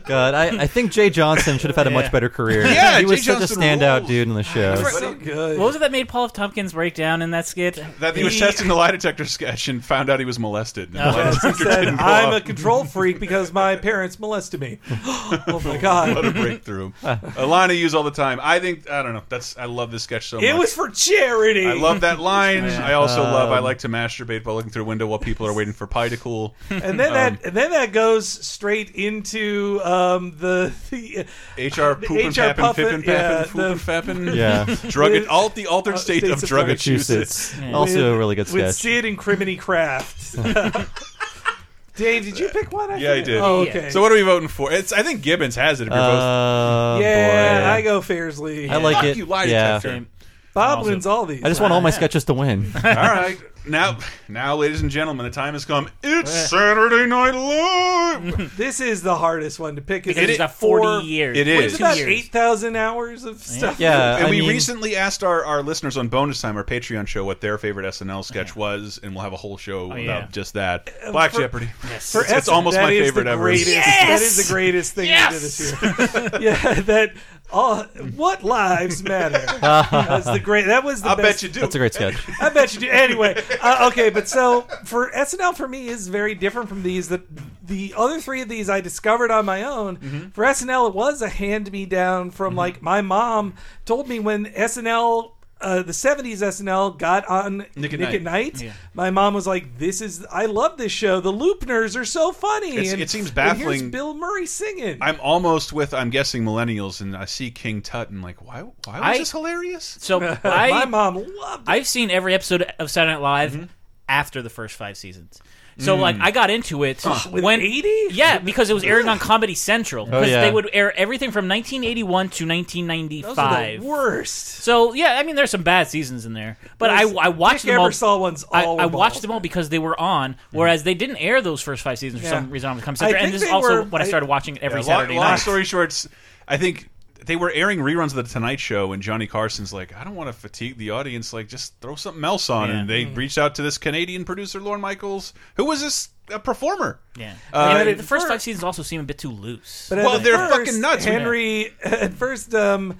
S4: God, I, I think Jay Johnson should have had a much
S3: Yeah.
S4: better career.
S3: Yeah,
S4: he was
S3: Jay
S4: such
S3: Johnson
S4: a standout
S3: rules.
S4: dude in the show.
S5: good.
S3: What was it that made Paul F. Tompkins break down in that skit?
S1: That he was testing the lie detector sketch and found out he was molested. And the
S3: Oh.
S1: lie
S3: Yes, he
S1: detector
S5: said,
S1: didn't go
S5: I'm a
S1: off.
S5: control freak because my parents molested me. oh my god!
S1: what a breakthrough! a line I use all the time. I think I don't know. That's I love this sketch so much.
S5: It was for charity.
S1: I love that line.
S5: Yeah.
S1: I also love. I
S5: Um,
S1: like to masturbate while looking through a window while people are waiting for pie to cool.
S5: and then
S1: Um,
S5: that and then that goes straight into um, the, the
S1: HR
S5: the
S1: poopin'
S5: HR
S1: pappin'
S5: puffin,
S1: fippin'
S5: yeah,
S1: pappin' poopin'
S5: the-
S1: fappin'. Yeah. Drug-
S5: with-
S1: alt- the altered
S5: uh,
S1: state
S5: states
S1: of Drugachusetts.
S4: Yeah. Also a really good
S5: with
S4: sketch.
S5: Sid and Criminy Craft. Dave, did you pick one?
S1: Um, yeah, I
S5: forget.
S1: did.
S5: Oh, okay.
S1: So what are we voting for? It's. I think Gibbons has it. If you're
S4: Uh,
S1: both.
S5: yeah,
S4: boy.
S5: I go Fairsley.
S4: I like
S1: Fuck
S4: it.
S1: you, lie
S4: yeah.
S1: detector.
S5: Bob wins all these.
S4: I just want all my sketches to win.
S1: All right. Now, now, ladies and gentlemen, the time has come. It's Saturday Night Live.
S5: this is the hardest one to pick.
S1: Because
S5: it's
S1: it's got 40 years. It
S5: It's
S1: is.
S5: about
S1: Years.
S5: eight thousand hours of stuff.
S1: and we recently asked our, our listeners on bonus time, our Patreon show, what their favorite SNL sketch was, and we'll have a whole show about
S5: Oh, yeah. Uh,
S1: just that. Black
S5: For-
S1: Jeopardy. it's,
S5: Yes.
S1: it's
S5: Essen,
S1: almost
S5: that
S1: my
S5: is
S1: favorite
S5: the
S1: ever.
S5: greatest- That is the greatest thing we did this year. yeah, that all what lives matter. That's the great. That was the.
S4: I
S5: best.
S4: bet you do. That's a great sketch.
S5: I bet you do. Anyway, uh, okay, but so for SNL for me is very different from these. That the other three of these I discovered on my own.
S1: Mm-hmm.
S5: For SNL, it was a hand me down from like my mom told me when SNL. Uh, the 70s SNL got on Nick
S1: Nick
S5: at
S1: at
S5: Night.
S1: Night. Yeah.
S5: My mom was like, This is, I love this show. The Loopners are so funny.
S1: It's-
S5: and,
S1: it seems
S5: and here's
S1: baffling.
S5: Bill Murray singing.
S1: I'm almost with. I'm guessing millennials, and I see King Tut, and like, why? Why was this hilarious?
S3: So I,
S5: My mom loved Mm-hmm.
S3: I've seen every episode of Saturday Night Live after the first five seasons. So
S5: Mm.
S3: like I got into it
S5: Ugh, with
S3: when eighty, yeah, because it was airing on Comedy Central.
S5: Oh,
S3: Because
S5: yeah.
S3: they would air everything from 1981 to 1995.
S5: Those are the worst.
S3: So yeah, I mean there's some bad seasons in there, but I,
S5: Those
S3: I watched
S5: Dick
S3: them all.
S5: Ebersol ones
S3: I,
S5: all
S3: I
S5: were
S3: watched them all because they were on,
S5: Mm-hmm.
S3: whereas they didn't air those first five seasons for
S1: Yeah.
S3: some reason on the Comedy
S1: I
S3: Central. And
S1: think
S3: this is
S1: they
S3: also
S1: were-
S3: when I
S1: I-
S3: started watching it every
S1: Yeah, long-
S3: Saturday
S1: long,
S3: night.
S1: story short, s- I think they were airing reruns of the Tonight Show, and Johnny Carson's like, I don't want to fatigue the audience. Like, just throw something else on.
S3: Yeah.
S1: And they
S5: Mm.
S1: reached out to this Canadian producer, Lorne Michaels, who was this a performer.
S3: Yeah,
S1: Uh,
S3: I mean,
S1: and-
S3: the first five seasons also seem a bit too loose.
S5: But at
S1: well,
S5: the
S1: they're
S5: first,
S1: fucking nuts.
S5: Henry at first um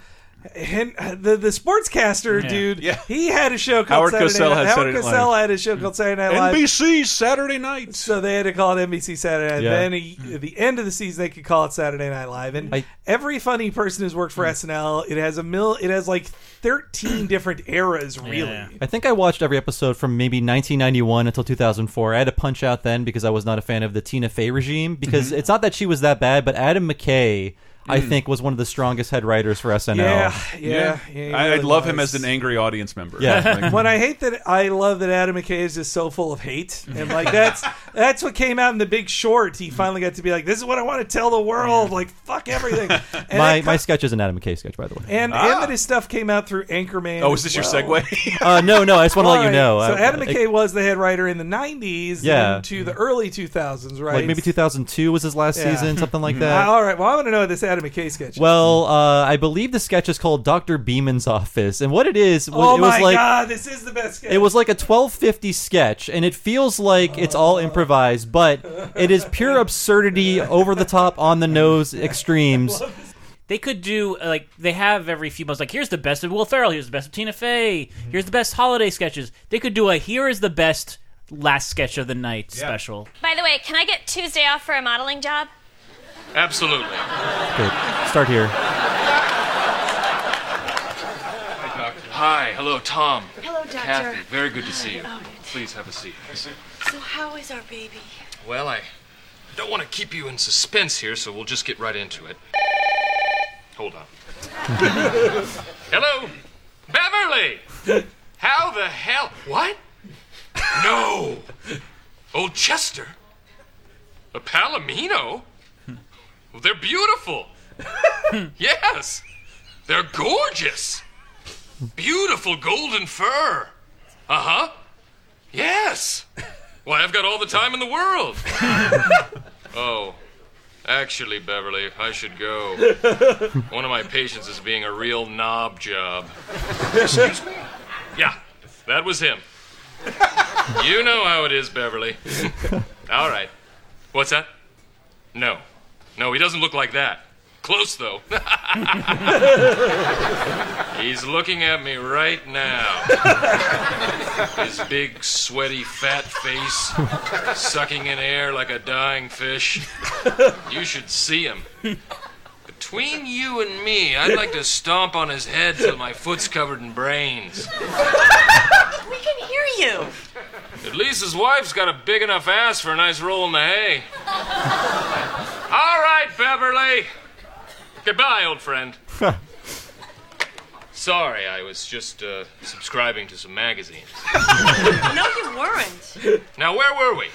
S5: Hen- the the sportscaster
S1: Yeah.
S5: dude,
S1: Yeah.
S5: he had a show called
S1: Howard
S5: Saturday
S1: Cosell
S5: Night.
S1: had
S5: Howard
S1: Saturday Night
S5: Cosell
S1: Live.
S5: had a show called Saturday Night Live.
S1: NBC Saturday Night.
S5: So they had to call it NBC Saturday Night.
S1: Yeah.
S5: Then he, at the end of the season, they could call it Saturday Night Live. And every funny person who's worked for SNL, it has a mill. It has like thirteen different eras, really.
S4: I think I watched every episode from maybe 1991 until 2004. I had to punch out then because I was not a fan of the Tina Fey regime because
S5: Mhm.
S4: it's not that she was that bad, but Adam McKay, I
S1: Mm.
S4: think, was one of the strongest head writers for SNL.
S5: yeah, yeah, he
S1: I, I
S5: really
S1: love him
S5: was.
S1: as an angry audience member.
S5: Yeah.
S1: Like,
S5: when I hate that, I love that Adam McKay is just so full of hate, and like that's that's what came out in The Big Short. He finally got to be like, "This is what I want to tell the world." Like, fuck everything. And
S4: my
S5: that
S4: my sketch is an Adam McKay sketch, by the way.
S5: And, and that his stuff came out through Anchorman.
S1: Ah. Oh,
S5: as
S1: is this your
S5: well.
S1: segue?
S4: uh, no, no, I just want to let you
S5: Alright,
S4: know.
S5: So
S4: I-
S5: Adam
S4: I-
S5: McKay was the head writer in the '90s,
S4: Yeah.
S5: and to the early 2000s, right?
S4: like maybe 2002 was his last
S5: Yeah.
S4: season, something
S1: Mm-hmm.
S4: like
S5: Uh,
S4: that.
S5: all right. Well, I want to know this Adam McKay sketch.
S4: Well, uh, I believe the sketch is called Doctor Beeman's Office, and what it is, was,
S5: oh
S4: it was
S5: my
S4: like
S5: god, this is the best sketch.
S4: It was like a 1250 sketch, and it feels like it's all improvised, but it is pure absurdity, over the top, on the nose extremes.
S3: They could do uh, like they have every few months. Like here's the best of Will Ferrell. Here's the best of Tina Fey.
S1: Mm-hmm.
S3: Here's the best holiday sketches. They could do a here is the best last sketch of the night special.
S10: By the way, can I get Tuesday off for a modeling job?
S22: Absolutely.
S4: Okay, start here.
S22: Hi, Doctor. Hi. Hello, Tom.
S10: Hello, Doctor.
S22: Kathy, very good to see you.
S10: Oh,
S22: Please have a seat.
S10: So how is our baby?
S22: Well, I don't want to keep you in suspense here, so we'll just get right into it. Hold on. Hello, Beverly. How the hell? What? No. Old Chester. A Palomino. Well, they're beautiful. yes, they're gorgeous. Beautiful golden fur. Uh huh. Yes. Why, I've got all the time in the world. oh, actually, Beverly, I should go. One of my patients is being a real knob job. Excuse me? Yeah, that was him. You know how it is, Beverly. all right. What's that? No. No, he doesn't look like that. Close, though. He's looking at me right now. His big, sweaty, fat face sucking in air like a dying fish. You should see him. Between you and me, I'd like to stomp on his head till my foot's covered in brains.
S10: We can hear you.
S22: At least his wife's got a big enough ass for a nice roll in the hay. All right, Beverly. Goodbye, old friend. Sorry, I was just uh, subscribing to some magazines.
S10: No, you weren't.
S22: Now, where were we?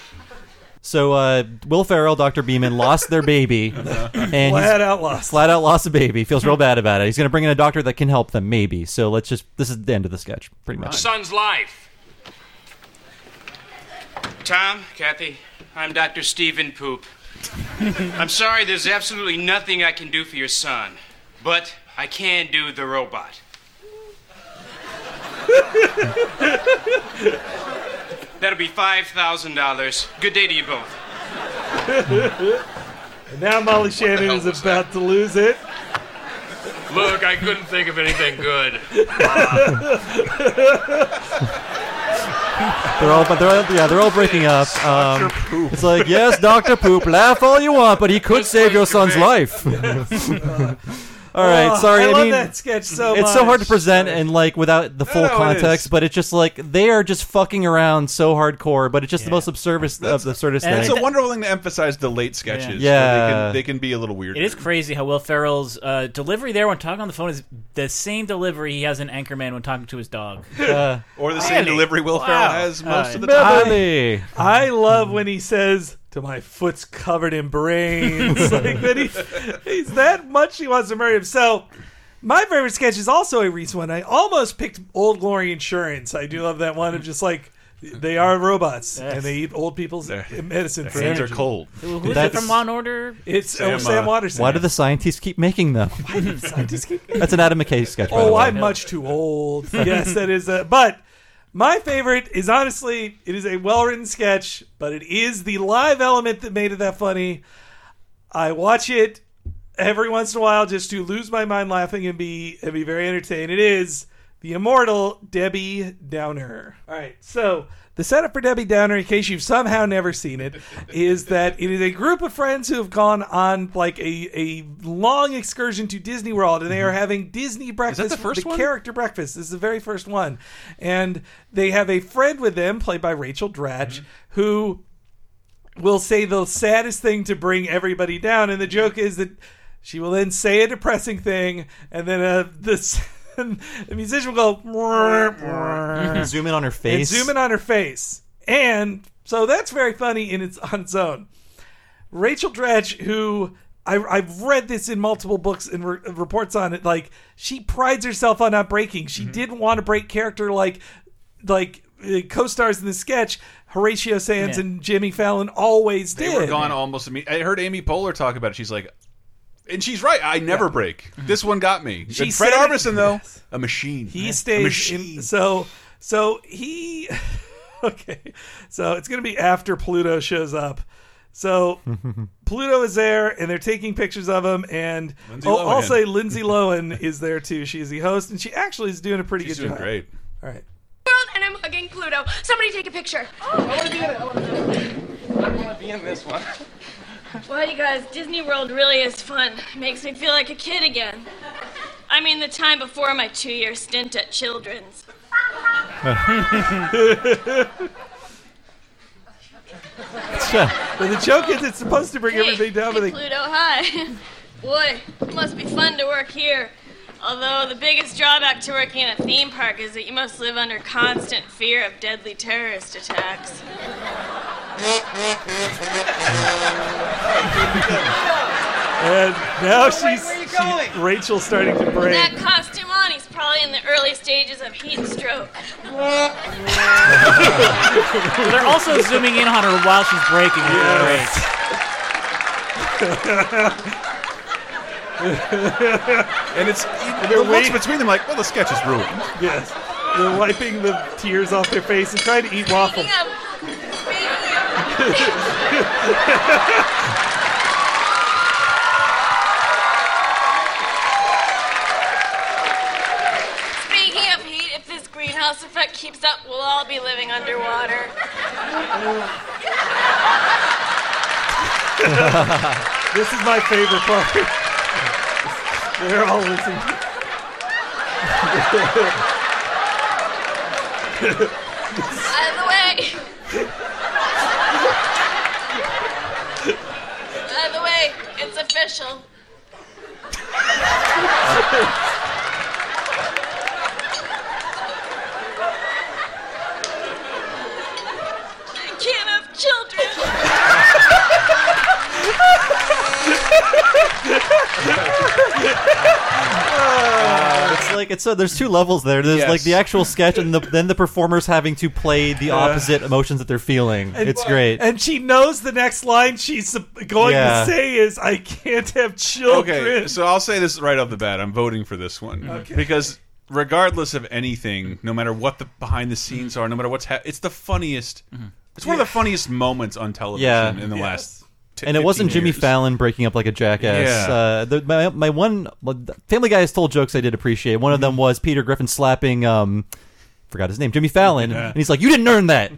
S4: So uh, Will Ferrell, Doctor Beeman lost their baby, and
S5: Flat
S4: he's-
S5: out lost.
S4: Flat out lost a baby. Feels real bad about it. He's going to bring in a doctor that can help them, maybe. So let's just. This is the end of the sketch, pretty
S22: Your
S4: much.
S22: son's life.
S2: Tom, Kathy, I'm Dr. Stephen Poop. I'm sorry there's absolutely nothing I can do for your son, but I can do the robot. That'll be $5,000. Good day to you both.
S5: and now Molly Shannon is about to lose it.
S22: Look, I couldn't think of anything good. Uh,
S4: They're all, but they're all, yeah, they're all breaking up. Um, it's like, yes, Doctor Poop, laugh all you want, but he could save your son's life. all right,
S5: Oh,
S4: sorry.
S5: I
S4: I,
S5: love
S4: mean,
S5: that sketch so
S4: it's so
S5: much.
S4: hard to present and like without the full
S5: no, it
S4: context, but it's just like they are just fucking around so hardcore, but it's just the most absurdist of the absurdist
S1: and
S4: thing.
S1: it's a wonderful thing to emphasize the late
S4: Yeah.
S1: sketches. They
S4: Yeah.
S1: can, they can be a little weird.
S3: It is crazy how Will Ferrell's uh, delivery there when talking on the phone is the same delivery he has in Anchorman when talking to his dog,
S1: Uh, Or the same delivery Will Ferrell has most of the
S4: Uh,
S5: time.
S4: Beverly.
S5: I love when he says, "To my foot's covered in brains." like that he's, he's that much he wants to murder him. So, my favorite sketch is also a recent one. I almost picked Old Glory Insurance. I do love that one of just like they are robots and they eat old people's medicine.
S1: their
S5: for
S1: hands are
S5: energy.
S1: cold.
S3: Who- who's it
S4: That's-
S3: from Law and Order?
S5: It's Sam, Sam Watterson.
S4: Why do the scientists keep making them? That's an Adam McKay sketch. by the
S5: Oh,
S4: way.
S5: I'm much too old. yes, that is. A, but my favorite is honestly, it is a well-written sketch, but it is the live element that made it that funny. I watch it every once in a while just to lose my mind laughing and be and be very entertained. It is the immortal Debbie Downer. All right, so the setup for Debbie Downer, in case you've somehow never seen it, is that it is a group of friends who have gone on like a, a long excursion to Disney World, and they are having Disney breakfast.
S1: Mm-hmm. the first one?
S5: character breakfast. This is the very first one, and they have a friend with them, played by Rachel Dratch,
S1: Mm-hmm.
S5: who will say the saddest thing to bring everybody down, and the joke is that she will then say a depressing thing, and then uh, this the musician will go
S4: Zoom in on her
S5: and
S4: face.
S5: zoom in on her face, and so that's very funny in its on its own. Rachel Dratch, who I, I've read this in multiple books and re- reports on it, like she prides herself on not breaking.
S1: Mm-hmm.
S5: She didn't want to break character, like like uh, co-stars in the sketch. Horatio Sands
S1: Yeah.
S5: and Jimmy Fallon always
S1: They
S5: did.
S1: were gone almost immediately. I heard Amy Poehler talk about it. She's like, and she's right. I never break. This one got me.
S5: She
S1: And Fred
S5: said it-
S1: Armisen, though, a machine.
S5: He
S1: A
S5: stays
S1: machine.
S5: in, so so he okay. So it's gonna be after Pluto shows up. So Pluto is there, and they're taking pictures of him. And
S1: Lindsay
S5: oh,
S1: Lohan.
S5: I'll say Lindsay Lohan is there too. She is the host, and she actually is doing a pretty
S1: She's
S5: good
S1: doing
S5: job.
S1: great.
S5: All right.
S30: World, and I'm hugging Pluto. Somebody take a picture. Oh, I want to be in it. I want to
S22: be in this one.
S30: Well, you guys, Disney World really is fun. Makes me feel like a kid again. I mean, the time before my two-year stint at Children's.
S5: but the joke is, it's supposed to bring
S30: Hey,
S5: everything down, but
S30: hey,
S5: they
S30: Pluto, hi. Boy, it must be fun to work here. Although the biggest drawback to working in a theme park is that you must live under constant fear of deadly terrorist attacks.
S5: and now she's
S30: where you
S5: she-
S30: going?
S5: Rachel's starting to
S30: With
S5: break.
S30: That costume on, he's probably in the early stages of heat stroke.
S3: They're also zooming in on her while she's breaking. It.
S1: and it's e,
S5: They're
S1: the looks
S5: waiting-
S1: between them like, well, the sketch is ruined.
S5: Yes. They're wiping the tears off their face and trying to eat waffles.
S30: Speaking of heat, if this greenhouse effect keeps up, we'll all be living underwater.
S5: this is my favorite part. They're all listening.
S30: Out of the way! Out of the way, it's official. I can't have children!
S4: Uh, it's like it's so there's two levels there. There's
S1: Yes.
S4: like the actual sketch, and the, then the performers having to play the
S5: Yeah.
S4: opposite emotions that they're feeling. it's great.
S5: And she knows the next line she's sup- going
S4: Yeah.
S5: to say is, "I can't have children."
S1: Okay, so I'll say this right off the bat. I'm voting for this one because regardless of anything, no matter what the behind the scenes are, no matter what's ha it's the funniest. It's one of the funniest moments on television
S4: Yeah.
S1: in the
S4: Yes.
S1: last. t-
S4: and it wasn't
S1: 15
S4: Jimmy
S1: years.
S4: Fallon breaking up like a jackass.
S1: Yeah.
S4: Uh, the, my, my one well, Family Guy has told jokes I did appreciate. One of
S1: Mm-hmm.
S4: them was Peter Griffin slapping, um, forgot his name, Jimmy Fallon,
S5: Yeah.
S4: and he's like, "You didn't earn that.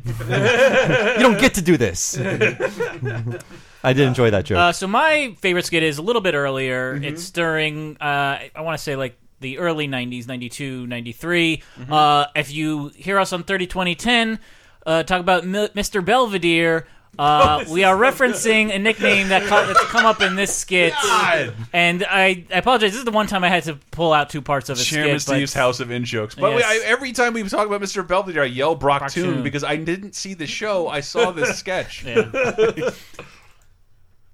S4: you don't get to do this." I did enjoy that joke.
S3: Uh, so my favorite skit is a little bit earlier.
S1: Mm-hmm.
S3: It's during uh, I want to say like the early 90s, 92, 93.
S1: Mm-hmm.
S3: Uh, if you hear us on 30 20 10 uh, talk about M- Mr. Belvedere,
S1: Oh,
S3: uh, we are referencing a nickname that co- that's come up in this skit.
S1: God.
S3: And I, I apologize. This is the one time I had to pull out two parts of a
S1: Chairman
S3: skit. but-
S1: Steve's House of In Jokes. But we-
S3: Yes.
S1: I, every time we talk about Mr. Belvedere, I yell Brock,
S3: Brock
S1: Toon
S3: Toon.
S1: because I didn't see the show. I saw this sketch.
S3: Yeah.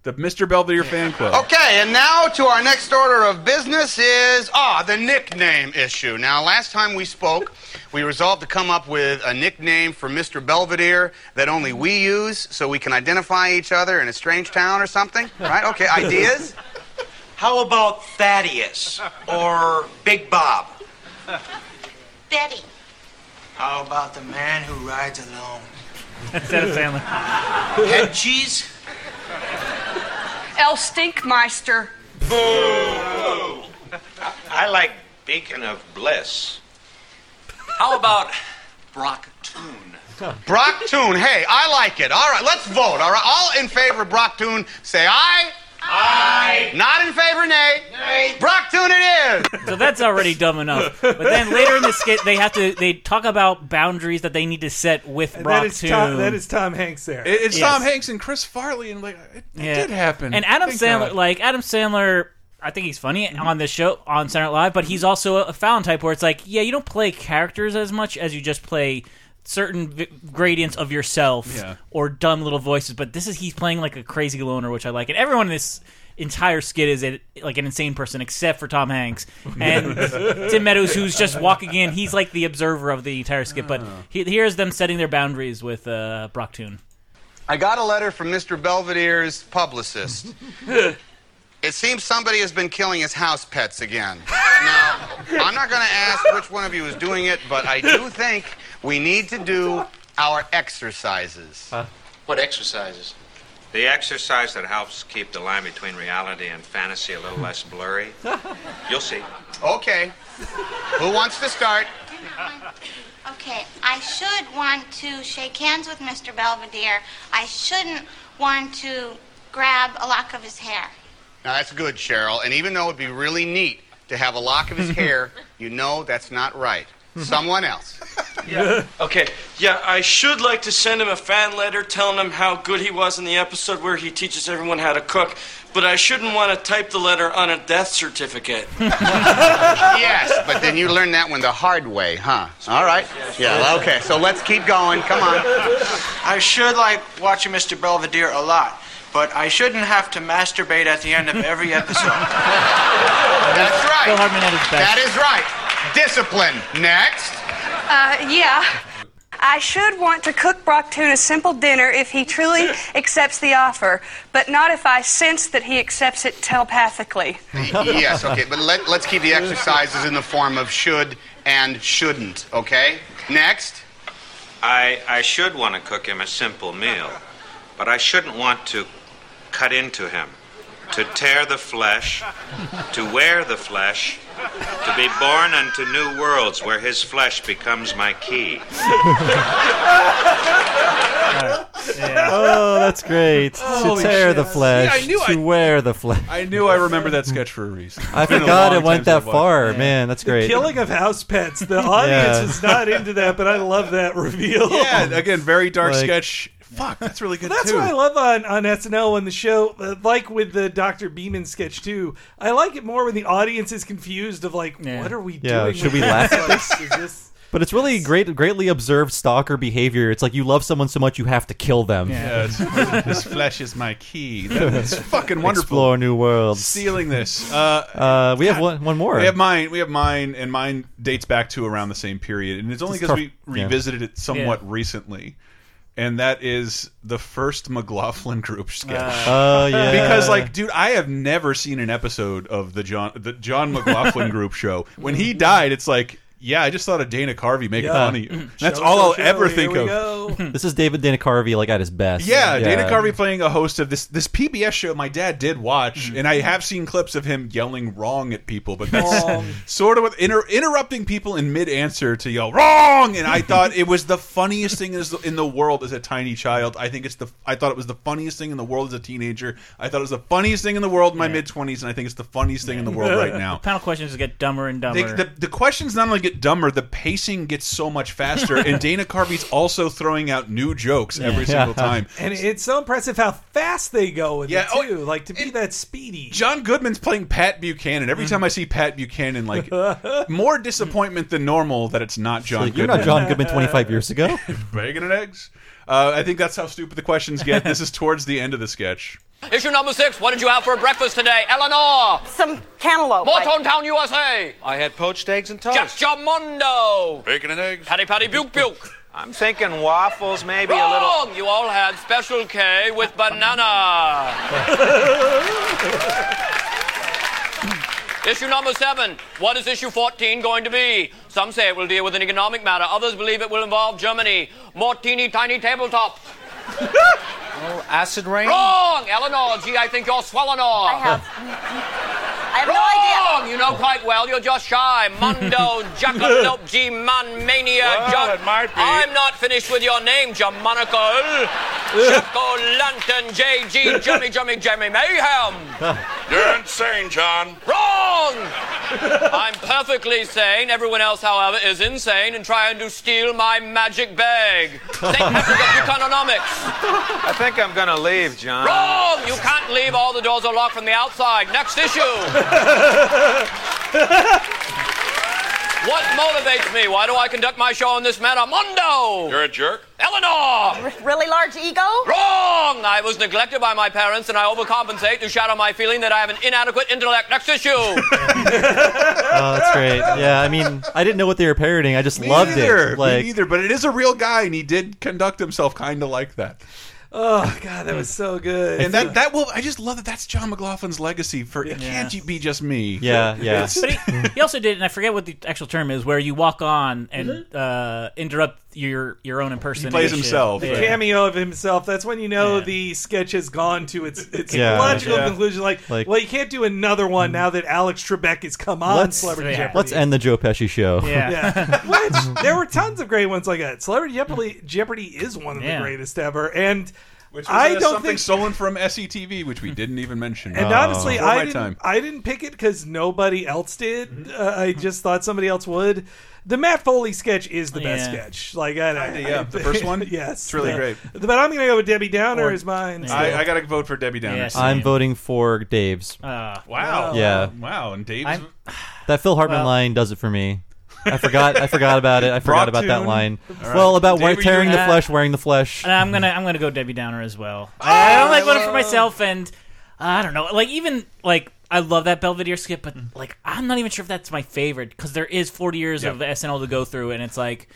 S1: the Mr. Belvedere fan club.
S7: Okay, and now to our next order of business is ah the nickname issue. Now, last time we spoke, we resolved to come up with a nickname for Mr. Belvedere that only we use, so we can identify each other in a strange town or something. Right? Okay, ideas.
S11: How about Thaddeus or Big Bob?
S7: Daddy.
S11: How about the man who rides alone?
S3: Instead of Sandler.
S11: Head cheese?
S20: El Stinkmeister.
S16: Boo! I like Beacon of Bliss.
S31: How about Brock Toon?
S7: Brock Toon. Hey, I like it. All right, let's vote. All right, all in favor of Brock Toon, say aye. Aye. Not in favor, nay. Nay. Brock Toon, it is.
S3: So that's already dumb enough. But then later in the skit, they have to they talk about boundaries that they need to set with
S5: And
S3: Brock
S5: that is
S3: Toon.
S5: Tom, that is Tom Hanks there.
S1: It- it's
S3: Yes.
S1: Tom Hanks and Chris Farley, and like it, it
S3: Yeah.
S1: did happen.
S3: And Adam
S1: Thank
S3: Sandler,
S1: God. Mm-hmm.
S3: like Adam Sandler, I think he's funny on this show on Saturday Night Live, but he's also a Fallon type where it's like, yeah, you don't play characters as much as you just play certain v- gradients of yourself
S1: Yeah.
S3: or dumb little voices. But this is he's playing like a crazy loner, which I like, and everyone in this. Entire skit is a, like an insane person, except for Tom Hanks and Tim Meadows, who's just walking in. He's like the observer of the entire skit. But
S1: Ah.
S3: he, here's them setting their boundaries with uh, Brock Toon.
S7: I got a letter from Mr. Belvedere's publicist. it seems somebody has been killing his house pets again. Now, I'm not going to ask which one of you is doing it, but I do think we need to do our exercises.
S16: What exercises? The exercise that helps keep the line between reality and fantasy a little less blurry. You'll see.
S7: Okay. Who wants to start?
S32: Okay, I should want to shake hands with Mr. Belvedere. I shouldn't want to grab a lock of his hair.
S7: Now, that's good, Cheryl. And even though it'd be really neat to have a lock of his hair, you know that's not right. Someone else.
S16: Yeah.
S11: okay. Yeah, I should like to send him a fan letter telling him how good he was in the episode where he teaches everyone how to cook, but I shouldn't want to type the letter on a death certificate.
S7: yes, but then you learned that one the hard way, huh? All right. Yeah, okay. So let's keep going. Come on.
S11: I should like watching Mr. Belvedere a lot, but I shouldn't have to masturbate at the end of every episode.
S7: That's right.
S11: Phil Hartman at his best.
S7: That is right. Discipline. Next.
S20: Uh, yeah. I should want to cook Brock Toon a simple dinner if he truly accepts the offer, but not if I sense that he accepts it telepathically.
S7: yes, okay. But let, let's keep the exercises in the form of should and shouldn't, okay? Next.
S16: I, I should want to cook him a simple meal, but I shouldn't want to cut into him, to tear the flesh, to wear the flesh, to be born unto new worlds where his flesh becomes my key.
S1: Uh,
S4: Oh, that's great.
S1: Holy
S4: to tear
S1: shit.
S4: the flesh.
S1: Yeah, I knew
S4: to
S1: I-
S4: wear the flesh.
S1: I knew I remember that sketch for a reason.
S4: I
S1: It's been a
S4: forgot
S1: long
S4: it went
S1: time since
S4: that
S1: I watched
S4: far. Man, that's great.
S5: Killing of house pets. The audience
S4: Yeah.
S5: is not into that, but I love that reveal.
S1: Yeah, again, very dark
S5: Like-
S1: sketch. Fuck, that's really good
S5: Well, that's
S1: too.
S5: what I love on, on SNL when the show, uh, like with the Dr. Beeman sketch too, I like it more when the audience is confused of like, what are we
S4: Yeah,
S5: doing?
S4: should
S5: with
S4: we laugh
S5: this?
S4: at
S5: Like, is this-
S4: But it's really great, greatly observed stalker behavior. It's like you love someone so much you have to kill them.
S1: Yeah, it's- this flesh is my key. That- That's fucking wonderful.
S4: Explore new worlds.
S1: Stealing this. Uh,
S4: Uh, we have one, one more.
S1: We have mine. We have mine, and mine dates back to around the same period, and it's only
S4: It's
S1: because
S4: tough.
S1: we
S4: Yeah.
S1: revisited it somewhat recently. And that is the first McLaughlin
S4: Uh.
S1: group sketch.
S4: Oh, yeah.
S1: Because like, dude, I have never seen an episode of the John the John McLaughlin group show. When he died, it's like, yeah, I just thought of Dana Carvey making
S4: Yeah. Mm-hmm.
S1: fun of you. That's
S4: Show,
S1: all
S4: show,
S1: I'll
S4: show,
S1: ever
S4: here
S1: think
S4: we
S1: of.
S4: this is David Dana Carvey, like at his best.
S1: Yeah, Dana Carvey playing a host of this this PBS show. My dad did watch, and I have seen clips of him yelling wrong at people, but that's sort of with inter interrupting people in mid answer to yell wrong. And I thought it was the funniest thing is- in the world as a tiny child. I think it's the I thought it was the funniest thing in the world as a teenager. I thought it was the funniest thing in the world in my mid twenties, and I think it's the funniest thing in the world right now.
S3: Panel questions get dumber and dumber.
S1: They, the, the questions not only get dumber, the pacing gets so much faster, and Dana Carvey's also throwing out new jokes every single time.
S5: And it's so impressive how fast they go with it too. like to be that speedy.
S1: oh, John Goodman's playing Pat Buchanan. Every time I see Pat Buchanan, like more disappointment than normal that it's not John.
S4: Like, you're not John Goodman 25 years ago.
S1: Bacon and eggs. Uh, I think that's how stupid the questions get. This is towards the end of the sketch.
S21: Issue number six. What did you have for breakfast today, Eleanor?
S33: Some cantaloupe.
S21: Mortontown, USA.
S16: I had poached eggs and toast.
S21: Jack Jamondo.
S16: Bacon and eggs.
S21: Patty Patty Buke Buke.
S16: I'm thinking waffles, maybe a little.
S21: Wrong. You all had special K with banana. Issue number seven. What is issue 14 going to be? Some say it will deal with an economic matter. Others believe it will involve Germany. More teeny tiny tabletop.
S16: Oh, acid rain.
S21: Wrong! Eleanor, gee, I think you're swallowing all. I have. I have no idea. You know quite well. You're just shy. Mondo Jackalope G Man Mania.
S11: Well,
S21: Jack-
S11: it might be.
S21: I'm not finished with your name, Jamonical. Jacko Lantern JG Jummy Jummy Jimmy Mayhem.
S11: You're insane, John.
S21: Wrong! I'm perfectly sane. Everyone else, however, is insane and trying to steal my magic bag. Think African economics.
S12: I think I'm gonna leave, John.
S21: Wrong! You can't leave. All the doors are locked from the outside. Next issue. what motivates me? Why do I conduct my show in this manner? Mondo!
S11: You're a jerk.
S21: Eleanor!
S14: really large ego?
S21: Wrong! I was neglected by my parents and I overcompensate to shadow my feeling that I have an inadequate intellect. Next issue!
S4: Oh, that's great. Yeah, I mean, I didn't know what they were parroting. I just
S1: Me
S4: loved
S1: neither.
S4: it. Like,
S1: Me neither. But it is a real guy, and he did conduct himself kind of like that.
S5: Oh God, that was so good.
S1: And that that will. I just love that. That's John McLaughlin's legacy. For it can't be just me.
S4: Yeah, yeah.
S1: It's-
S3: But he, he also did, and I forget what the actual term is, where you walk on and uh, interrupt your your own impersonation.
S5: The
S3: Yeah.
S5: cameo of himself. That's when you know the sketch has gone to its its
S4: Yeah.
S5: logical
S4: Yeah.
S5: conclusion. Like,
S4: Like- mm.
S5: well, you can't do another one now that Alex Trebek has come on
S4: let's
S5: Celebrity Jeopardy.
S4: let's end the Joe Pesci show.
S5: Yeah. Which there were tons of great ones like that. Celebrity Jeopardy, Jeopardy is one of
S1: Yeah.
S5: the greatest ever, and
S1: Which was,
S5: I
S1: uh,
S5: don't
S1: something
S5: think.
S1: stolen from SETV, which we didn't even mention.
S4: Oh.
S5: And honestly,
S1: Before my
S5: I didn't.
S1: time.
S5: I didn't pick it because nobody else did.
S1: Mm-hmm.
S5: Uh, I just thought somebody else would. The Matt Foley sketch is the best
S1: Yeah.
S5: sketch. Like, I, I,
S1: yeah, the first one?
S5: yes,
S1: It's really
S5: Uh,
S1: great.
S5: But I'm gonna go with Debbie Downer
S1: Or-
S5: as mine.
S1: I, I got to vote for Debbie Downer.
S4: I'm voting for Dave's.
S1: Uh, wow.
S4: Yeah.
S1: Wow. And Dave's.
S3: I'm-
S4: That Phil Hartman
S1: Well-
S4: line does it for me. I forgot. I forgot about it. I forgot about that
S3: Brocktoon.
S4: line.
S3: All right.
S4: Well, about
S3: Dave,
S4: wear-
S3: are you-
S4: tearing the
S3: Uh,
S4: flesh, wearing the flesh.
S3: And I'm gonna I'm gonna go Debbie Downer as well.
S5: Ah,
S3: I I don't like voting for myself, and uh, I don't know. Like even like I love that Belvedere skit, but
S5: Mm.
S3: like I'm not even sure if that's my favorite because there is 40 years
S5: Yeah.
S3: of SNL to go through, and it's like.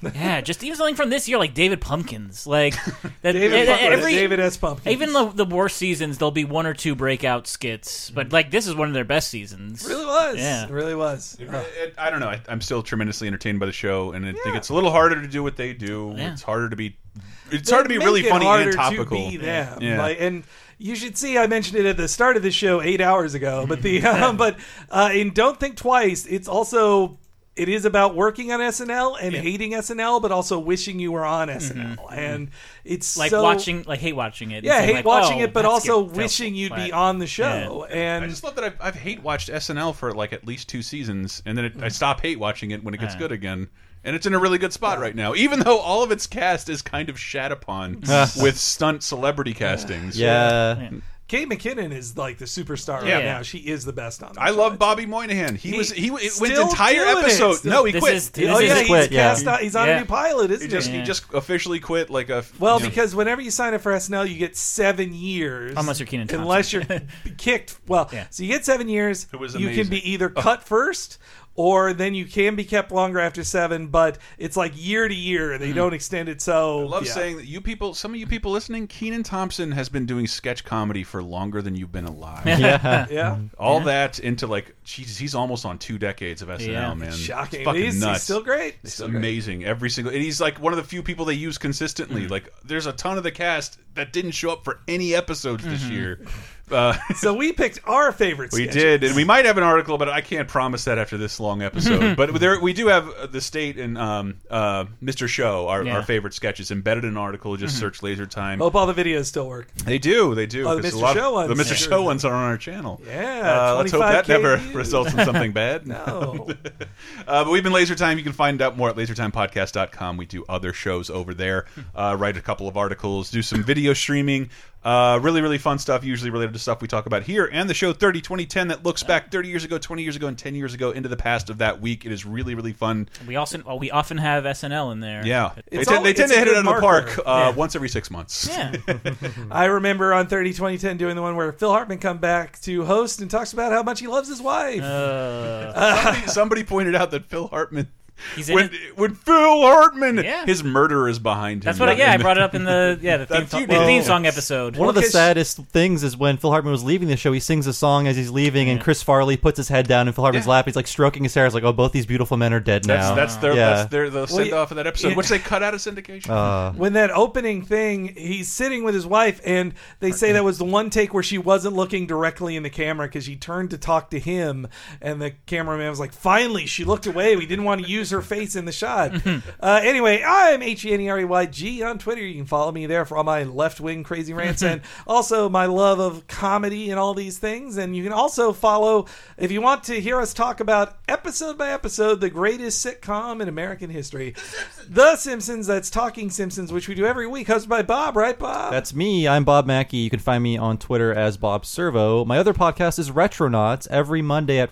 S3: yeah, just even something from this year, like David Pumpkins, like that.
S5: David
S3: e- e-
S5: Pumpkins. David S. Pumpkins.
S3: Even the, the worst seasons, there'll be one or two breakout skits, but like this is one of their best seasons.
S5: Mm. Really was.
S3: Yeah.
S5: It really was.
S1: It- I don't know. I, I'm still tremendously entertained by the show, and I think it's a little harder to do what they do.
S5: Yeah.
S1: It's harder to be. It's
S5: They
S1: hard to be
S5: make
S1: really
S5: it
S1: funny
S5: harder
S1: and topical.
S5: To be them.
S1: Yeah.
S5: Like, and you should see. I mentioned it at the start of the show eight hours ago, but the um, but uh, in Don't Think Twice, it's also. It is about working on SNL and hating SNL, but also wishing you were on SNL. And it's
S3: Mm-hmm. like
S5: so-
S3: watching, like hate watching it. and
S5: Yeah,
S3: saying,
S5: hate
S3: like,
S5: watching
S3: oh,
S5: it, but
S3: that's
S5: also
S3: good. Felt
S5: wishing you'd be
S3: flat.
S5: on the show. And
S1: I just love that I've, I've hate watched SNL for like at least two seasons, and then it, I
S3: Mm.
S1: stop hate watching it when it gets
S3: Yeah.
S1: good again. And it's in a really good spot right now, even though all of its cast is kind of shat upon with stunt celebrity castings.
S4: Yeah.
S5: Kate McKinnon is like the superstar
S1: Yeah.
S5: right now. She is the best on. The
S1: I
S5: show.
S1: love Bobby Moynihan. He, was he it went
S5: still
S1: entire
S5: doing it.
S1: episode.
S5: Still-
S1: No, he
S5: This
S1: quit.
S5: is- this Oh, is- yeah, he's quit, yeah. cast out- he's on a new pilot,
S1: he
S5: isn't
S1: just,
S5: he?
S1: He just officially quit like a
S5: Well,
S1: you know,
S5: because whenever you sign up for SNL, you get seven years.
S3: Unless you're Kenan Thompson.
S5: Unless you're kicked. Well, so you get seven years.
S1: was
S5: you can
S1: amazing.
S5: be either cut first, or then you can be kept longer after seven. But it's like year to year; they
S1: Mhm.
S5: don't extend it. So
S1: I love
S5: yeah.
S1: saying that you people, some of you people listening, Keenan Thompson has been doing sketch comedy for longer than you've been alive.
S5: Yeah. Yeah.
S1: All
S5: Yeah.
S1: that into like, Jesus, he's almost on two decades of SNL,
S5: Yeah.
S1: man.
S5: Shocking.
S1: It's fucking
S5: He's- he's
S1: nuts.
S5: still great.
S1: It's
S5: Still great.
S1: amazing. Every single, and he's like one of the few people they use consistently.
S5: Mm-hmm.
S1: Like, there's a ton of the cast that didn't show up for any episodes this
S5: Mhm.
S1: year. Uh,
S5: so we picked our favorite.
S1: we
S5: sketches.
S1: did, and we might have an article, but I can't promise that after this long episode. but there, we do have uh, the state and um, uh, Mr. Show, our,
S5: Yeah.
S1: our favorite sketches, embedded in an article. Just
S5: Mhm.
S1: search Laser Time.
S5: Hope all the videos still work.
S1: They do, they do.
S5: Oh, the
S1: 'cause a
S5: Mr.
S1: lot-
S5: Show ones.
S1: The Mr.
S5: Sure.
S1: Show ones are on our channel.
S5: Yeah,
S1: Uh, let's hope that
S5: 25K
S1: never
S5: views.
S1: results in something bad.
S5: No.
S1: uh, but we've been Laser Time. You can find out more at lasertimepodcast.com. We do other shows over there, uh, write a couple of articles, do some video streaming. Uh, really, really fun stuff, usually related to stuff we talk about here. And the show 30 2010 that looks back 30 years ago, 20 years ago, and 10 years ago into the past of that week. It is really, really fun.
S3: We also well, we often have SNL in there.
S1: Yeah. They, tend- they tend to hit it out of the park uh, once every six months.
S3: Yeah.
S5: I remember on 30 2010 doing the one where Phil Hartman come back to host and talks about how much he loves his wife.
S1: somebody, somebody pointed out that Phil Hartman
S3: He's in
S1: when, when Phil Hartman, his murderer is behind him.
S3: That's what. I, yeah, I brought it up in the yeah the theme,
S1: That's
S3: song,
S1: you
S3: the
S1: did.
S3: theme song episode.
S4: One of the saddest things is when Phil Hartman was leaving the show, he sings a song as he's leaving, and Chris Farley puts his head down in Phil Hartman's lap. He's like stroking his hair. He's like, "Oh, both these beautiful men are dead
S1: That's,
S4: now."
S1: that's their
S4: Oh. yeah.
S1: that's their the
S5: Well,
S1: send off of that episode,
S5: yeah.
S1: which they cut out of syndication.
S4: Uh.
S5: when that opening thing, he's sitting with his wife, and they say that was the one take where she wasn't looking directly in the camera because she turned to talk to him, and the cameraman was like, "Finally, she looked away. We didn't want to use her face in the shot." uh, anyway, I'm H E N E R E Y G on Twitter. You can follow me there for all my left wing crazy rants and also my love of comedy and all these things. And you can also follow if you want to hear us talk about episode by episode the greatest sitcom in American history, The Simpsons. That's Talking Simpsons, which we do every week, hosted by Bob. Right, Bob?
S4: That's me. I'm Bob Mackey. You can find me on Twitter as Bob Servo. My other podcast is Retronauts every Monday at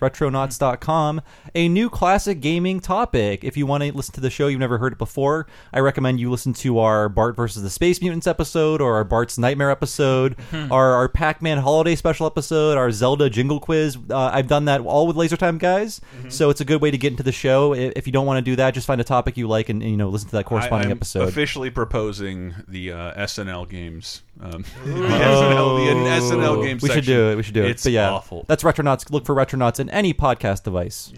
S4: retronauts.com, a new classic gaming topic. If you want to listen to the show, you've never heard it before, I recommend you listen to our Bart versus the Space Mutants episode, or our Bart's Nightmare episode,
S8: Hmm.
S4: our, our Pac Man Holiday special episode, our Zelda Jingle Quiz. Uh, I've done that all with Laser Time guys,
S1: Mm-hmm.
S4: so it's a good way to get into the show. I- If you don't want to do that, just find a topic you like and, and, you know listen to that corresponding
S1: I, I'm
S4: episode.
S1: Officially proposing the uh, SNL games. Um, the
S4: Oh.
S1: SNL, the SNL games.
S4: We should do it. We should do it.
S1: It's
S4: but yeah,
S1: awful.
S4: That's Retronauts. Look for Retronauts in any podcast device.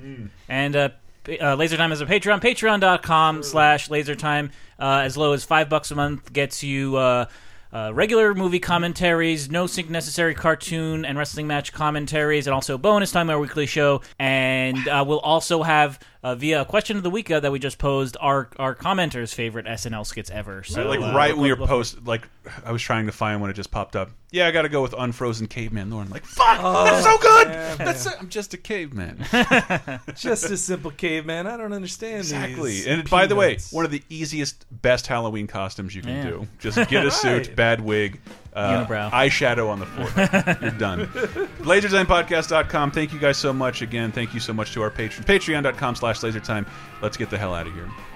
S3: And uh, p- uh, Lasertime is a Patreon. Patreon.com slash Lasertime. Uh, as low as five bucks a month gets you uh, uh, regular movie commentaries, no sync necessary cartoon and wrestling match commentaries, and also bonus time, our weekly show. And uh, we'll also have, uh, via a question of the week uh, that we just posed, our, our commenters' favorite SNL skits ever. So
S1: like
S3: uh,
S1: right
S3: look-
S1: when you're
S3: look- look-
S1: post, like I was trying to find when it just popped up. Yeah, I got to go with Unfrozen Caveman Lauren. Like fuck, Ah,
S5: Oh,
S1: that's so good. That's it. I'm just a caveman.
S5: Just a simple caveman. I don't understand
S1: Exactly.
S5: these
S1: And by the way,
S5: peanuts.
S1: one of the easiest, best Halloween costumes you can
S5: Yeah.
S1: do. Just get a suit,
S5: Right.
S1: bad wig, uh,
S5: Unibrow.
S1: eyeshadow on the forehead. You're done. LaserTimePodcast.com. Thank you guys so much again. Thank you so much to our patron. Patreon.com slash LaserTime. Let's get the hell out of here.